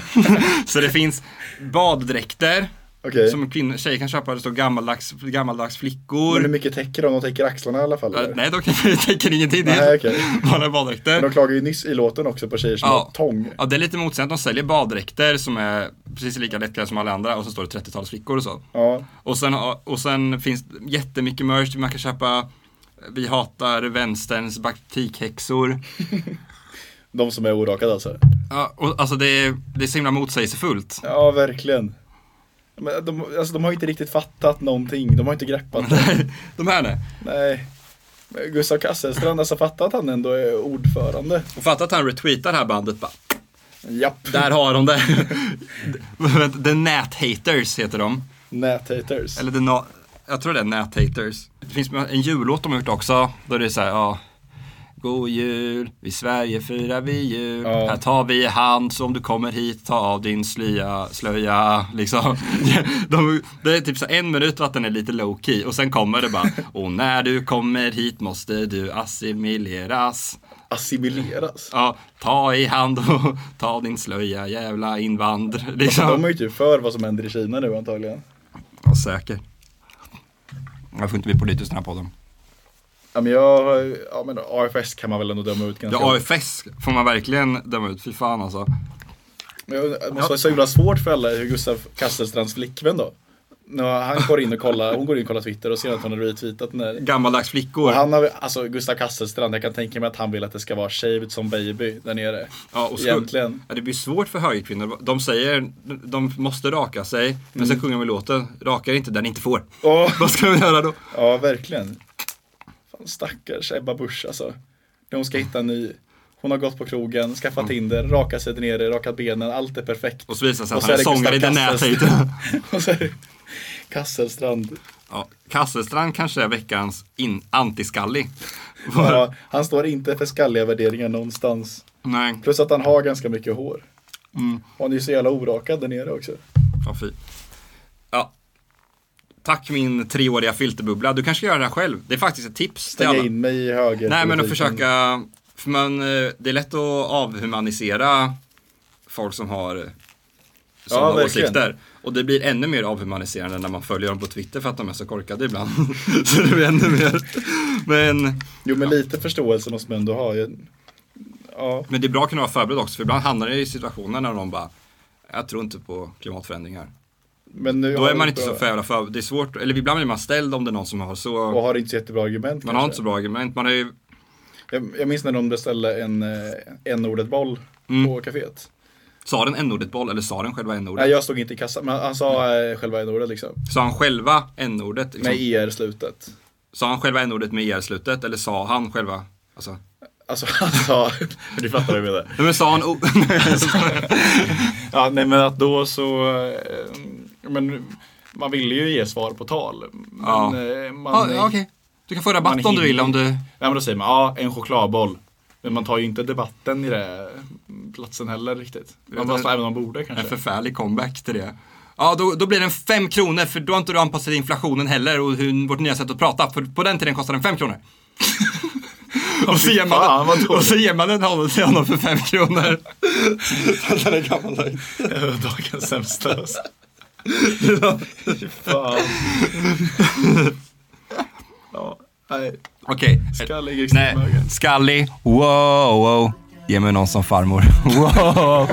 så det finns baddräkter. Okej. Som kvinnor, tjejer kan köpa, det står gammaldags, gammaldags flickor. Men hur mycket täcker de? De täcker axlarna i alla fall? Ja, nej, de kan- täcker ingenting. Det Nej, är okej. bara baddräkter. Men de klagar ju nyss i låten också på tjejer som Ja. har tång. Ja, det är lite motsägande. De säljer baddräkter som är precis lika lättklädda som alla andra och så står det 30-talsflickor och så. Ja. Och sen, och sen finns det jättemycket merch. Man kan köpa Vi hatar vänsterns baktikhäxor. De som är orakade alltså? Ja, och, alltså det är, det är så himla motsägelsefullt. Ja, verkligen. Men de, alltså, de har ju inte riktigt fattat någonting, de har inte greppat det. de är det. Nej. Men Gustav Kasselstrand, alltså fatta att han ändå är ordförande. Och fatta att han retweetar det här bandet bara. Japp. Där har de det. The Näthaters heter de. Näthaters. Eller the na- jag tror det är Näthaters. Det finns en jullåt de har gjort också. Då är det så här, ja. God jul, i Sverige firar vi jul. Här tar vi i hand, så om du kommer hit, ta av din slöja. slöja liksom. de, det är typ så här en minut och att den är lite low key och sen kommer det bara. Och när du kommer hit måste du assimileras. Assimileras? Ja, ta i hand och ta av din slöja, jävla invandr. Liksom. De är ju typ för vad som händer i Kina nu antagligen. Ja, säker. Jag får inte bli politisk i den här podden. Ja men jag, ja men AFS kan man väl ändå döma ut ganska Ja, AFS får man verkligen döma ut. Fy fan alltså. Men jag undrar, det måste vara så himla svårt för alla hur Gustav Kasselstrands flickvän då. Nå, han går in och kollar, hon går in och kollar Twitter och ser att hon har retweetat den där. Gammaldags flickor. Och han har, alltså Gustav Kasselstrand, jag kan tänka mig att han vill att det ska vara shaved som baby där nere. Ja, och så- Egentligen. Ja, det blir svårt för högerkvinnor. De säger, de måste raka sig, men sen Mm. sjunger de i låten, rakar inte där ni inte får. Oh. Vad ska de göra då? Ja, verkligen. Fan stackars Ebba Busch alltså. När hon ska hitta en ny. Hon har gått på krogen, skaffat Tinder, rakat sig nere, rakat benen, allt är perfekt. Och så visar det sig Och att han är det Gustav sångare i den Kasselstrand. nätet. Och så är det Kasselstrand. Ja, Kasselstrand kanske är veckans in- antiskallig. Ja, han står inte för skalliga värderingar någonstans. Nej. Plus att han har ganska mycket hår. Mm. Och han är ju så jävla orakad där nere också. Ja, fy. Ja. Tack min treåriga filterbubbla. Du kanske ska göra det här själv. Det är faktiskt ett tips. till Stänga alla. in mig i höger. Nej men att försöka, för man, eh, det är lätt att avhumanisera folk som har sådana verkligen. åsikter. Och det blir ännu mer avhumaniserande när man följer dem på Twitter för att de är så korkade ibland. så det blir ännu mer. Men, jo men lite förståelse måste man ändå ha. Jag- Ja. Men det är bra att kunna vara förberedd också för ibland hamnar det i situationer när någon bara, jag tror inte på klimatförändringar. Men nu Då har är man vi inte bra- så för jävla för, det är svårt, eller ibland blir man ställd om det är någon som har så... Och har inte så jättebra argument Man har inte så bra argument, man är ju... Jag, jag minns när de beställde en eh, n-ordet boll på kaféet. Sa den n-ordet boll eller sa den själva n-ordet? Nej, jag stod inte i kassan, men han sa eh, själva n-ordet liksom. E Sa han själva n-ordet? liksom? Med er-slutet. Sa han själva n-ordet med er-slutet eller sa han själva? Alltså, Alltså han sa, du fattar vad jag menar. Nej men sa han o- Ja, nej men att då så, eh, men man ville ju ge svar på tal. Men, Ja. eh, Ja, ja, okej. Du kan få rabatt man om du hinner- vill, om du- Nej men då säger man, ja en chokladboll. Men man tar ju inte debatten i den platsen heller riktigt. Man bara, så, även om man borde kanske. en förfärlig comeback till det. Ja, då, då blir den 5 kronor för då har inte du anpassat till inflationen heller och hur, vårt nya sätt att prata. För på den tiden kostade den 5 kronor. och, så ger man, den- och så ger man den honom- till honom för 5 kronor. Så att den är gammaldags. Dagens sämsta. alltså. Fy ja, nej. Okej. Skallig i Nej, skallig. Wow, wow. Ge mig någon som farmor. Wow.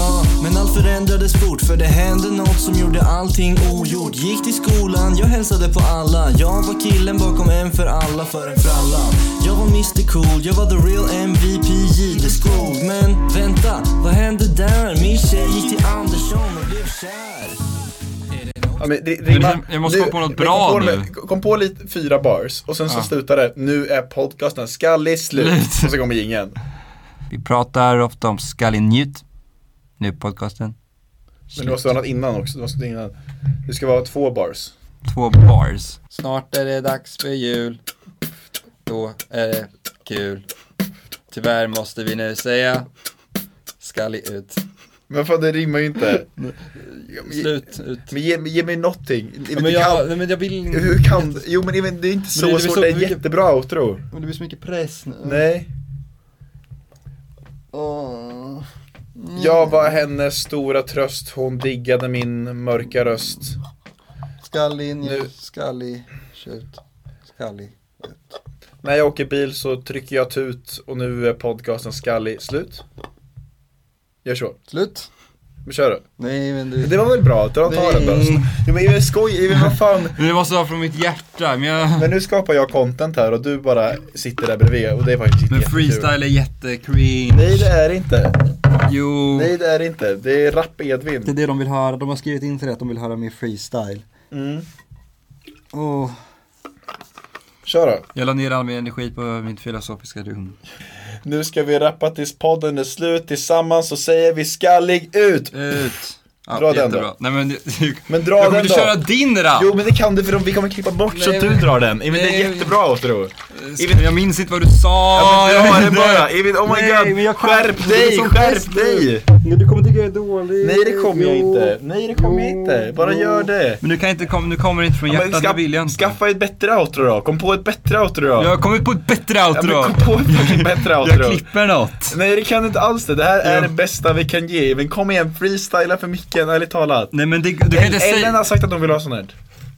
Ah, Men allt förändrades fort för det hände något som gjorde allting ogjort Gick till skolan, jag hälsade på alla Jag var killen bakom en för alla för en fralla Jag var Mr Cool, jag var the real MVP J the school Men vänta, vad hände där? Min tjej gick till Andersson och blev kär Ja, men det, Men jag- jag måste komma på något men bra kom på, nu. med- Kom på lite, fyra bars och sen så Ja. slutar det. Nu är podcasten skallig slut. och så kommer jingeln. Vi pratar ofta om skallig njut. Nu är podcasten. Men du måste ha något innan också. Du måste ha innan. Det ska vara två bars. Två bars. Snart är det dags för jul. Då är det kul. Tyvärr måste vi nu säga skallig ut. Men fan det rimmar ju inte. Slut ut. Men ge, ge mig någonting. Det- Ja, men det jag- kan- nej, men jag vill inte- Hur kan Jo men det är- det är inte så det blir svårt. så det är mycket- jättebra outro. Men det blir så mycket press nu. Nej. Jag var hennes stora tröst. Hon diggade min mörka röst. Skallig njut, skallig tjut, skallig. När jag åker bil så trycker jag tut och nu är podcasten skallig slut. Gör så. Slut. Men kör du. Nej men du. Det var väl bra? Dra ta den då. Nej. Jo men jag skojar, men vad fan. Men det måste vara från mitt hjärta. Men, jag... men nu skapar jag content här och du bara sitter där bredvid och det är faktiskt inte Men jättekul. freestyle är jättecringe. Nej det är det inte. Jo. Nej det är det inte. Det är rapp-Edvin. Det är det de vill höra. De har skrivit in till det att de vill höra mer freestyle. Mm. Åh. Kör då. Jag la ner all min energi på mitt filosofiska rum. Nu ska vi rappa tills podden är slut. Tillsammans så säger vi skallig ut. Ut. Ja, dra den jättebra. då. Nej men, du, Men dra jag kommer den inte då. köra din rap. Jo men det kan du för de- vi kommer klippa bort så att du drar den. Men det är jättebra outro. Even... Jag minns inte vad du sa. Ja, men dra den Jag vet inte. bara. Even, oh my Nej, god. men jag kan- Skärp det är dig, som skärp bäst. dig. Du kommer tycka jag är dålig. Nej det kommer jag inte. Nej det kommer jag inte. Bara gör det. Men du kan inte komma, nu kommer det inte från Ja, men hjärtat, ska- det vill jag inte. Skaffa ett bättre outro då. Kom på ett bättre outro då. Jag har kommit på ett bättre outro. Ja, men kom på ett fucking bättre outro. Jag klipper något. Nej det kan du inte alls det. Det här är det bästa vi kan ge. Men kom igen, freestyla för micken, ärligt talat. Nej men det, du kan inte säga- Ellen har sagt att hon vill ha sån här.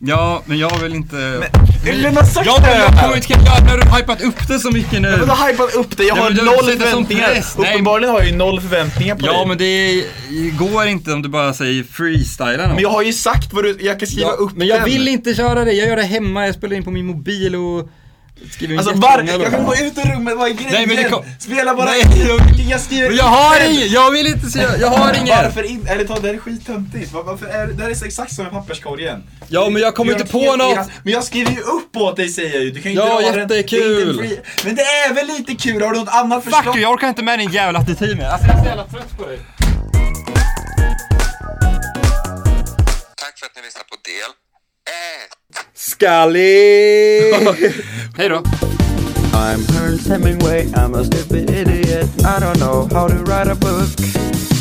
Ja, men jag vill inte... Men, Ellen har sagt jag, det Jag här! kommer inte kunna göra det, när du har hypat upp det så mycket nu. Men du har hypat upp det, jag Nej, har men du noll sätter sån förväntningar. press. Nej, Uppenbarligen har jag ju noll förväntningar på Ja, dig. men det går inte om du bara säger freestyla något. Men jag har ju sagt vad du, jag kan skriva Ja, upp Men jag den. vill inte köra det, jag gör det hemma, jag spelar in på min mobil och skriver Alltså jättelånga var, jag låtar. kan gå ut ur rummet, vad är grejen? Nej, men det kom- Spela bara, Nej, jag, skriver Men jag har upp den. inget, jag vill inte se, jag har inget. Varför inte? Ärligt talat, det här är skittöntigt. Var- Varför är det, det här är exakt som med papperskorgen. Ja, men jag kommer Gör inte något på helt något. annat. Men jag skriver ju upp åt dig säger jag ju. Du kan ju Ja, inte dra den. Det är inte en jättekul. free- Men det är väl lite kul? Har du något annat förslag? Fuck you, jag orkar inte med din jävla attityd med. Alltså jag är så jävla trött på dig. Skallig! Hej då. I'm Ernst Hemingway, I'm a stupid idiot. I don't know how to write a book.